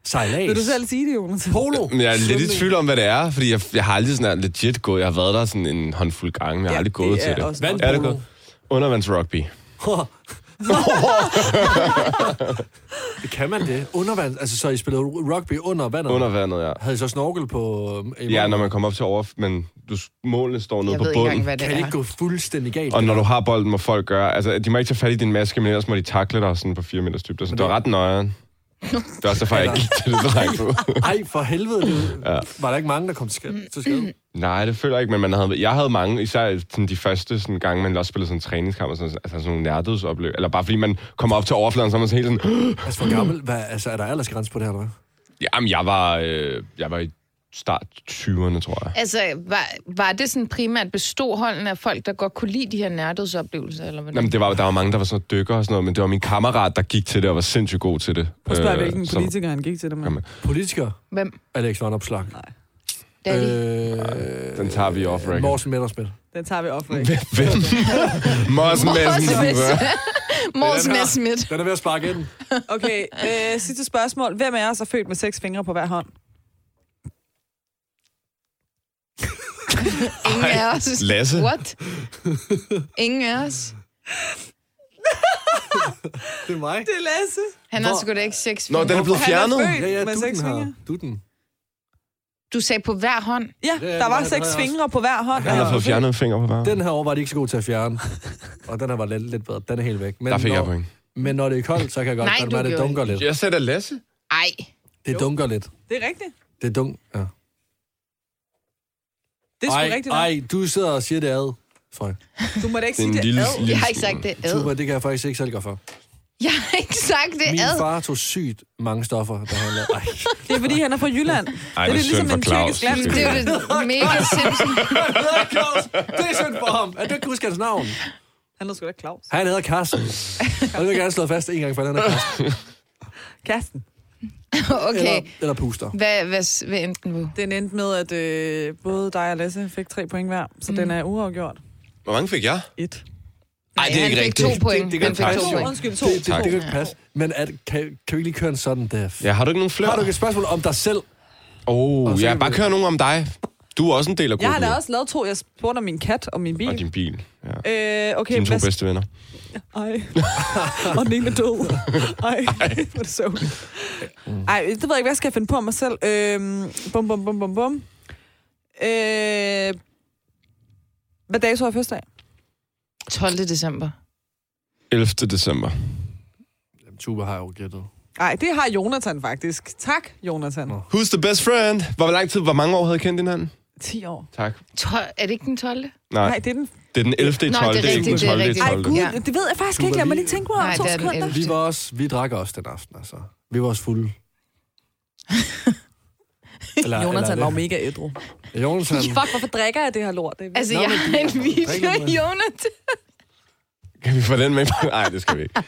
Speaker 4: Sejlads.
Speaker 2: Vil du selv sige det, Jonathan?
Speaker 4: Polo.
Speaker 5: år. Men jeg er lidt i
Speaker 4: Svømning.
Speaker 5: tvivl om, hvad det er, fordi jeg, jeg har aldrig sådan legit gået. Jeg har været der sådan en håndfuld gange, men jeg har
Speaker 2: Ja,
Speaker 5: aldrig
Speaker 2: det
Speaker 5: gået
Speaker 2: er
Speaker 5: til det.
Speaker 2: også-
Speaker 5: Er det
Speaker 4: Vandpolo.
Speaker 5: godt? Undervands rugby.
Speaker 4: Det kan man det. Undervand. Altså, så I spillede rugby under vandet?
Speaker 5: Under vandet, ja.
Speaker 4: Havde I så snorkel på... øh, i
Speaker 5: Ja,
Speaker 4: munden?
Speaker 5: når man kommer op til over, men du, målene står nede
Speaker 3: Jeg
Speaker 5: på
Speaker 3: ved ikke engang,
Speaker 5: bunden.
Speaker 3: hvad det
Speaker 4: Kan det ikke
Speaker 3: er.
Speaker 4: gå fuldstændig galt?
Speaker 5: Og når du har bolden, må folk gøre... Altså, de må ikke tage fat i din maske, men ellers må de takle dig sådan på 4 meters dybde. Så det var ret nøjeren. Det var også derfor, jeg ikke gik til det dreng på.
Speaker 4: Ej, for helvede. Det... Ja. Var der ikke mange, der kom til skade? Til skade?
Speaker 5: Nej, det føler jeg ikke, men man havde, jeg havde mange, især sådan de første sådan, gange, man også spillede sådan en træningskamp, og sådan, altså sådan nogle nærdødsoplevelser. Eller bare fordi man kommer op til overfladen, så er man sådan helt sådan,
Speaker 4: Altså, hvor gammel? Hvad, altså, er der aldersgrænse på det her, eller hvad?
Speaker 5: jamen jeg var, øh, jeg var i start 20'erne, tror jeg.
Speaker 3: Altså, var, var det sådan primært beståholden af folk, der godt kunne lide de her nærdødsoplevelser? Eller hvordan?
Speaker 5: Jamen, det var, der var mange, der var sådan noget dykker og sådan noget, men det var min kammerat, der gik til det og var sindssygt god til det.
Speaker 2: Prøv at spørge, hvilken
Speaker 5: Øh, som-
Speaker 2: politiker han gik til det med.
Speaker 5: Jamen.
Speaker 4: Politiker?
Speaker 3: Hvem?
Speaker 4: Alex Van Opslag.
Speaker 3: Daddy?
Speaker 4: Øh,
Speaker 5: Den tager vi off record.
Speaker 4: Morsen Mettersmith.
Speaker 2: Den tager vi op for.
Speaker 5: Hvem? Morsen Madsen.
Speaker 3: Mors
Speaker 4: den her.
Speaker 3: Messerschmidt.
Speaker 4: Den er ved at sparke ind.
Speaker 2: Okay, øh, sidste spørgsmål. Hvem af os er født med seks fingre på hver hånd?
Speaker 3: Ingen af os.
Speaker 5: Lasse.
Speaker 3: What? Ingen af os.
Speaker 4: Det er mig.
Speaker 2: Det er Lasse.
Speaker 3: Han har
Speaker 4: Hvor-
Speaker 3: sgu da ikke seks
Speaker 5: Nå, den er blevet
Speaker 2: Han er
Speaker 5: fjernet.
Speaker 2: født
Speaker 4: Ja, ja,
Speaker 2: med
Speaker 4: du
Speaker 2: seks
Speaker 4: den her.
Speaker 2: fingre.
Speaker 4: Du den.
Speaker 3: Du sagde på hver hånd.
Speaker 2: Ja,
Speaker 4: Ja,
Speaker 2: der
Speaker 4: det
Speaker 2: var
Speaker 4: var-
Speaker 2: seks
Speaker 4: det var jeg
Speaker 2: fingre på hver hånd.
Speaker 5: Han har
Speaker 2: og-
Speaker 5: fået fjernet en finger på hver.
Speaker 4: Den her over var de ikke så gode til at fjerne. Og den her var lidt, lidt bedre. Den er helt væk. Men
Speaker 5: Der fik jeg
Speaker 4: når-
Speaker 5: point.
Speaker 4: Men når det er koldt, så kan jeg godt
Speaker 3: Nej,
Speaker 4: godt
Speaker 3: du
Speaker 4: være, det
Speaker 3: gjorde
Speaker 4: dunker lidt.
Speaker 5: Jeg sætter Lasse.
Speaker 3: Ej.
Speaker 4: Det dunker lidt.
Speaker 2: Det er rigtigt.
Speaker 4: Det dunk... Ja.
Speaker 2: Det er sgu
Speaker 4: Ej,
Speaker 2: rigtigt. nok.
Speaker 4: ej, du sidder og siger det ad, Frø.
Speaker 2: Du må da ikke
Speaker 5: Det er
Speaker 2: sige
Speaker 5: en
Speaker 2: det.
Speaker 5: lille-
Speaker 2: ad.
Speaker 5: lille-
Speaker 3: Jeg har ikke sagt det ad.
Speaker 4: Tuba, det kan jeg faktisk ikke selv gøre for.
Speaker 3: Jeg har ikke sagt det
Speaker 4: Min
Speaker 3: ad.
Speaker 4: far tog sygt mange stoffer, da han lavede... Ej,
Speaker 2: Det er, fordi han er fra Jylland.
Speaker 5: Ej,
Speaker 2: det er
Speaker 5: det er
Speaker 2: ligesom
Speaker 5: synd for
Speaker 2: en
Speaker 5: Claus.
Speaker 2: tyrkisk land.
Speaker 3: Det er jo det mega sindssygt.
Speaker 4: Claus, det er synd for ham. At du ikke kan huske hans navn.
Speaker 2: Han hedder sgu da Claus.
Speaker 4: Han hedder Carsten. Og det vil jeg gerne slå fast en gang, for han hedder Carsten.
Speaker 2: Kasten.
Speaker 3: Okay.
Speaker 4: Eller, eller Puster.
Speaker 3: Hvad, hvad, hvad endte den på?
Speaker 2: Den endte med, at øh, både dig og Lasse fik tre point hver, så mm. den er uafgjort.
Speaker 5: Hvor mange fik jeg?
Speaker 2: Et.
Speaker 5: Nej, det er
Speaker 3: han
Speaker 5: ikke
Speaker 3: fik
Speaker 5: rigtigt.
Speaker 3: to point.
Speaker 4: Det- det
Speaker 3: han
Speaker 4: kan
Speaker 3: fik to
Speaker 4: faktisk jo.
Speaker 3: point.
Speaker 2: Undskyld, to.
Speaker 4: Det, det,
Speaker 5: Tak.
Speaker 4: det kan ikke passe. Men at, kan, kan vi ikke lige køre en sådan der?
Speaker 5: Ja, har du ikke nogen flere?
Speaker 4: Har du ikke et spørgsmål om dig selv?
Speaker 5: Åh,
Speaker 4: Og
Speaker 5: oh,
Speaker 4: så
Speaker 5: ja,
Speaker 4: kan
Speaker 5: bare
Speaker 4: vi-
Speaker 5: kør nogen om dig. Du er også en del af
Speaker 2: Jeg har
Speaker 5: gruppen.
Speaker 2: da
Speaker 5: jo.
Speaker 2: også lavet to. Jeg spurgte om min kat og min bil.
Speaker 5: Og din bil. Ja.
Speaker 2: Øh, okay,
Speaker 5: Dine to
Speaker 2: hvad-
Speaker 5: bedste venner.
Speaker 2: Ej. og den ene er død. Ej, hvor er det sørgeligt. Ej, det ved jeg ikke, hvad skal jeg finde på mig selv? Øhm, bum, bum, bum, bum, bum. Øh, hvad dato er første dag?
Speaker 3: 12. december.
Speaker 5: 11. december.
Speaker 4: Jamen, Tuba har jo gættet.
Speaker 2: Nej, det har Jonathan faktisk. Tak, Jonathan.
Speaker 4: Nå.
Speaker 5: Who's the best friend? Hvor lang tid, hvor mange år havde I kendt hinanden?
Speaker 2: 10 år.
Speaker 5: Tak.
Speaker 3: 12, er det ikke den 12?
Speaker 5: Nej,
Speaker 2: Nej, det er den.
Speaker 5: det er den 11. i
Speaker 3: Nå,
Speaker 5: 12.
Speaker 3: det er
Speaker 5: ikke den
Speaker 3: rigtigt, det er
Speaker 5: 12. i
Speaker 3: rigtigt.
Speaker 2: Ej,
Speaker 5: 12.
Speaker 2: gud,
Speaker 3: Ja.
Speaker 2: det ved jeg faktisk
Speaker 4: Du
Speaker 2: ikke.
Speaker 4: var
Speaker 2: Lad mig
Speaker 4: lige-
Speaker 2: lige tænke mig om
Speaker 3: Nej,
Speaker 2: to
Speaker 3: det er den
Speaker 2: sekunder.
Speaker 4: Vi var også, vi drak også den aften, altså. Vi var også fulde. Eller,
Speaker 2: Jonathan
Speaker 4: det-
Speaker 2: var jo mega ædru.
Speaker 4: Jonathan,
Speaker 2: Fuck, hvorfor drikker jeg det her lort? Det er
Speaker 3: Altså,
Speaker 4: Nå,
Speaker 3: jeg
Speaker 4: men
Speaker 3: har en video,
Speaker 4: drikker med.
Speaker 3: Jonathan.
Speaker 5: Kan vi få den med? Nej, det skal vi ikke.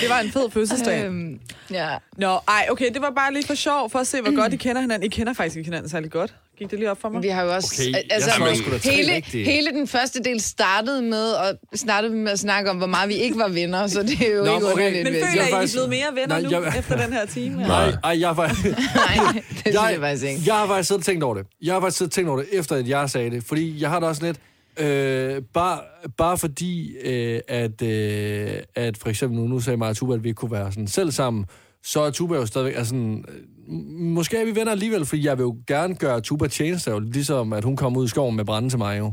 Speaker 2: Det var en fed fødselsdag.
Speaker 3: Øhm, ja.
Speaker 2: Nå, ej, okay, det var bare lige for sjov, for at se, hvor godt I kender hinanden. I kender faktisk ikke hinanden særlig godt. Gik det lige op for mig?
Speaker 3: Vi har jo også...
Speaker 4: Okay, jeg
Speaker 3: altså,
Speaker 4: tror,
Speaker 5: jeg
Speaker 4: skulle da tre
Speaker 3: hele,
Speaker 4: rigtige.
Speaker 3: hele den første del startede med, og startede vi med at snakke om, hvor meget vi ikke var venner, så det er jo
Speaker 4: Nå,
Speaker 3: ikke
Speaker 4: men okay.
Speaker 3: underligt.
Speaker 2: Men
Speaker 3: vil jeg
Speaker 2: føler
Speaker 3: sige.
Speaker 2: I, I er
Speaker 4: faktisk-
Speaker 2: blevet mere venner
Speaker 4: Nej,
Speaker 2: nu
Speaker 4: jeg-
Speaker 2: efter den her time? eller?
Speaker 5: Nej.
Speaker 4: Ej, jeg var...
Speaker 3: Nej, det synes jeg
Speaker 4: jeg,
Speaker 3: faktisk ikke.
Speaker 4: jeg har faktisk siddet og tænkt over det. Jeg har faktisk siddet og tænkt over det, efter at jeg sagde det. Fordi jeg har det også lidt... Øh, bare, bare fordi, øh, at, øh, at for eksempel nu, nu sagde mig og Tuba, at vi ikke kunne være sådan selv sammen, så er Tuba jo stadigvæk... Altså, sådan, øh, m- måske er vi venner alligevel, fordi jeg vil jo gerne gøre Tuba tjeneste, jo, ligesom at hun kom ud i skoven med brænde til mig jo.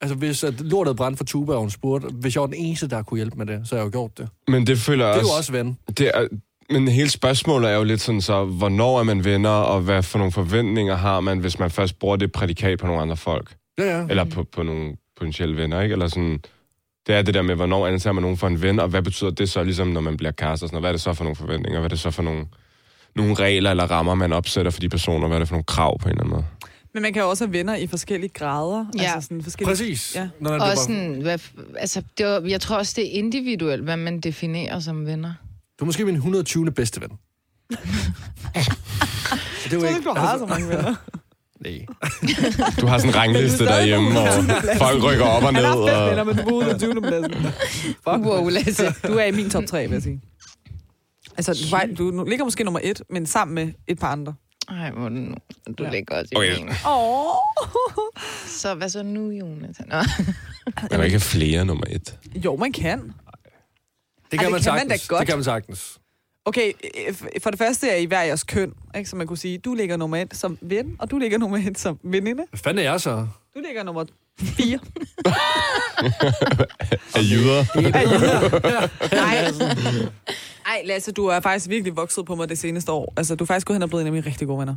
Speaker 4: Altså, hvis at lortet brændte for Tuba, og hun spurgte, hvis jeg var den eneste, der kunne hjælpe med det, så har jeg jo gjort det.
Speaker 5: Men det føler jeg
Speaker 4: Det er
Speaker 5: også...
Speaker 4: jo også ven.
Speaker 5: Det er, men hele spørgsmålet er jo lidt sådan så, hvornår er man venner, og hvad for nogle forventninger har man, hvis man først bruger det prædikat på nogle andre folk?
Speaker 4: Ja, ja.
Speaker 5: Eller på, på nogle potentielle venner, ikke? Eller sådan, det er det der med, hvornår anser man nogen for en ven, og hvad betyder det så, ligesom når man bliver kærester? og Sådan, noget? hvad er det så for nogle forventninger? Hvad er det så for nogle, nogle regler eller rammer, man opsætter for de personer? Hvad er det for nogle krav på en eller anden måde?
Speaker 2: Men man kan jo også have venner i forskellige grader.
Speaker 3: Ja.
Speaker 2: Altså sådan forskellige...
Speaker 4: Præcis.
Speaker 2: Ja.
Speaker 4: Når man
Speaker 3: Og
Speaker 4: løber-
Speaker 3: sådan, hvad, f- altså, det var, jeg tror også, det er individuelt, hvad man definerer som venner.
Speaker 4: Du er måske min 120. bedste ven. det
Speaker 2: Jeg tror ikke, du har så mange venner.
Speaker 4: Nej.
Speaker 5: Du har sådan en rangliste
Speaker 2: Men du er stadig
Speaker 5: derhjemme,
Speaker 2: på
Speaker 5: og folk rykker op og
Speaker 2: Han
Speaker 5: ned.
Speaker 2: har haft fem
Speaker 5: Og...
Speaker 2: venner, men du boede på 20. pladsen. Fuck.
Speaker 3: Wow, Lasse.
Speaker 2: Du er i min top 3, vil jeg sige. Altså, du, var- du nu ligger måske nummer et, men sammen med et par andre.
Speaker 3: Ej, hvor er det nu. Du
Speaker 2: Ja.
Speaker 3: ligger også i
Speaker 5: Okay.
Speaker 3: min.
Speaker 2: Åh.
Speaker 3: Så hvad så nu, Jonathan? Nå.
Speaker 5: Man kan ikke have flere nummer et.
Speaker 2: Jo, man kan.
Speaker 4: Det
Speaker 2: Ej, det
Speaker 4: kan, man,
Speaker 2: kan man
Speaker 4: sagtens.
Speaker 2: da godt.
Speaker 4: Det kan man sagtens.
Speaker 2: Okay, øh, f- for det første er I hver jeres køn, ikke? så man kunne sige, du ligger nummer et som ven, og du ligger nummer et som veninde.
Speaker 4: Hvad fanden er jeg så?
Speaker 2: Du ligger nummer fire.
Speaker 5: Er jyder?
Speaker 2: Nej. Ej, Lasse, du er faktisk virkelig vokset på mig det seneste år. Altså, du er faktisk gået hen og blevet en af mine rigtig gode venner.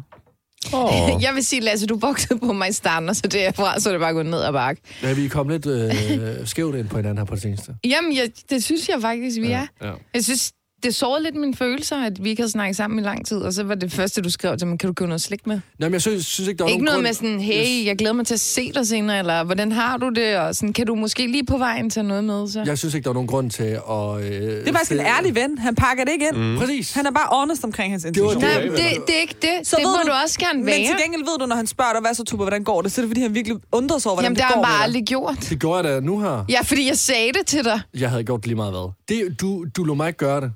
Speaker 5: Oh.
Speaker 3: Jeg vil sige, Lasse, du voksede på mig i starten, og så derfra, så er det bare gået ned ad bakke.
Speaker 4: Ja, vi er kommet lidt øh, skævt ind på hinanden her på det seneste.
Speaker 3: Jamen, jeg, det synes jeg faktisk, vi er.
Speaker 4: Ja.
Speaker 3: Jeg synes, det sårede lidt mine følelser, at vi ikke havde snakket sammen i lang tid, og så var det første, du skrev til mig, kan du købe noget slik med?
Speaker 4: Nå, men jeg synes, synes ikke, der var
Speaker 3: Ikke
Speaker 4: nogen
Speaker 3: noget
Speaker 4: grund...
Speaker 3: med sådan, hey, jeg glæder mig til at se dig senere, eller hvordan har du det, og sådan, kan du måske lige på vejen tage noget med, så?
Speaker 4: Jeg synes ikke, der var nogen grund til at... Øh,
Speaker 2: Det er faktisk en ærlig ven. Han pakker det ikke ind. Mm.
Speaker 4: Præcis.
Speaker 2: Han er bare honest omkring hans intentioner.
Speaker 4: det.
Speaker 3: Nej,
Speaker 4: Ja,
Speaker 3: det, det er ikke det. Så det må du også gerne være.
Speaker 2: Men til gengæld ved du, når han spørger dig, hvad så, Tuba, hvordan går det, så er det, fordi han virkelig undrer sig over, hvordan
Speaker 3: Jamen, det
Speaker 2: det
Speaker 3: har han
Speaker 2: går med
Speaker 3: bare
Speaker 2: dig.
Speaker 3: aldrig gjort.
Speaker 4: Det gør jeg da nu her.
Speaker 3: Ja, fordi jeg sagde det til dig.
Speaker 4: Jeg havde gjort lige meget hvad. Det, du, du lå mig ikke gøre det.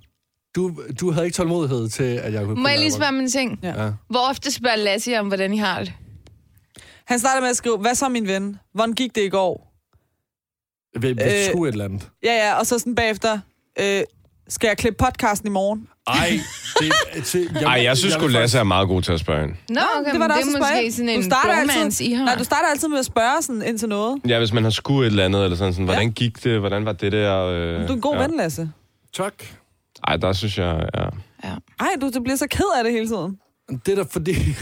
Speaker 4: Du, du havde ikke tålmodighed til, at jeg kunne...
Speaker 3: Må jeg lige spørge om en ting?
Speaker 2: Ja.
Speaker 4: Ja.
Speaker 3: Hvor ofte spørger Lasse jer om, hvordan I har det?
Speaker 2: Han starter med at skrive, hvad så, min ven? Hvordan gik det i går?
Speaker 4: Vi, vi
Speaker 2: Øh,
Speaker 4: skulle et eller andet.
Speaker 2: Ja, ja, og så sådan bagefter, øh, skal jeg klippe podcasten i morgen?
Speaker 4: Ej, det, til, jeg,
Speaker 5: Ej, jeg synes sgu,
Speaker 4: vil
Speaker 5: Lasse er meget god til at spørge hende.
Speaker 3: Nå, okay,
Speaker 2: det var
Speaker 3: men
Speaker 2: da
Speaker 3: det
Speaker 2: også
Speaker 3: er
Speaker 2: at spørge.
Speaker 3: måske sådan en
Speaker 2: du starter
Speaker 3: bromance,
Speaker 2: altid,
Speaker 3: I har.
Speaker 2: Nej, du starter altid med at spørge sådan ind til noget.
Speaker 5: Ja, hvis man har skudt et eller andet, eller sådan, sådan hvordan gik det, hvordan var det der? Øh,
Speaker 2: Du er en god
Speaker 5: ja.
Speaker 2: ja. ven, Lasse.
Speaker 4: Tak.
Speaker 5: Ej, der synes jeg, ja.
Speaker 2: Ej, du det bliver så ked af det hele tiden.
Speaker 4: Det er da fordi... Men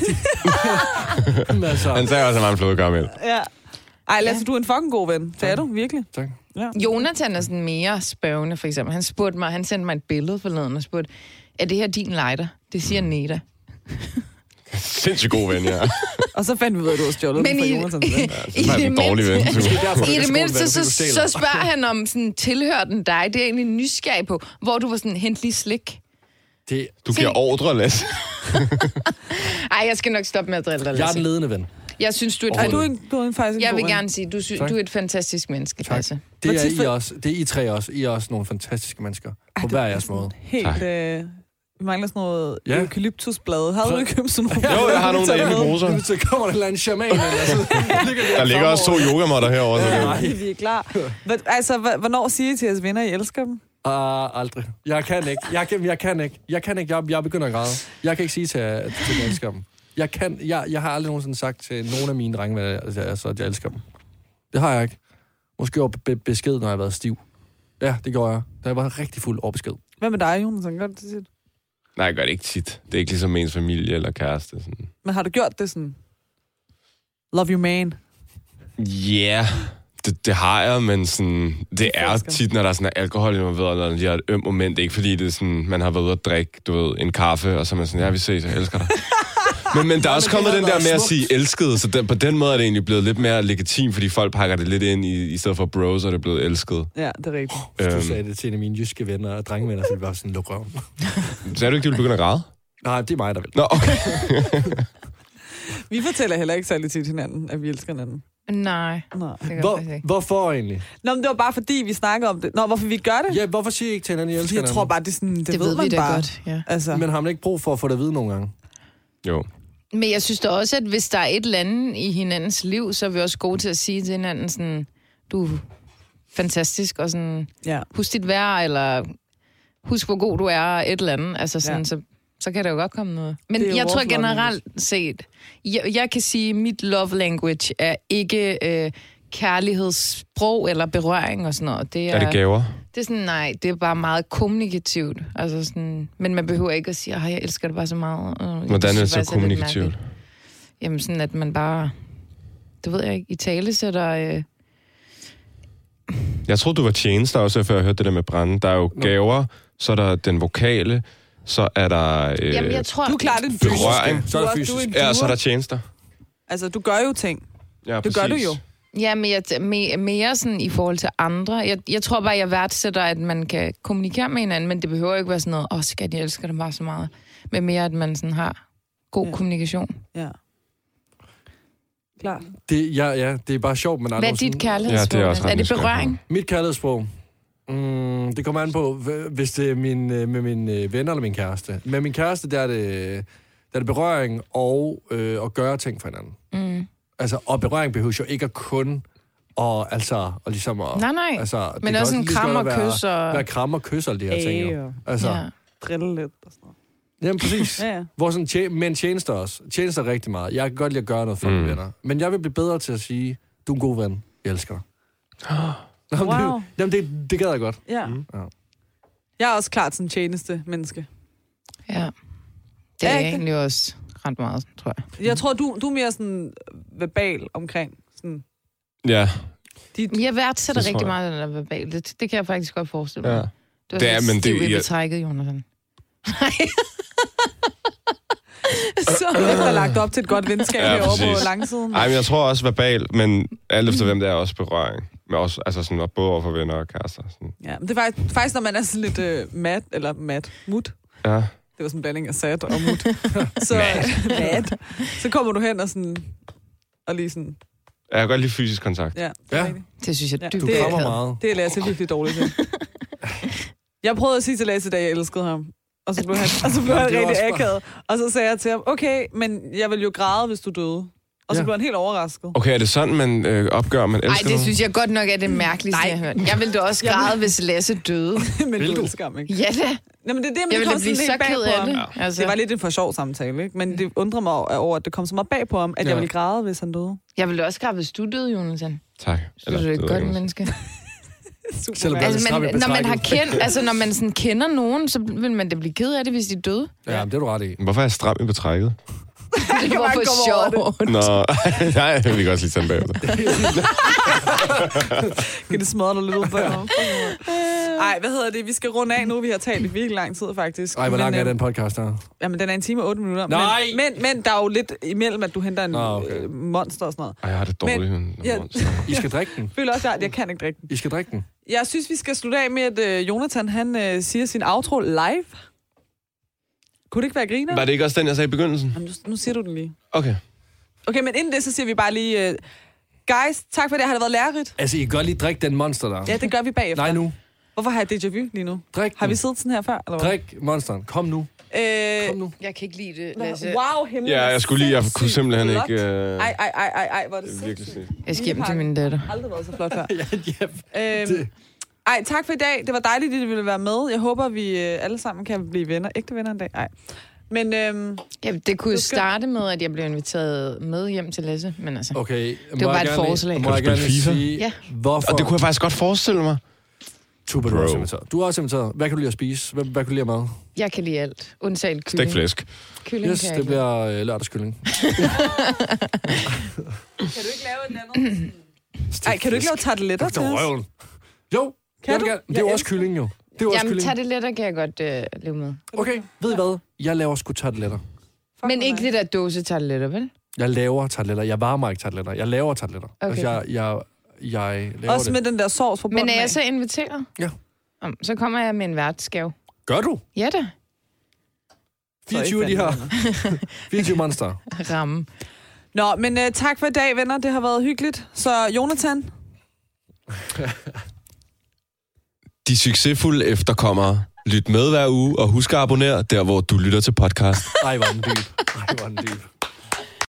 Speaker 5: Han
Speaker 4: altså,
Speaker 5: sagde også, at han var en flodkaramel.
Speaker 2: Ja. Ej, Lasse, ja. du er en fucking god ven. Det er du, virkelig.
Speaker 4: tak.
Speaker 3: Jonathan er sådan mere spørgende, for eksempel. Han spurgte mig, han sendte mig et billede forleden og spurgte, er det her din lighter? Det
Speaker 2: Mm.
Speaker 3: siger Neda.
Speaker 5: Sindssygt god ven, ja.
Speaker 2: Og så fandt vi ud af, at du har stjålet den
Speaker 3: Men
Speaker 2: fra
Speaker 3: i,
Speaker 2: Jonathan.
Speaker 3: i, i,
Speaker 5: Det var en dårlig ven.
Speaker 3: mindste,
Speaker 5: Du.
Speaker 4: Derfor,
Speaker 3: i
Speaker 4: er
Speaker 3: det
Speaker 4: skål, hvad
Speaker 3: mindste,
Speaker 4: du
Speaker 3: så,
Speaker 4: fik, du stjæler.
Speaker 3: så spørger han om, sådan, tilhører den dig? Det er jeg egentlig nysgerrig på. Hvor du var sådan, hent lige slik.
Speaker 4: Det,
Speaker 5: Du giver ordre, Lasse.
Speaker 3: Ej, jeg skal nok stoppe med at drille dig,
Speaker 4: jeg er den
Speaker 3: Lasse.
Speaker 4: ledende ven.
Speaker 3: Jeg synes, du er,
Speaker 2: Er
Speaker 3: et,
Speaker 2: du, en, du er en faktisk en
Speaker 3: Jeg
Speaker 2: god
Speaker 3: vil
Speaker 2: ven.
Speaker 3: gerne sige, du, sy-
Speaker 4: Tak.
Speaker 3: du er et fantastisk menneske,
Speaker 4: Tak.
Speaker 3: Lasse.
Speaker 2: Hvor
Speaker 4: Det er,
Speaker 2: tit for-
Speaker 4: I også, det er I tre også. I er også nogle fantastiske mennesker. På hver jeres måde.
Speaker 5: Tak.
Speaker 2: Helt... Øh, vi mangler sådan noget
Speaker 4: Ja.
Speaker 2: ja. eukalyptusblade. Har du
Speaker 4: Så-
Speaker 2: ikke købt sådan nogle?
Speaker 5: Jo, jeg har nogle derhjemme i bruser.
Speaker 4: Så kommer der en eller anden shaman, eller så ligger
Speaker 5: Der ligger også to yogamotter herovre. Så det-
Speaker 4: Nej.
Speaker 2: Nej. Vi er klar. Hvad, altså, hva- hvornår siger I til jeres venner, I elsker dem?
Speaker 4: Ah, aldrig. Jeg kan ikke. Jeg kan, jeg kan ikke. Jeg kan ikke. Jeg, jeg begynder at græde. Jeg kan ikke sige til, til jeg elsker dem. Jeg, kan, jeg, jeg har aldrig nogensinde sagt til nogen af mine drenge, at jeg, altså, at jeg elsker dem. Det har jeg ikke. Måske over be- besked, når jeg har været stiv. Ja, det gjorde jeg. Da jeg var rigtig fuld over besked.
Speaker 2: Hvad med dig, Jonathan? Gør du det tit?
Speaker 5: Nej, jeg gør det ikke tit. Det er ikke ligesom ens familie eller kæreste. Sådan.
Speaker 2: Men har du gjort det sådan? Love you, man.
Speaker 5: Ja, yeah. det, det har jeg, men sådan, det er
Speaker 2: elsker.
Speaker 5: tit, når der er sådan er alkohol involveret, eller når de har et ømt moment. Det er ikke fordi, det er sådan, man har været ude at drikke du ved, en kaffe, og så er man sådan, ja, vi ses, jeg elsker dig. Men, men der er også
Speaker 4: men det
Speaker 5: kommet
Speaker 4: har
Speaker 5: den der
Speaker 4: været
Speaker 5: med at
Speaker 4: smukt.
Speaker 5: sige elskede, så den, på den måde er det egentlig blevet lidt mere legitimt, fordi folk pakker det lidt ind, i, i stedet for bros, er det blevet elsket.
Speaker 2: Ja, det er rigtigt.
Speaker 4: Hvis du
Speaker 5: Øhm.
Speaker 4: sagde det til en af mine jyske venner og drengevenner, så ville jeg bare sådan lukke røven.
Speaker 5: Så er du ikke, de vil begynde at græde?
Speaker 4: Nej, det er mig, der vil.
Speaker 5: Nå, okay.
Speaker 2: Vi fortæller heller ikke særlig tit hinanden, at vi elsker hinanden.
Speaker 3: Nej,
Speaker 2: Nej.
Speaker 3: det gør jeg faktisk
Speaker 4: Hvor,
Speaker 3: ikke.
Speaker 4: hvorfor egentlig?
Speaker 2: Nå, men det var bare fordi, vi snakkede om det. Nå, hvorfor vi gør det?
Speaker 4: Ja, hvorfor siger I ikke til hinanden, I
Speaker 2: Fordi
Speaker 4: elsker
Speaker 2: jeg tror
Speaker 4: hinanden?
Speaker 2: bare, det, er sådan, det,
Speaker 3: Det ved
Speaker 2: man
Speaker 3: vi da
Speaker 2: bare.
Speaker 3: godt, ja.
Speaker 2: Altså,
Speaker 4: Men har man ikke brug for at få det at vide nogle gange?
Speaker 5: Jo.
Speaker 3: Men jeg synes da også, at hvis der er et eller andet i hinandens liv, så er vi også gode til at sige til hinanden sådan, du er fantastisk, og sådan,
Speaker 2: ja.
Speaker 3: husk dit vær, eller husk, hvor god du er, og et eller andet. Altså sådan,
Speaker 2: Ja.
Speaker 3: ja. så, så kan der jo godt komme noget.
Speaker 2: Det er jo
Speaker 3: Men jeg tror
Speaker 2: overfladen,
Speaker 3: generelt set, jeg, jeg kan sige, at mit love language er ikke øh, kærlighedssprog eller berøring og sådan noget. Det
Speaker 5: Er det gaver?
Speaker 3: Det er sådan, nej, det er bare meget kommunikativt. Altså sådan, men man behøver ikke at sige, at jeg elsker dig bare så meget. og jeg
Speaker 5: Hvordan
Speaker 3: synes
Speaker 5: er det så
Speaker 3: faktisk, lidt
Speaker 5: kommunikativt?
Speaker 3: mærkeligt." Jamen sådan, at man bare, det ved jeg ikke, i tale sætter... Øh,
Speaker 5: Jeg troede, du var tjenester også, før jeg hørte det der med brænde. Der er jo gaver, så er der den vokale, så er der... Øh,
Speaker 3: jamen, jeg tror...
Speaker 2: Du er klart en fysisk.
Speaker 5: berøring.
Speaker 4: Så er
Speaker 2: Du
Speaker 4: det
Speaker 2: er- du er
Speaker 4: fysisk.
Speaker 2: en
Speaker 5: Ja, og så er
Speaker 2: doer.
Speaker 5: der tjenester.
Speaker 2: Altså, du gør jo ting.
Speaker 5: Ja,
Speaker 2: Det gør du jo.
Speaker 3: Ja, men jeg, t- me, mere sådan i forhold til andre. Jeg, jeg tror bare, jeg værdsætter, at man kan kommunikere med hinanden, men det behøver ikke være sådan noget, åh, oh, skat, jeg elsker dig bare så meget. Men mere, at man sådan har god
Speaker 2: Ja.
Speaker 3: ja. kommunikation.
Speaker 2: Ja. Klart.
Speaker 4: Det, ja, ja, det er bare sjovt, men
Speaker 3: Hvad er dit
Speaker 5: Ja,
Speaker 3: kærlighedsforhold?
Speaker 5: det er også ret
Speaker 3: er det
Speaker 5: nysgerrig på.
Speaker 3: berøring?
Speaker 4: Mit kærlighedssprog? Mm, det kommer an på, hv- hvis det er min, øh, med min øh, venner eller min kæreste. Med min kæreste, der er det, der er det berøring og øh, at gøre ting for hinanden.
Speaker 3: Mm.
Speaker 4: Altså, og berøring behøver jo ikke at kun og altså, og ligesom at,
Speaker 3: Nej, nej.
Speaker 4: Altså, det
Speaker 3: Men
Speaker 4: kan
Speaker 3: også en
Speaker 4: lige så godt
Speaker 3: kram og
Speaker 4: være-
Speaker 3: kys og...
Speaker 4: Være kram og kys og de her ting. Jo. Altså, ja.
Speaker 3: Ja.
Speaker 2: Drille lidt og sådan noget.
Speaker 4: jamen præcis.
Speaker 2: Ja, ja.
Speaker 4: Hvor sådan tje- men tjenester også. Tjenester rigtig meget. Jeg kan godt lide at gøre noget for mm. mine venner. Men jeg vil blive bedre til at sige, du er en god ven. Jeg elsker dig. Nå, men
Speaker 2: Wow.
Speaker 4: Det, jamen, det, det gad jeg godt.
Speaker 2: Ja.
Speaker 4: Mm. Ja.
Speaker 2: Jeg er også klart sådan tjeneste menneske.
Speaker 3: ja. Det
Speaker 2: Ja,
Speaker 3: er
Speaker 2: ikke?
Speaker 3: egentlig også ret meget, tror jeg.
Speaker 2: Jeg tror, du, du er mere sådan verbal omkring sådan
Speaker 5: Ja,
Speaker 2: dit...
Speaker 3: Men jeg værdsætter
Speaker 5: Det tror
Speaker 3: rigtig
Speaker 5: jeg.
Speaker 3: meget, den der verbal. Det, det kan jeg faktisk godt forestille mig.
Speaker 5: ja.
Speaker 3: Ja. Du er
Speaker 5: Det er,
Speaker 3: sådan
Speaker 5: men det-
Speaker 3: stiv i
Speaker 5: jeg-
Speaker 3: betrækket, Jonathan.
Speaker 2: Så har lagt op til et godt venskab
Speaker 5: Ja,
Speaker 2: ja, herovre på
Speaker 5: præcis.
Speaker 2: langsiden.
Speaker 5: Ej, men jeg tror også verbal, men alt efter hvem det er, også berøring. Men også, altså sådan, både over for venner og kærester. Sådan.
Speaker 2: Ja, men det er faktisk, faktisk når man er sådan lidt øh, mat, eller mat, mut.
Speaker 5: Ja.
Speaker 2: Det var sådan en blanding af sat og mut. Så, mat. så kommer du hen og sådan... Og lige sådan...
Speaker 5: Ja, Jeg kan godt lide fysisk kontakt.
Speaker 2: Ja, det er
Speaker 4: Ja.
Speaker 2: rigtigt.
Speaker 3: Det synes jeg
Speaker 2: Ja,
Speaker 3: dybt.
Speaker 4: Du
Speaker 2: Det er
Speaker 4: krammer
Speaker 3: akavet.
Speaker 4: meget.
Speaker 2: Det er Lasse virkelig dårlig til. Jeg prøvede at sige til Lasse, da jeg elskede ham. Og så blev han, og så blev han
Speaker 4: Det var
Speaker 2: rigtig
Speaker 4: også bare-
Speaker 2: akavet. Og så sagde jeg til ham, okay, men jeg vil jo græde, hvis du døde. Og så
Speaker 4: Ja.
Speaker 2: blev han helt overrasket.
Speaker 5: Okay, er det sådan, man øh, opgør, man
Speaker 3: Nej,
Speaker 5: elsker
Speaker 3: det
Speaker 5: nogen?
Speaker 3: synes jeg godt nok er det mærkeligste,
Speaker 2: Nej.
Speaker 3: jeg har hørt. Jeg ville da også græde, hvis Lasse døde.
Speaker 2: men
Speaker 4: Vil
Speaker 2: du
Speaker 4: du?
Speaker 2: elsker ham, ikke?
Speaker 3: Ja da.
Speaker 2: Jamen, det er det, men
Speaker 3: Jeg
Speaker 2: det
Speaker 3: ville
Speaker 2: kom
Speaker 3: da blive
Speaker 2: sådan lidt bag
Speaker 3: så ked
Speaker 2: på
Speaker 3: af
Speaker 2: ham.
Speaker 3: det.
Speaker 5: Ja.
Speaker 3: Altså,
Speaker 2: Det var lidt en for sjov samtale, ikke? Men det undrer mig over, at det kom så meget bag på ham, at
Speaker 4: Ja.
Speaker 2: jeg ville græde, hvis han døde.
Speaker 3: Jeg ville da også græde, hvis du døde, Jonathan.
Speaker 5: Tak.
Speaker 3: Så er du
Speaker 5: det
Speaker 3: et
Speaker 5: ved jeg
Speaker 3: godt
Speaker 5: ikke, om jeg-
Speaker 3: menneske.
Speaker 2: super
Speaker 4: Selvom
Speaker 2: mærkeligt.
Speaker 4: det
Speaker 3: Altså,
Speaker 4: stramt,
Speaker 3: man,
Speaker 4: jeg
Speaker 3: når man har
Speaker 4: betrækket.
Speaker 3: kendt, altså, når man sådan kender nogen, så vil man da blive ked af det, hvis de er døde.
Speaker 4: Ja, men det er du ret i.
Speaker 5: Hvorfor er jeg stram i betrækket?
Speaker 3: Det var for
Speaker 2: kommer over
Speaker 5: Nå,
Speaker 3: sjovt.
Speaker 5: nej, vi kan også lige tage den bagefter.
Speaker 2: Kan det smadre dig lidt ud på Nej, hvad hedder det? Vi skal runde af nu. Vi har talt i virkelig lang tid, faktisk.
Speaker 4: Ej, hvor lang
Speaker 2: Men,
Speaker 4: er
Speaker 2: øh,
Speaker 4: den podcast her?
Speaker 2: Jamen, den er en time og otte minutter.
Speaker 4: Nej!
Speaker 2: Men, men, men der er jo lidt imellem, at du henter en
Speaker 4: Nå,
Speaker 2: Nå,
Speaker 4: okay.
Speaker 2: okay. monster og sådan noget.
Speaker 5: Ej, jeg har det dårligt. Men,
Speaker 2: ja.
Speaker 5: ja.
Speaker 4: I skal drikke den.
Speaker 2: Jeg føler også, at jeg kan ikke drikke den.
Speaker 4: I skal drikke den.
Speaker 2: Jeg synes, vi skal slutte af med, at øh, Jonathan han øh, siger sin outro live. Kunne det ikke være griner?
Speaker 5: Var det ikke også den, jeg sagde i begyndelsen?
Speaker 2: Jamen, nu, nu siger du den lige.
Speaker 5: Okay.
Speaker 2: Okay, men inden det, så siger vi bare lige... Øh, guys, tak for det. Har det været lærerigt?
Speaker 4: Altså, I kan godt lige drikke den monster der.
Speaker 2: Ja, det gør vi bagefter.
Speaker 4: Nej Mm. nu.
Speaker 2: Hvorfor har jeg déjà vu lige nu?
Speaker 4: Drik
Speaker 2: Har vi
Speaker 4: den.
Speaker 2: siddet sådan her før? Eller hvad?
Speaker 4: Drik monsteren. Kom nu.
Speaker 2: Øh,
Speaker 4: Kom nu.
Speaker 3: Jeg kan ikke lide det,
Speaker 2: Wow, himmel.
Speaker 5: Ja, jeg skulle lige, jeg kunne simpelthen ikke... Øh,
Speaker 2: Ej, ej, ej, ej, ej, hvor er det
Speaker 5: virkelig
Speaker 2: sindssygt.
Speaker 5: se.
Speaker 3: Jeg skal hjem til min datter.
Speaker 2: Jeg har aldrig været så flot før.
Speaker 4: Ja, ja.
Speaker 2: øhm, ej, tak for i dag. Det var dejligt, at I ville være med. Jeg håber, vi øh, alle sammen kan blive venner. Ægte venner en dag. Ej. Men øhm,
Speaker 3: Ja, det kunne jo
Speaker 2: skal-
Speaker 3: starte med, at jeg blev inviteret med hjem til Lasse, men altså...
Speaker 4: Okay.
Speaker 3: var
Speaker 4: må jeg
Speaker 3: bare et
Speaker 4: gerne-
Speaker 3: forslag.
Speaker 4: Må
Speaker 5: Kan du spille
Speaker 4: jeg gerne
Speaker 5: FIFA?
Speaker 4: sige,
Speaker 3: Ja.
Speaker 4: hvorfor...
Speaker 5: Og det kunne jeg faktisk godt forestille mig.
Speaker 4: Tuba, du er
Speaker 5: Bro.
Speaker 4: også inviteret. Du er også inviteret. Hvad kan du lide at spise? Hvad, hvad kan du lide at mad?
Speaker 3: Jeg kan lide alt, undtagen
Speaker 5: Dæk
Speaker 3: kylling.
Speaker 5: flæsk.
Speaker 3: Kylling
Speaker 4: Yes,
Speaker 3: kan jeg
Speaker 4: det
Speaker 3: ikke
Speaker 4: bliver øh, lørdagskylling.
Speaker 2: kan du ikke lave et andet? Ej, kan du ikke lave tarteletter
Speaker 4: Det
Speaker 2: til
Speaker 4: er
Speaker 2: os?
Speaker 4: røven. Jo,
Speaker 2: Kan
Speaker 4: jeg vil
Speaker 2: du?
Speaker 4: gerne. Det
Speaker 2: Jeg
Speaker 4: er jo også
Speaker 2: elsker
Speaker 4: kylling, jo. Det er jo også
Speaker 3: Jamen,
Speaker 4: kylling.
Speaker 3: tag det lettere, kan jeg godt øh, leve med.
Speaker 4: Okay, ved I hvad? Jeg laver sgu tarteletter.
Speaker 2: Fuck,
Speaker 3: Men
Speaker 2: hvor
Speaker 3: ikke
Speaker 2: nice.
Speaker 3: det der dåse tager det lettere, vel?
Speaker 4: Jeg laver tarteletter. Jeg varmer ikke tarteletter. Jeg laver tarteletter. Okay. Altså, jeg, jeg, jeg laver
Speaker 2: Også
Speaker 4: det.
Speaker 2: med den der sovs fra bunden
Speaker 3: Men er
Speaker 2: af.
Speaker 3: jeg så inviteret?
Speaker 4: Ja.
Speaker 3: Om, Så kommer jeg med en værtsgave.
Speaker 4: Gør du?
Speaker 3: Ja da,
Speaker 4: 24 af de her. 24 monster.
Speaker 3: ramme.
Speaker 2: Nå, men øh, tak for i dag, venner. Det har været hyggeligt. Så Jonathan,
Speaker 5: De succesfulde efterkommere. Lyt med hver uge, og husk at abonnere der, hvor du lytter til podcast.
Speaker 4: Ej, hvor er den dyb. Ej, hvor er den dyb.